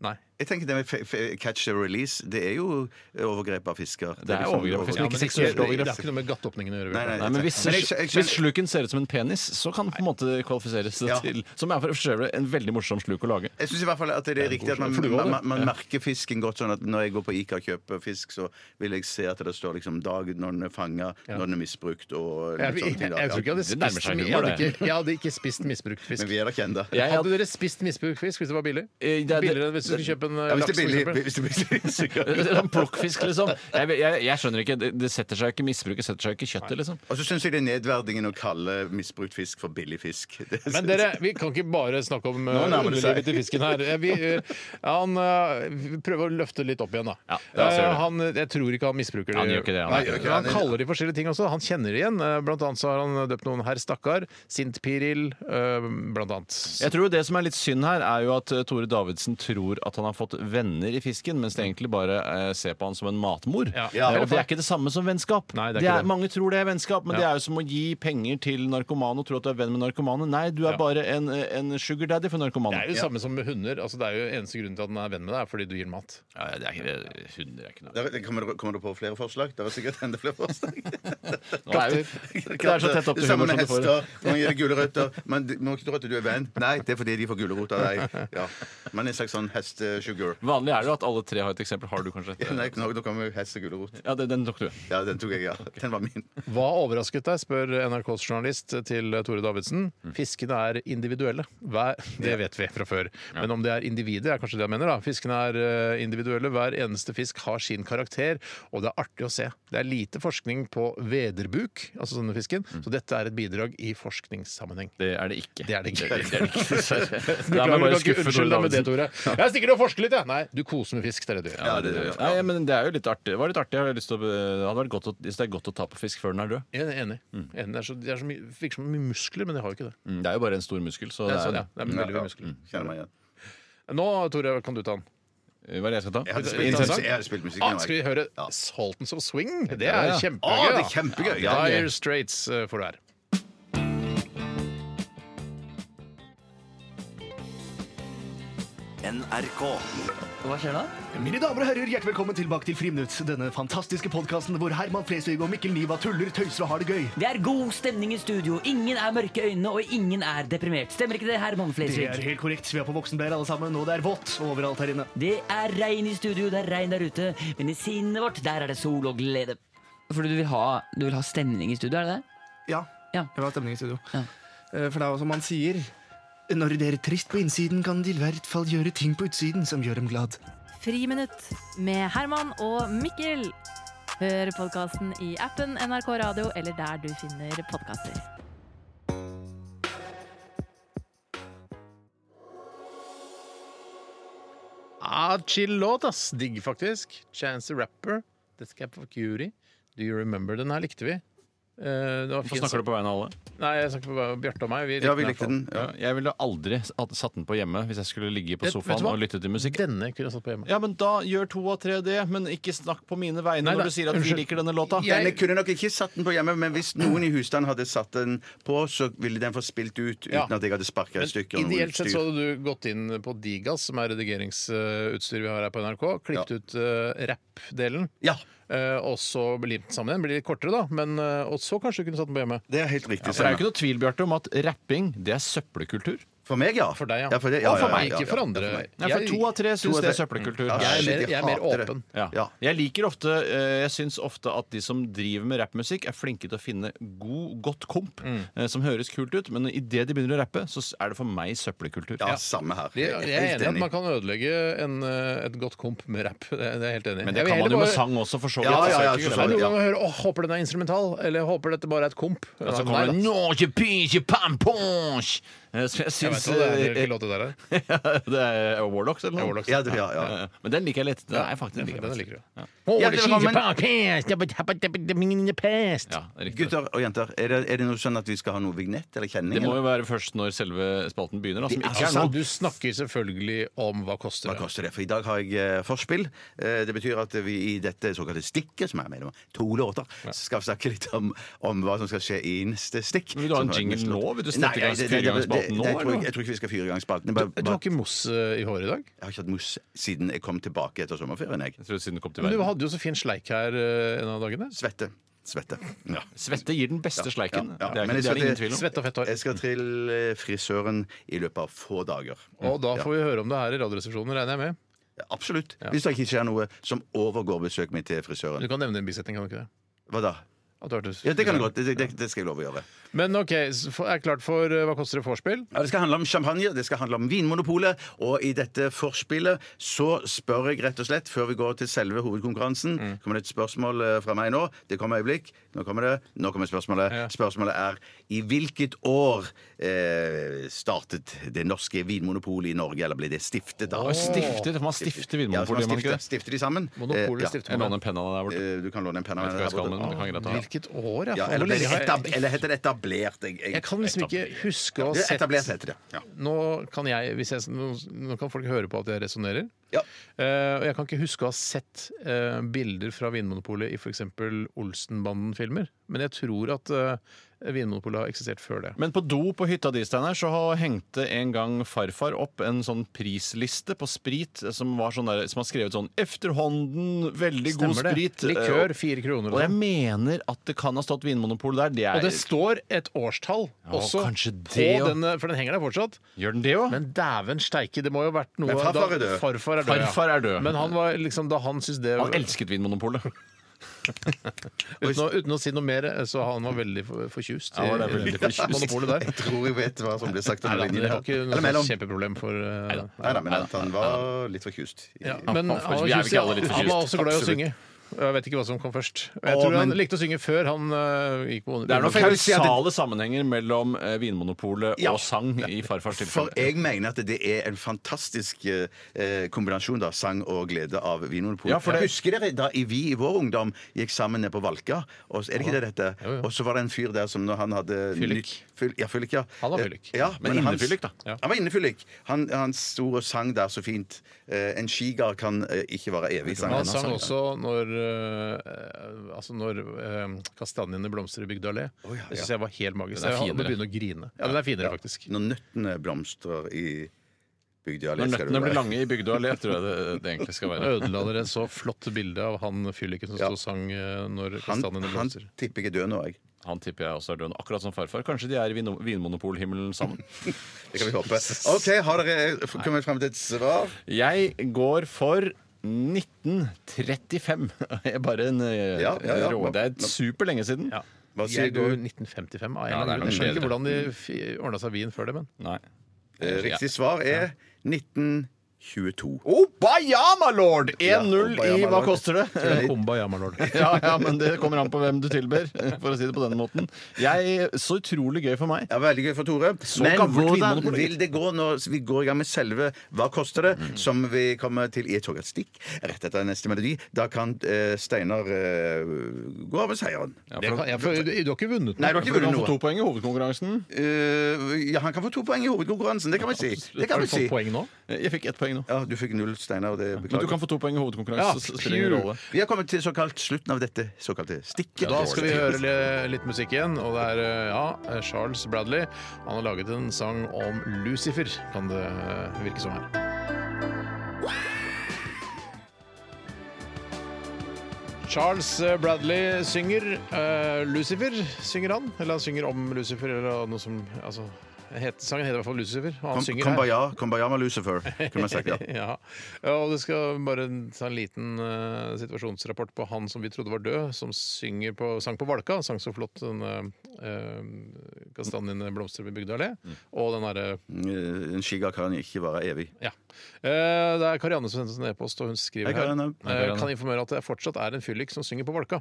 A: nei.
C: Jeg tenker det med fe- fe- catch and release, det er jo eh, overgrep av fisker.
B: Det er
C: liksom-
B: overgrep av fisker,
A: Ja,
B: men ikke
A: men
B: seksuelt
A: det- Det
B: overgrep.
A: har ikke noe med gatteåpningen å gjøre.
C: Nei,
A: Bjørn.
C: nei,
B: Nei, men hvis,
C: men jeg skjø- jeg skjønner-
B: hvis sluken ser ut som en penis, så kan den på en måte kvalifiseres
C: Ja.
B: til Som er for øvrig en veldig morsom sluk å lage.
C: Jeg syns i hvert fall at det er riktig at man,
A: flue også,
C: man, man merker fisken godt. sånn at Når jeg går på Ica og kjøper fisk, så vil jeg se at det står liksom dag når den er fanga, når den er misbrukt og
A: Jeg,
C: litt
A: jeg,
C: sånne ting.
A: jeg, tror
C: da.
A: ikke jeg hadde
B: Det nærmer
A: spist,
B: seg
A: jeg
B: humor,
A: hadde
B: det.
A: ikke, jeg hadde ikke spist misbrukt fisk.
C: Men vi er da kjent, da.
B: Jeg-
A: Hadde dere spist misbrukt fisk hvis det var billig?
B: Eh, det er- <laughs>
A: Billigere enn hvis du skulle kjøpe en eh,
C: Ja, hvis
A: laks?
C: det
A: for
C: er billig.
A: eksempel?
C: Hvis det er billig så
A: <laughs>
C: gjør jeg det.
B: Sånn plukkfisk, liksom. Jeg, jeg, jeg skjønner ikke. Det, det setter seg ikke misbruket setter seg ikke i kjøttet, liksom.
C: Og så syns jeg det er nedverdigende å kalle misbrukt fisk for billig fisk. Det synes
A: Men dere, vi kan ikke bare snakke om eh,
C: nærmer det seg.
A: underlivet til fisken her. Eh, Vi, eh, han eh, vi prøver å løfte litt opp igjen, da.
B: Ja, la oss gjøre det.
A: Eh, han, jeg tror ikke han misbruker det.
B: Han gjør ikke det, han.
A: Nei,
B: Han gjør
C: ikke det.
A: han kaller de forskjellige ting også. Han kjenner det igjen. Eh, Blant annet så har han døpt noen herr stakkar, sint piril, eh, blant annet.
B: Jeg tror jo Det som er litt synd her, er jo at eh, Tore Davidsen tror at han har fått venner i fisken, mens det egentlig bare eh, ser på han som en matmor.
A: Ja.
B: Eh, Og Det er ikke det samme som vennskap.
A: Nei, det er
B: det
A: ikke
B: er,
A: det.
B: mange tror det er vennskap, men
A: Ja.
B: det er jo som å gi penger til narkomane og tro at du er venn med narkomane. Nei, du er
A: Ja.
B: bare en, en sugar daddy for
A: Det
B: narkomane.
A: er jo det samme som med hunder. Altså, det er jo Eneste grunnen til at den er venn med deg, er fordi du gir den mat.
B: Ja, det er ikke, det- hunder er ikke noe
C: Der, kommer, du, kommer du på flere forslag? Det er sikkert enda
A: <laughs>
C: flere forslag.
B: Nå er jo- Det er så tett opp til
C: Sammen
B: humor
C: med
B: som du får det.
C: hester. Man gir gulrøtter. Man du må ikke tro at du er venn. Nei, det er fordi de får gulrot av deg. Ja. Man er en slags sånn Sugar.
B: Vanlig er det jo at alle tre har et eksempel. Har du kanskje et?
C: Nei, nå nå kommer hest og gulrot.
B: Ja, det, den tok du.
C: Ja, den tok jeg, ja. Den var min.
A: Hva overrasket deg, spør NRKs journalist til Tore Davidsen.
B: Mm.
A: Fiskene er individuelle. Hver, det vet vi fra før. Men om det er individet, er kanskje det han mener. da. Fiskene er eh, individuelle. Hver eneste fisk har sin karakter, og det er artig å se. Det er lite forskning på vederbuk, altså denne fisken,
B: Mm.
A: så dette er et bidrag i forskningssammenheng.
B: Det er det ikke.
A: Det er det ikke. <laughs>
B: Det er det ikke. Da
A: Beklager,
B: må jeg bare
A: du kan ikke
B: skuffe Tore
A: unnskylde deg med
B: Davidsen.
A: det, Tore. Jeg stikker og forsker litt, jeg. Nei, du koser med fisk. Det er det du gjør.
B: Ja, det, det, Nei, men det er jo litt artig. Det var litt artig. Jeg har lyst til å, det hadde vært godt å, det er godt å ta på fisk før den er død.
A: Jeg er Enig. Enig. Det, er så, det er så mye, virker som mye muskler, men det har jo ikke det.
B: Mm, Det er jo bare en stor muskel. Så
A: Det er,
B: det er,
A: sånn, ja. det er veldig mye muskler.
C: Kjenner meg igjen.
A: Nå, Tore, kan du ta den.
B: Eh, Hva er det jeg skal ta?
C: Jeg hadde
A: det
C: spilt,
A: interessant?
C: jeg hadde spilt musikk
A: Ah,
C: nå.
A: skal vi
C: jeg.
A: høre
C: Ja.
A: Saltons of Swing? Det
B: Ja,
A: er
B: ja.
A: kjempegøy.
C: Å, det
A: da.
C: er kjempegøy! Ja, det er
A: Dire
C: gøy.
A: Straits eh, får du her.
H: NRK.
J: Hva skjer da?
H: Mine damer og herrer, hjertelig velkommen tilbake til Friminutt. Denne fantastiske podkasten hvor Herman Flesvig og Mikkel Niva tuller, tøyser og har det gøy.
J: Det er god stemning i studio. Ingen er mørke i øynene, og ingen er deprimert. Stemmer ikke det, Herman
H: Det er
J: Flesvig?
H: helt korrekt. Vi er på voksenbleier alle sammen, og det er vått overalt her inne.
J: Det er regn i studio, det er regn der ute, men i sinnet vårt, der er det sol og glede. Fordi du vil ha, stemning i studio, er det det?
H: Ja,
J: Ja.
H: jeg vil ha stemning i studio.
J: Ja.
H: Eh, For det er jo som han sier Når dere er trist på innsiden, kan de i hvert fall gjøre ting på utsiden som gjør dem glad.
K: Friminutt med Herman og Mikkel. Hør podkasten i appen NRK Radio eller der du finner podkaster.
A: Ah, chill låt, ass. Digg, faktisk. Chance the Rapper, Death Cap of Cutie. Do you remember? Den her likte vi. Eh, det var
B: Hvorfor snakker du på vegne av alle?
A: Nei, jeg snakker på Bjarte og meg. Vi
C: Ja, vi likte den. Ja.
B: Ja. Jeg ville aldri at- satt den på hjemme hvis jeg skulle ligge på
A: Vet- vet
B: sofaen
A: du hva?
B: og lytte til musikk.
A: Denne kunne jeg satt på hjemme.
B: Ja, men Da gjør to av tre det, men ikke snakk på mine vegne
A: Nei, da,
B: når du sier at
A: unnskyld.
B: vi liker denne låta.
A: Jeg-
C: Jeg kunne nok ikke satt den på hjemme, men hvis noen i husstanden hadde satt den på, så ville den få spilt ut uten
A: Ja.
C: at jeg hadde sparka i
A: Men
C: stykker. og noe
A: ideelt sett
C: styr.
A: så hadde du gått inn på Digas, som er redigeringsutstyret vi har her på NRK, klippet ut uh, rapp-delen,
C: Ja,
A: eh, og så limt sammen igjen. Blir litt kortere, da, men, eh, og så kanskje du kunne satt den på hjemme.
C: det er helt riktig.
B: For det er
C: Steinar.
B: jo ikke noe tvil Bjarte, om at rapping det er søppelkultur.
C: For meg, ja.
A: For deg, ja.
C: ja, for det, ja,
A: og for
C: ja,
A: meg,
C: ja,
A: ikke for
C: ja,
A: andre.
C: ja, for meg.
B: Nei, for To av tre syns det er søppelkultur.
C: Ja,
A: Jeg er mer,
C: shit,
A: jeg er mer
C: hater det.
A: åpen.
B: Ja.
C: Ja.
B: Jeg liker ofte eh, Jeg syns ofte at de som driver med rappmusikk, er flinke til å finne god, godt komp eh, som høres kult ut, men idet de begynner å rappe, så s- er det for meg søppelkultur.
C: Ja, samme her.
A: Jeg jeg er
C: Helt
A: enig i at
C: enig.
A: man kan ødelegge en, eh, et godt komp med rap. Det det er jeg helt enig i.
B: Men det
A: Jeg vil
B: kan man jo
A: heller
B: med
A: bare-
B: sang også, for så vidt.
C: Ja, ja, ja,
B: altså, ikke
C: så
A: Det er
B: sant?
A: Noen
C: Ja.
A: ganger hører jeg håper den er instrumental, eller «Åh, håper dette bare er et komp.
B: Og så
A: Ja,
B: kommer
A: nei,
B: det
A: da.
B: «Nå, kjøpi, kjøpan, ponch!» Eh, Så jeg
A: Jeg
B: syns eh,
A: vet hva det er, hvilken
B: <laughs>
A: låt det der er.
B: Det er Warlocks, eller noe?
C: Ja, det, ja, ja.
B: Ja, ja. Men den liker jeg litt. Den er jeg faktisk den liker
A: Den
B: jeg
A: liker
B: faktisk.
A: du.
C: Hjertelig velkommen.
B: Ja, det er riktig.
C: Gutter og jenter, er det, er det noe sånn at vi skal ha noe vignett eller kjenning?
B: Det må
C: eller?
B: jo være først når selve spalten begynner. Da, som
A: Altså,
B: ikke er nå.
A: Du snakker selvfølgelig om hva koster
C: Hva
A: det.
C: koster det? For i dag har jeg eh, forspill. Eh, det betyr at vi i dette såkalte stikket, som er mellom to låter, skal snakke litt om, om hva som skal skje i neste stikk.
B: Vil du ha en
C: Som har
B: jingle
C: neste låt.
B: nå? Vil du sette
C: Nei,
B: i gang
C: altså, det- det- det- det-
B: fyrgangsspalten nå,
C: det- Jeg tror
B: eller?
C: ikke- jeg tror ikke vi skal fyre i gang spalten.
A: Du,
C: Jeg, bare-
A: du har
C: bare-
A: ikke mos eh, i håret i dag?
C: jeg har ikke hatt mos siden jeg kom tilbake etter sommerferien. Jeg.
B: Jeg tror siden den kom til
A: Men du
B: verden.
A: hadde jo så fin sleik her eh, en av dagene.
C: Svette. Svette. Ja.
B: Svette gir den beste sleiken.
C: ja,
B: Det er, ikke, det er
C: men jeg
B: det
C: skal
B: ingen
C: til-
B: tvil om.
A: Svett og fett hår.
C: Jeg skal til eh, frisøren i løpet av få dager.
A: Og da
C: Ja.
A: får vi høre om det her i Radioresepsjonen, regner jeg med.
C: Absolutt. Hvis det ikke skjer noe som overgår besøket mitt til frisøren.
A: Du kan nevne en bisetning, kan du ikke det?
C: Hva da?
A: At du har vært-
C: Ja, det kan du godt. Det, det, det skal jeg love å gjøre.
A: Men OK, så for- er klart for eh, Hva koster det vorspiel?
C: Ja, det skal handle om champagne, det skal handle om Vinmonopolet. Og i dette forspillet så spør jeg rett og slett, før vi går til selve hovedkonkurransen
B: Mm.
C: Kommer det et spørsmål eh, fra meg nå? Det kommer et øyeblikk. Nå kommer det. Nå kommer spørsmålet. Spørsmålet er i hvilket år eh, startet det norske Vinmonopolet i Norge? Eller ble det stiftet da?
B: Å, stiftet, Man stifter
C: Ja, så
B: Vinmonopolet, gjør
C: man
B: man ikke
C: stifter,
B: det?
C: stifter de sammen.
A: Monopolet
C: Eh, ja.
A: stifter
B: Jeg
A: man.
B: låner en penn av deg der borte.
C: Eh, Du kan låne en penn av
B: Jeg vet ikke hva jeg skal, men
C: meg.
B: du kan greit ta den.
A: Hvilket år,
C: Ja,
A: Hvor
C: eller, ble
A: lenge
C: det
A: har jeg-
C: etab eller heter det etablert? Jeg, jeg-
A: Jeg kan liksom ikke huske å ha
C: Det er
A: sett
C: etablert, heter det. Ja.
A: Nå kan, jeg, hvis jeg, nå, nå kan folk høre på at jeg resonnerer.
C: Ja.
A: Eh, og jeg kan ikke huske å ha sett eh, bilder fra Vinmonopolet i f.eks. Olsenbanden-filmer. Men jeg tror at eh, Vinmonopolet har eksistert før det.
B: Men på do på hytta di, Steinar, så har- hengte en gang farfar opp en sånn prisliste på sprit eh, som var sånn der, som har skrevet sånn 'Efterhånden, veldig god
A: Stemmer det?
B: sprit'. eh,
A: Likør
B: og-
A: fire kroner.
B: Og jeg
A: Og, sånn.
B: mener at det kan ha stått Vinmonopol der. Det er,
A: og det står et årstall også
B: kanskje
A: på
B: det, ja.
A: denne, for den henger der fortsatt.
B: Gjør den det òg?
A: Men dæven steike, det må jo ha vært noe
C: Men farfar er
A: da
C: død.
A: farfar farfar er død. ja.
B: Farfar er død.
A: Men han var liksom, da han syntes det
B: Han elsket Vinmonopolet.
A: uten, å, uten å si noe mer, eh, så han var veldig for- fortjust. i-
B: Han var
C: <laughs>
A: i-
B: veldig fortjust.
A: Monopolet der.
C: Jeg tror jeg vet hva som ble sagt om
A: Nei, da,
C: den linjen
A: det var
C: her.
A: ikke
C: Eller
A: noe
C: mellom.
A: sånt kjempeproblem for eh,
C: Nei da, men at han var litt forkjust. i-
A: ja, Men han var,
B: Vi er vel
A: kjust,
B: ikke alle litt
A: ja. han var
B: forkjust.
A: også glad i å
B: Absolutt.
A: synge. Jeg vet ikke hva som kom først. Jeg
B: Å,
A: tror han
B: men-
A: likte å synge før han eh, gikk på
B: Det er noen
A: Kan vi si at det-
B: kausale sammenhenger mellom eh, Vinmonopolet og sang i farfars
C: For
B: tilfelle.
C: jeg mener at det er en fantastisk eh, kombinasjon, da. Sang og glede av Vinmonopolet.
B: Ja, for det-
C: Husker dere da i- vi i vår ungdom gikk sammen ned på Valka? Og, er det ikke det dette? Og så var det en fyr der som når han hadde
B: Fyllik.
C: ny- fyll- ja, fyllik, ja.
B: Han var
C: Eh,
B: fyllik.
C: Ja,
B: Men
C: hans-
B: innefyllik, da. Ja.
C: Han var innefyllik. Han, han sto og sang der så fint. Eh, en skigard kan eh, ikke være evig, sang
A: Han sang også når, eh, altså når eh, kastanjene blomstrer i Bygdøy allé.
C: ja,
A: Det syns
C: ja.
A: jeg var helt magisk.
B: Den er
A: Jeg holdt på å
B: finere.
A: begynne å grine. Ja, den er finere, faktisk.
C: Når nøttene blomstrer i Bygdøy allé,
B: Når
C: skal
B: nøttene
C: du være-
B: blir lange i Bygdøy allé, tror jeg det, det egentlig skal være.
A: Ødela dere et så flott bilde av han fylliken som sto og sang eh, når
C: Han,
A: kastanjene
C: han
A: blomstrer.
C: tipper ikke død nå, jeg.
B: Han tipper jeg også er døende. Akkurat som farfar. Kanskje de er i vin vinmonopolhimmelen sammen.
C: Det kan vi håpe. OK, har dere eh, kommet frem til et svar?
B: Jeg går for 1935. <laughs> Jeg Bare en eh,
C: Ja, ja, ja.
B: rå Det er superlenge siden.
A: Ja.
C: Hva sier
A: Jeg
C: du?
A: går 1955. av en
B: Ja,
A: eller annen
B: det er
A: grunn. Jeg skjønner
B: bedre.
A: ikke hvordan de ordna seg vin før det, men
B: Nei.
C: Eh, Riktig svar er 1922.
B: Obayama lord! 1-0 i
C: Obayama
B: Hva
C: lord.
B: koster det?
A: Kumba Yamalord.
B: <laughs> Ja, ja, men det kommer an på hvem du tilber, <laughs> for å si det på denne måten. Jeg, så utrolig gøy for meg.
C: Ja, Veldig gøy for Tore.
B: Så
C: Men
B: gammelt
C: hvordan
B: Vinmonopolet.
C: vil det gå når vi går i gang med selve Hva koster det?
A: Mm.
C: som vi kommer til i et togatstikk rett etter neste melodi? Da kan eh, Steinar eh, gå av med seieren.
B: Ja,
A: Det
B: for,
A: kan- jeg- for- Du har ikke vunnet
C: Nei, du har ikke
B: for du kan få
C: vunnet noe.
B: to poeng i hovedkonkurransen.
C: Eh, ja, han kan få to poeng i hovedkonkurransen. Det kan vi si. Det kan
A: Har
C: vi
A: du
C: si.
A: fått poeng nå?
B: Jeg fikk ett poeng nå.
C: Ja, du fikk null, Steinar. og Det
B: Men du
C: beklager.
B: kan få to poeng i
A: Ja,
B: hovedkonkurransen. så spiller det ingen
A: phew.
B: rolle.
C: Vi har kommet til såkalt slutten av dette såkalte stikket.
A: Da skal vi høre li- litt musikk igjen, og det er eh, ja, Charles Bradley. Han har laget en sang om Lucifer, kan det eh, virke som her. Charles eh, Bradley synger. eh, Lucifer synger han, eller han synger om Lucifer, eller noe som altså, het, Sangen heter i hvert fall Lucifer. og Han
C: Kom,
A: synger her.
C: Kumbaya, Kumbaya med Lucifer, kunne man
A: <laughs>
C: sagt. ja.
A: Ja. ja, og det skal bare ta en liten eh, situasjonsrapport på han som vi trodde var død, som synger på, sang på Valka. Sang så flott den eh, eh, kastanjene blomstrer ved Bygdøy allé.
C: Mm.
A: Og den derre
C: Eh, En skiga kan ikke vare evig.
A: ja. Eh, det er Karianne som sendte oss en e-post, og hun skriver
C: Hei,
A: her
C: Karianne.
A: eh, Kan informere at det fortsatt er en fyllik som synger på Valka.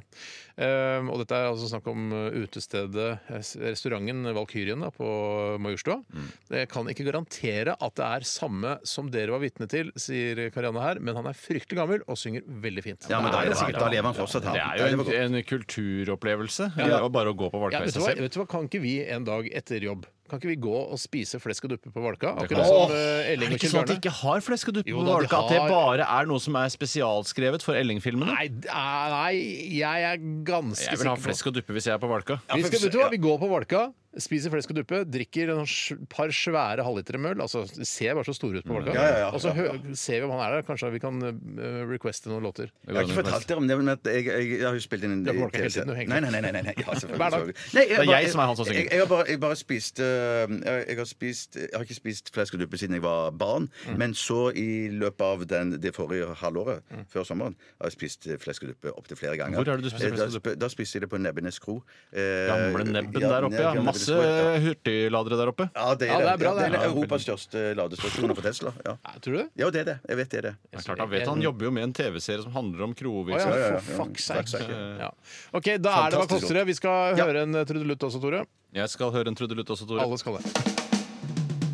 A: Eh, og dette er altså snakk om eh, utestedet, eh, restauranten Valkyrien da, på Majorstua.
B: Mm.
A: Jeg kan ikke garantere at det er samme som dere var vitne til, sier Karianne her, men han er fryktelig gammel og synger veldig fint.
C: Ja, men da, er det sikkert, da lever han fortsatt, han.
B: Det er
C: Ja,
B: jo
C: var godt.
B: en, en kulturopplevelse.
A: Ja.
B: Og bare å gå på
A: Ja,
B: Valka i
A: vet, du
B: seg
A: hva,
B: selv.
A: vet du hva, Kan ikke vi en dag etter jobb Kan ikke vi gå og spise flesk og duppe på Valka?
B: Det kan
A: Akkurat
B: vi.
A: som
B: Åh,
A: eh,
B: Er
A: Elling
B: det ikke
A: og Kjell
B: sånn at de
A: Bjarne.
B: ikke har flesk og duppe
A: Jo
B: på
A: da, de
B: Valka? At det
A: har-
B: bare er noe som er spesialskrevet for Elling-filmene?
A: Nei, d- eh, nei, jeg er ganske
B: Jeg vil ha
A: sikker på
B: flesk og duppe hvis jeg er på Valka.
A: vi, skal, vet du hva? vi går på Valka, spiser flesk og duppe, drikker et par svære halvlitere med øl. Altså, de ser bare så store ut på Valka.
C: Ja, ja, ja.
A: Og så hø ser vi om han er der. Kanskje vi kan eh, requeste noen låter.
B: Det
C: Jeg har
B: går
C: ikke
B: under
C: fortalt dere om det, men at jeg, jeg, jeg har jo spilt inn en
A: Du er på Valka hele tiden, du,
C: Nei,
A: egentlig.
C: nei, nei. nei, nei, nei. Ja, selvfølgelig,
A: Hver dag.
C: selvfølgelig. Nei,
B: Det er
C: bare-
B: jeg som er han som synger.
C: Jeg, jeg, har bare, jeg bare spist, øh, jeg, jeg har spist Jeg har ikke spist flesk og duppe siden jeg var barn,
B: Mm.
C: men så i løpet av den, det forrige halvåret, før sommeren, har jeg spist øh, flesk og duppe opptil flere ganger.
B: Mm. Hvor er det du spiser
C: Eh,
B: flesk og
C: da sp- Da spiste jeg det på Nebbenes kro. Eh,
B: Gamle nebben der oppe, ja.
C: gamle Nebbenes
B: Masse
C: kro, ja.
B: hurtigladere der oppe.
C: Ja, det
A: Ja,
C: er,
A: det er bra,
C: det
A: det.
C: er Europas største ladestasjon for Tesla. Ja.
A: Nei, tror du det?
C: ja, det er det. Jeg vet det er det.
B: Det er klart, han, vet, han jobber jo med en TV-serie som handler om
A: Å ja,
B: krovirksomhet.
C: ja, ja.
A: for fuck's sake.
C: Fuck's sake,
A: Ja. OK, da er det Hva
C: Fantastisk
A: koster det? Vi skal
C: Ja.
A: høre en eh, trudelutt også, Tore.
B: Jeg skal høre en trudelutt også, Tore.
A: Alle skal det.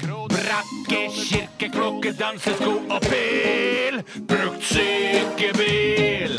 H: Brakke, kirke, klokke, dansesko og bil. Brukt sykebil.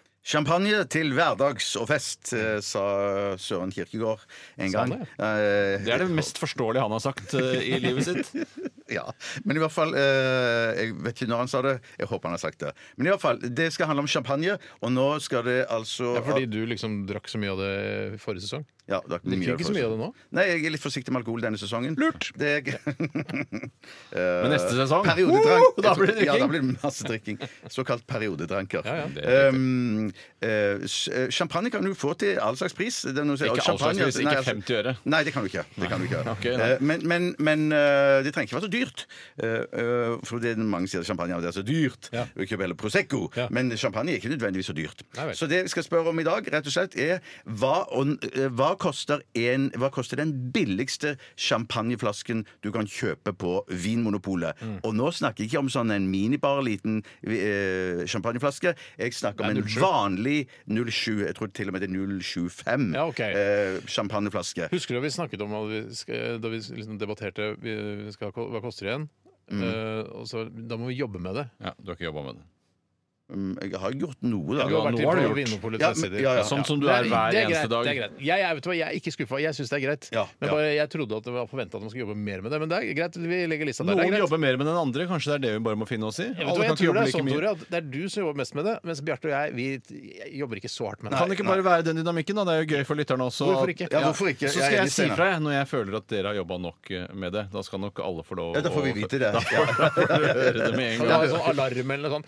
C: Champagne til hverdags og fest, eh, sa Søren Kirkegård en
A: Sa han
C: gang. Eh,
B: Det er det mest forståelige han har sagt eh, i livet sitt.
C: Ja. Men i hvert fall eh, Jeg vet ikke når han sa det. Jeg håper han har sagt det. Men i hvert fall, det skal handle om champagne, og nå skal det altså
A: Ja, fordi du liksom drakk så mye av det forrige sesong?
C: Ja, det er
A: Drikker ikke så mye av det nå?
C: Nei, jeg er litt forsiktig med alkohol denne sesongen. Lurt! Det er... Men
B: neste
A: Eh,
B: sesong?
C: Periodedrank.
B: <laughs> Woo! <laughs> Da blir det
C: Ja, da
B: drikking.
C: blir det masse drikking. Såkalt periodedranker.
B: Ja, ja. Det
C: Um, eh, s- eh, champagne kan du få til all slags pris. Det er noen som sier,
B: Ikke all
C: «Å,
B: slags
C: champagne,
B: pris,
C: altså,
B: ikke
C: nei, altså,
B: 50 øre.
C: Nei, det kan du ikke. Det kan du ikke.
B: Ok, nei.
C: Eh, men men, men eh, det trenger ikke være så dyrt. Eh, eh, for det er mange sier champagne og det er så dyrt. Vi kjøper heller Prosecco. Men champagne er ikke nødvendigvis så dyrt.
B: Nei vel.
C: Så det vi skal spørre om i dag, rett og slett, er hva, og, eh, hva, koster, en, hva koster den billigste champagneflasken du kan kjøpe på Vinmonopolet?
B: Mm.
C: Og nå snakker jeg ikke om sånn en minibar liten eh, champagneflaske. Jeg snakker om
A: Det er
C: en
A: 07.
C: vanlig 07, jeg tror til og med det er 075
A: Ja, ok.
C: eh, champagneflaske.
A: Husker du vi snakket om at vi skal, da vi liksom debatterte vi skal, hva koster det igjen?
C: Mm.
A: Eh, og så, da må vi jobbe med det.
B: Ja, du har ikke jobba med det.
C: Mm, Jeg har gjort noe, da.
A: Du har vært
C: Noe
A: inne
C: du
A: på
C: gjort.
A: Vinmonopolets
C: Ja, men-
A: nettsider.
C: ja, ja.
B: Sånn
A: Det er- det er greit, Det er greit. Jeg, er- vet du hva, jeg er ikke skuffa. Jeg syns det er greit. men
B: ja.
A: bare, jeg trodde at det var forventa at man skulle jobbe mer med det. Men det er greit, vi legger lista der. Det er
B: Noen
A: greit.
B: jobber mer med den andre. Kanskje det er det vi bare må finne oss i?
A: Jeg, vet, hva, jeg tror det er sånn, Tore, at det er du som jobber mest med det, mens Bjarte og jeg, vi jeg jobber ikke så hardt med det.
B: kan det ikke bare være den dynamikken? da? Det er jo gøy for lytterne også.
A: Hvorfor ikke? Ja, hvorfor ikke?
B: Så
A: Jeg er
B: skal jeg,
A: litt
B: si
A: enig.
B: fra jeg, når jeg føler at dere har jobba nok eh, med det. Da skal nok alle få lov
C: Ja, da får vi
B: å-
C: vite
B: <laughs>
C: det.
B: Da får, da får dere høre det med en
A: Kan du ha en
B: gang.
A: sånn
B: Altså,
A: alarm eller noe sånt?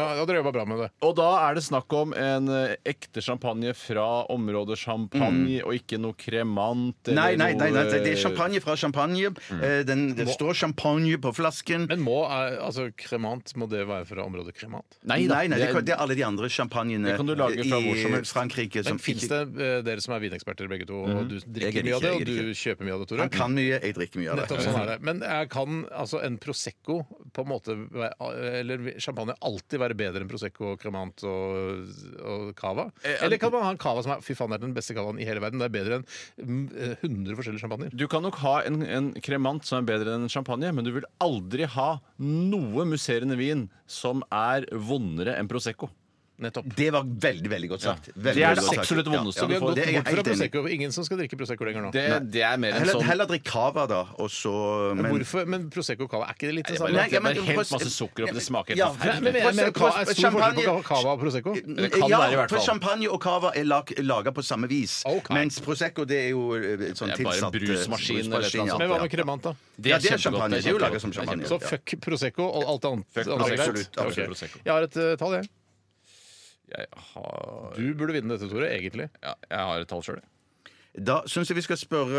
A: Nå, da dere jobba bra med det.
B: Og da er det snakk om en eh, ekte champagne fra området champagne,
A: Mm.
B: og ikke noe kremant
C: Nei, nei, nei, nei, det er
B: noe-
C: champagne fra champagne. Eh, Den, det
A: eh, Mm. Må-
C: står champagne på flasken.
A: Men må eh, altså Kremant, må det være fra området Kremant?
C: Nei, nei, nei det, kan- det er alle de andre champagnene
A: Det kan du lage fra
C: i
A: hvor som helst.
C: Frankrike.
A: Men
C: som
A: fins
C: ikke- Mhm.
A: det eh, dere som er vineksperter begge to, og du
C: Jeg
A: drikker
C: er
A: mye av det,
C: ikke-
A: og
C: jeg er
A: du kjøper mye av det, Tore?
C: Han kan mye, jeg drikker mye av det.
A: Nettopp sånn er det. Men eh, kan altså en Prosecco på en måte være- eller champagne alltid være bedre enn Prosecco, Cremant og, og Cava?
B: Eh,
A: Eller kan man ha en Cava som er fy faen, det er den beste Cavaen i hele verden? Det er bedre enn mm, eh, 100 forskjellige champagner?
B: Du kan nok ha en, en kremant som er bedre enn en champagne, men du vil aldri ha noe musserende vin som er vondere enn Prosecco.
A: Nettopp.
C: Det var veldig, veldig godt sagt. Veldig,
B: det er
C: veldig
B: det
C: godt sagt.
B: absolutt
C: Ja,
B: vondeste
C: ja.
B: du
C: Det
B: får.
C: er jeg
A: Bort fra
C: helt enig.
A: Prosecco. Ingen som skal drikke Prosecco lenger nå.
C: Nei. heller,
B: sånn-
C: Heller drikk cava, da, og så men-
A: Hvorfor? Men Prosecco og Cava, er ikke det litt det samme?
C: Nei, ja, men- Ja,
A: Men- men- men- men- Cava- Er stor forskjell på Cava og Prosecco?
C: ja, for champagne og cava er lag, laga på samme vis. Mens Prosecco det er jo eh, sånn
B: Det er bare en
C: tilsatt eh,
B: brusmaskin eller et eller annet
C: brusmaskin, ja.
B: sånt,
A: Men hva med
C: Ja.
A: Cremant, da?
C: Det er Ja, det er kjempegodt, champagne. det er Det er jo laget som kjempegodt. champagne.
A: Så
C: Ja.
A: fuck Prosecco og alt annet. annet er greit?
B: Absolutt,
A: Ok.
B: absolutt Prosecco.
A: Jeg har et eh, tall, jeg.
B: Jeg har,
A: Du burde vinne dette, Tore, egentlig.
B: ja, jeg har et tall sjøl.
C: Da syns jeg vi skal spørre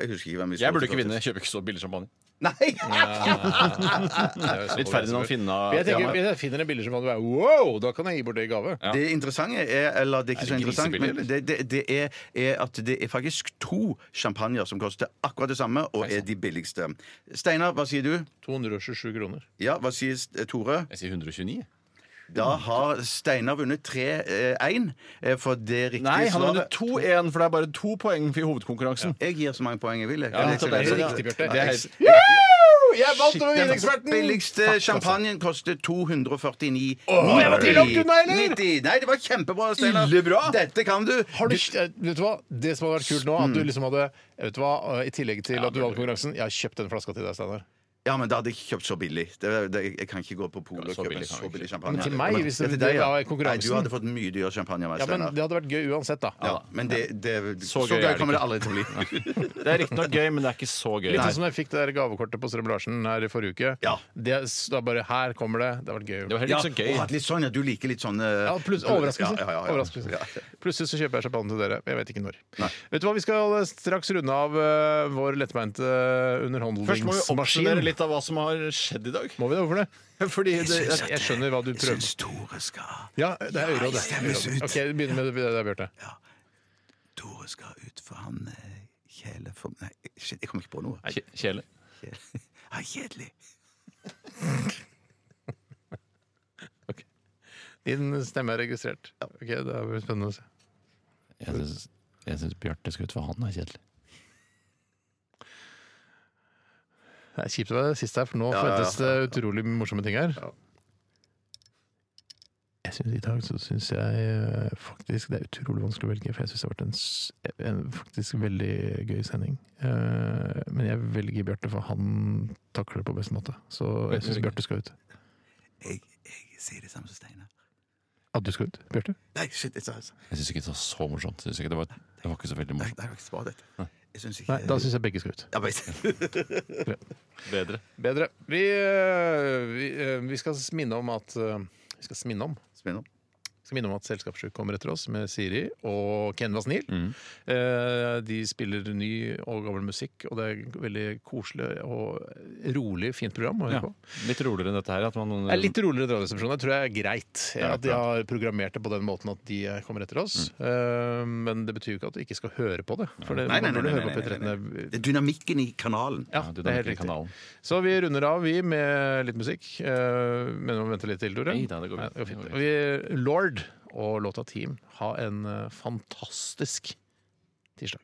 C: Jeg husker ikke hvem vi
B: Jeg burde
C: spørre.
B: ikke vinne. Jeg kjøper ikke så billig champagne.
C: Nei!
B: <laughs> Litt Ferdinand Finna.
A: Jeg tenker, hvis jeg finner en billig champagne, bare, wow, da kan jeg gi bort det i gave.
C: Det interessante er Eller det er
A: Er
C: ikke
A: det
C: så interessant,
A: grisebillig,
C: men det, det, det er, er at det er faktisk to champagner som koster akkurat det samme, og
B: sånn.
C: er de billigste. Steinar, hva sier du?
A: 227 kroner.
C: Ja, hva sier eh, Tore?
B: Jeg sier 129.
C: Da har Steinar vunnet 3-1, eh, for det riktige
B: Nei, han har vunnet
C: svaret
B: 2-1, for det er bare to poeng for hovedkonkurransen.
C: Jeg gir så mange poeng jeg vil. jeg.
B: Ja,
C: Kan jeg
B: nettopp,
C: ikke
B: det er
C: lese
B: riktig,
C: det?
B: Bjarte. Det
C: Ja,
B: er
C: jeg-
B: helt-
A: Jeg vant
C: Shit,
A: over
C: den
A: vineksperten! Fuck,
C: billigste
A: altså.
C: champagnen koster 249
A: Åh, jeg var ikke langt unna, eller?
C: 90. Nei, det var kjempebra, Steinar. Dette kan du.
A: Har du, eh, vet du hva? Det som hadde vært kult nå, at du liksom hadde vet du hva, eh, I tillegg til at du vant konkurransen, jeg har kjøpt den flaska til deg, Steinar.
C: Ja, men da hadde jeg ikke kjøpt så billig. Det, det, jeg kan ikke gå på polet og
B: så
C: kjøpe
B: billig
C: en
B: kan
C: så
B: jeg
C: billig
B: ikke.
C: champagne.
A: Men til meg,
C: Ja,
A: hvis
C: til
A: det-
C: deg, ja.
A: det var konkurransen.
C: Nei, du hadde fått mye dyrere champagne enn meg,
A: Ja, men
C: Steinar.
A: Det hadde vært gøy uansett, da.
C: Ja, men det, det, så,
B: gøy
C: gøy
B: er det
C: kommer det
B: ikke.
C: aldri
A: <laughs>
C: til å bli.
B: Det er riktignok gøy, men det er ikke så gøy.
A: Litt sånn som jeg fikk det der gavekortet på Strøm Larsen her i forrige uke.
C: Ja.
A: Det, da bare Her kommer det. Det hadde vært
B: Det
A: gøy.
B: var heller ikke så gøy.
C: og at litt sånn, ja, du liker litt sånn eh,
A: Ja, pluss overraskelse.
C: Ja, ja, ja.
A: overraskelse.
C: Ja.
A: Plutselig så kjøper jeg champagne til dere. Jeg vet ikke når. Vet du hva, Vi skal straks runde av eh, vår lettbeinte
B: Først må vi oppsummere
A: underholdningsmaskin.
B: litt av hva som har skjedd i dag.
A: Må vi det? Hvorfor det?
B: <laughs> Fordi det,
A: Jeg, jeg skjønner hva du prøver
C: Syns Tore skal
A: Ja, det er øyråd.
C: Nei, stemmes ut.
A: Ok, vi begynner med det- det der, Bjarte.
C: Tore skal ut, for han eh, kjæle for Nei, shit, jeg kom ikke på noe.
B: Kje- Kjele.
C: Kjæle. Ah, kjedelig.
A: Din stemme er registrert. Ok, Det er vel spennende å se.
B: Jeg syns Bjarte skal ut, for han er kjedelig.
A: Det er kjipt å være sist her, for nå
C: Ja, ja, ja.
A: forventes det utrolig morsomme ting her. Jeg synes, I dag så syns jeg eh, faktisk det er utrolig vanskelig å velge, for jeg syns det har vært en, s- en faktisk veldig gøy sending. Eh, men jeg velger Bjarte, for han takler det på best måte. Så jeg syns Bjarte skal ut.
C: Jeg, jeg sier det samme som Steinar.
A: At du skal ut, Bjarte?
C: Nei, shit, jeg sa det.
B: Jeg syns ikke det var så morsomt. Jeg synes ikke det var, Det var ikke så veldig morsomt.
C: Det er ikke så bra, dette. Jeg syns ikke øh,
A: Nei, da syns jeg begge skal ut.
C: Ja, <laughs> men-
B: Bedre.
A: Bedre. Vi, øh, vi, øh, vi skal minne om at øh, Vi skal minne om. Vi skal minne om at Selskapssjuk kommer etter oss med Siri og Ken Vasnil.
C: Mm.
A: Eh, de spiller ny og gammel musikk, og det er veldig koselig og rolig, fint program å høre
B: Ja.
A: på.
B: Litt roligere enn dette her. At man,
A: Det er litt roligere Radioresepsjon. Det tror jeg er greit.
B: Ja,
A: At de har programmert det på den måten at de kommer etter oss. Eh, Men det betyr jo ikke at du ikke skal høre på det. For det,
C: Mm. Nei, nei,
A: man
C: nei,
A: burde
C: nei,
A: høre
C: nei,
A: på
C: nei, nei,
A: P13.
C: Det er dynamikken i kanalen.
A: Ja, det er helt riktig. Så vi runder av, vi, med litt musikk. Eh, Mener du å vente litt til, Tore?
B: Nei da, det går
A: Nei,
B: fint.
A: det går fint. Og vi, Lord og låta Team, ha en eh, fantastisk tirsdag.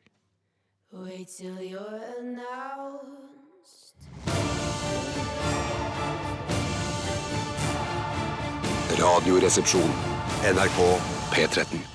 L: Wait till you're announced.
M: Radioresepsjon. NRK P13.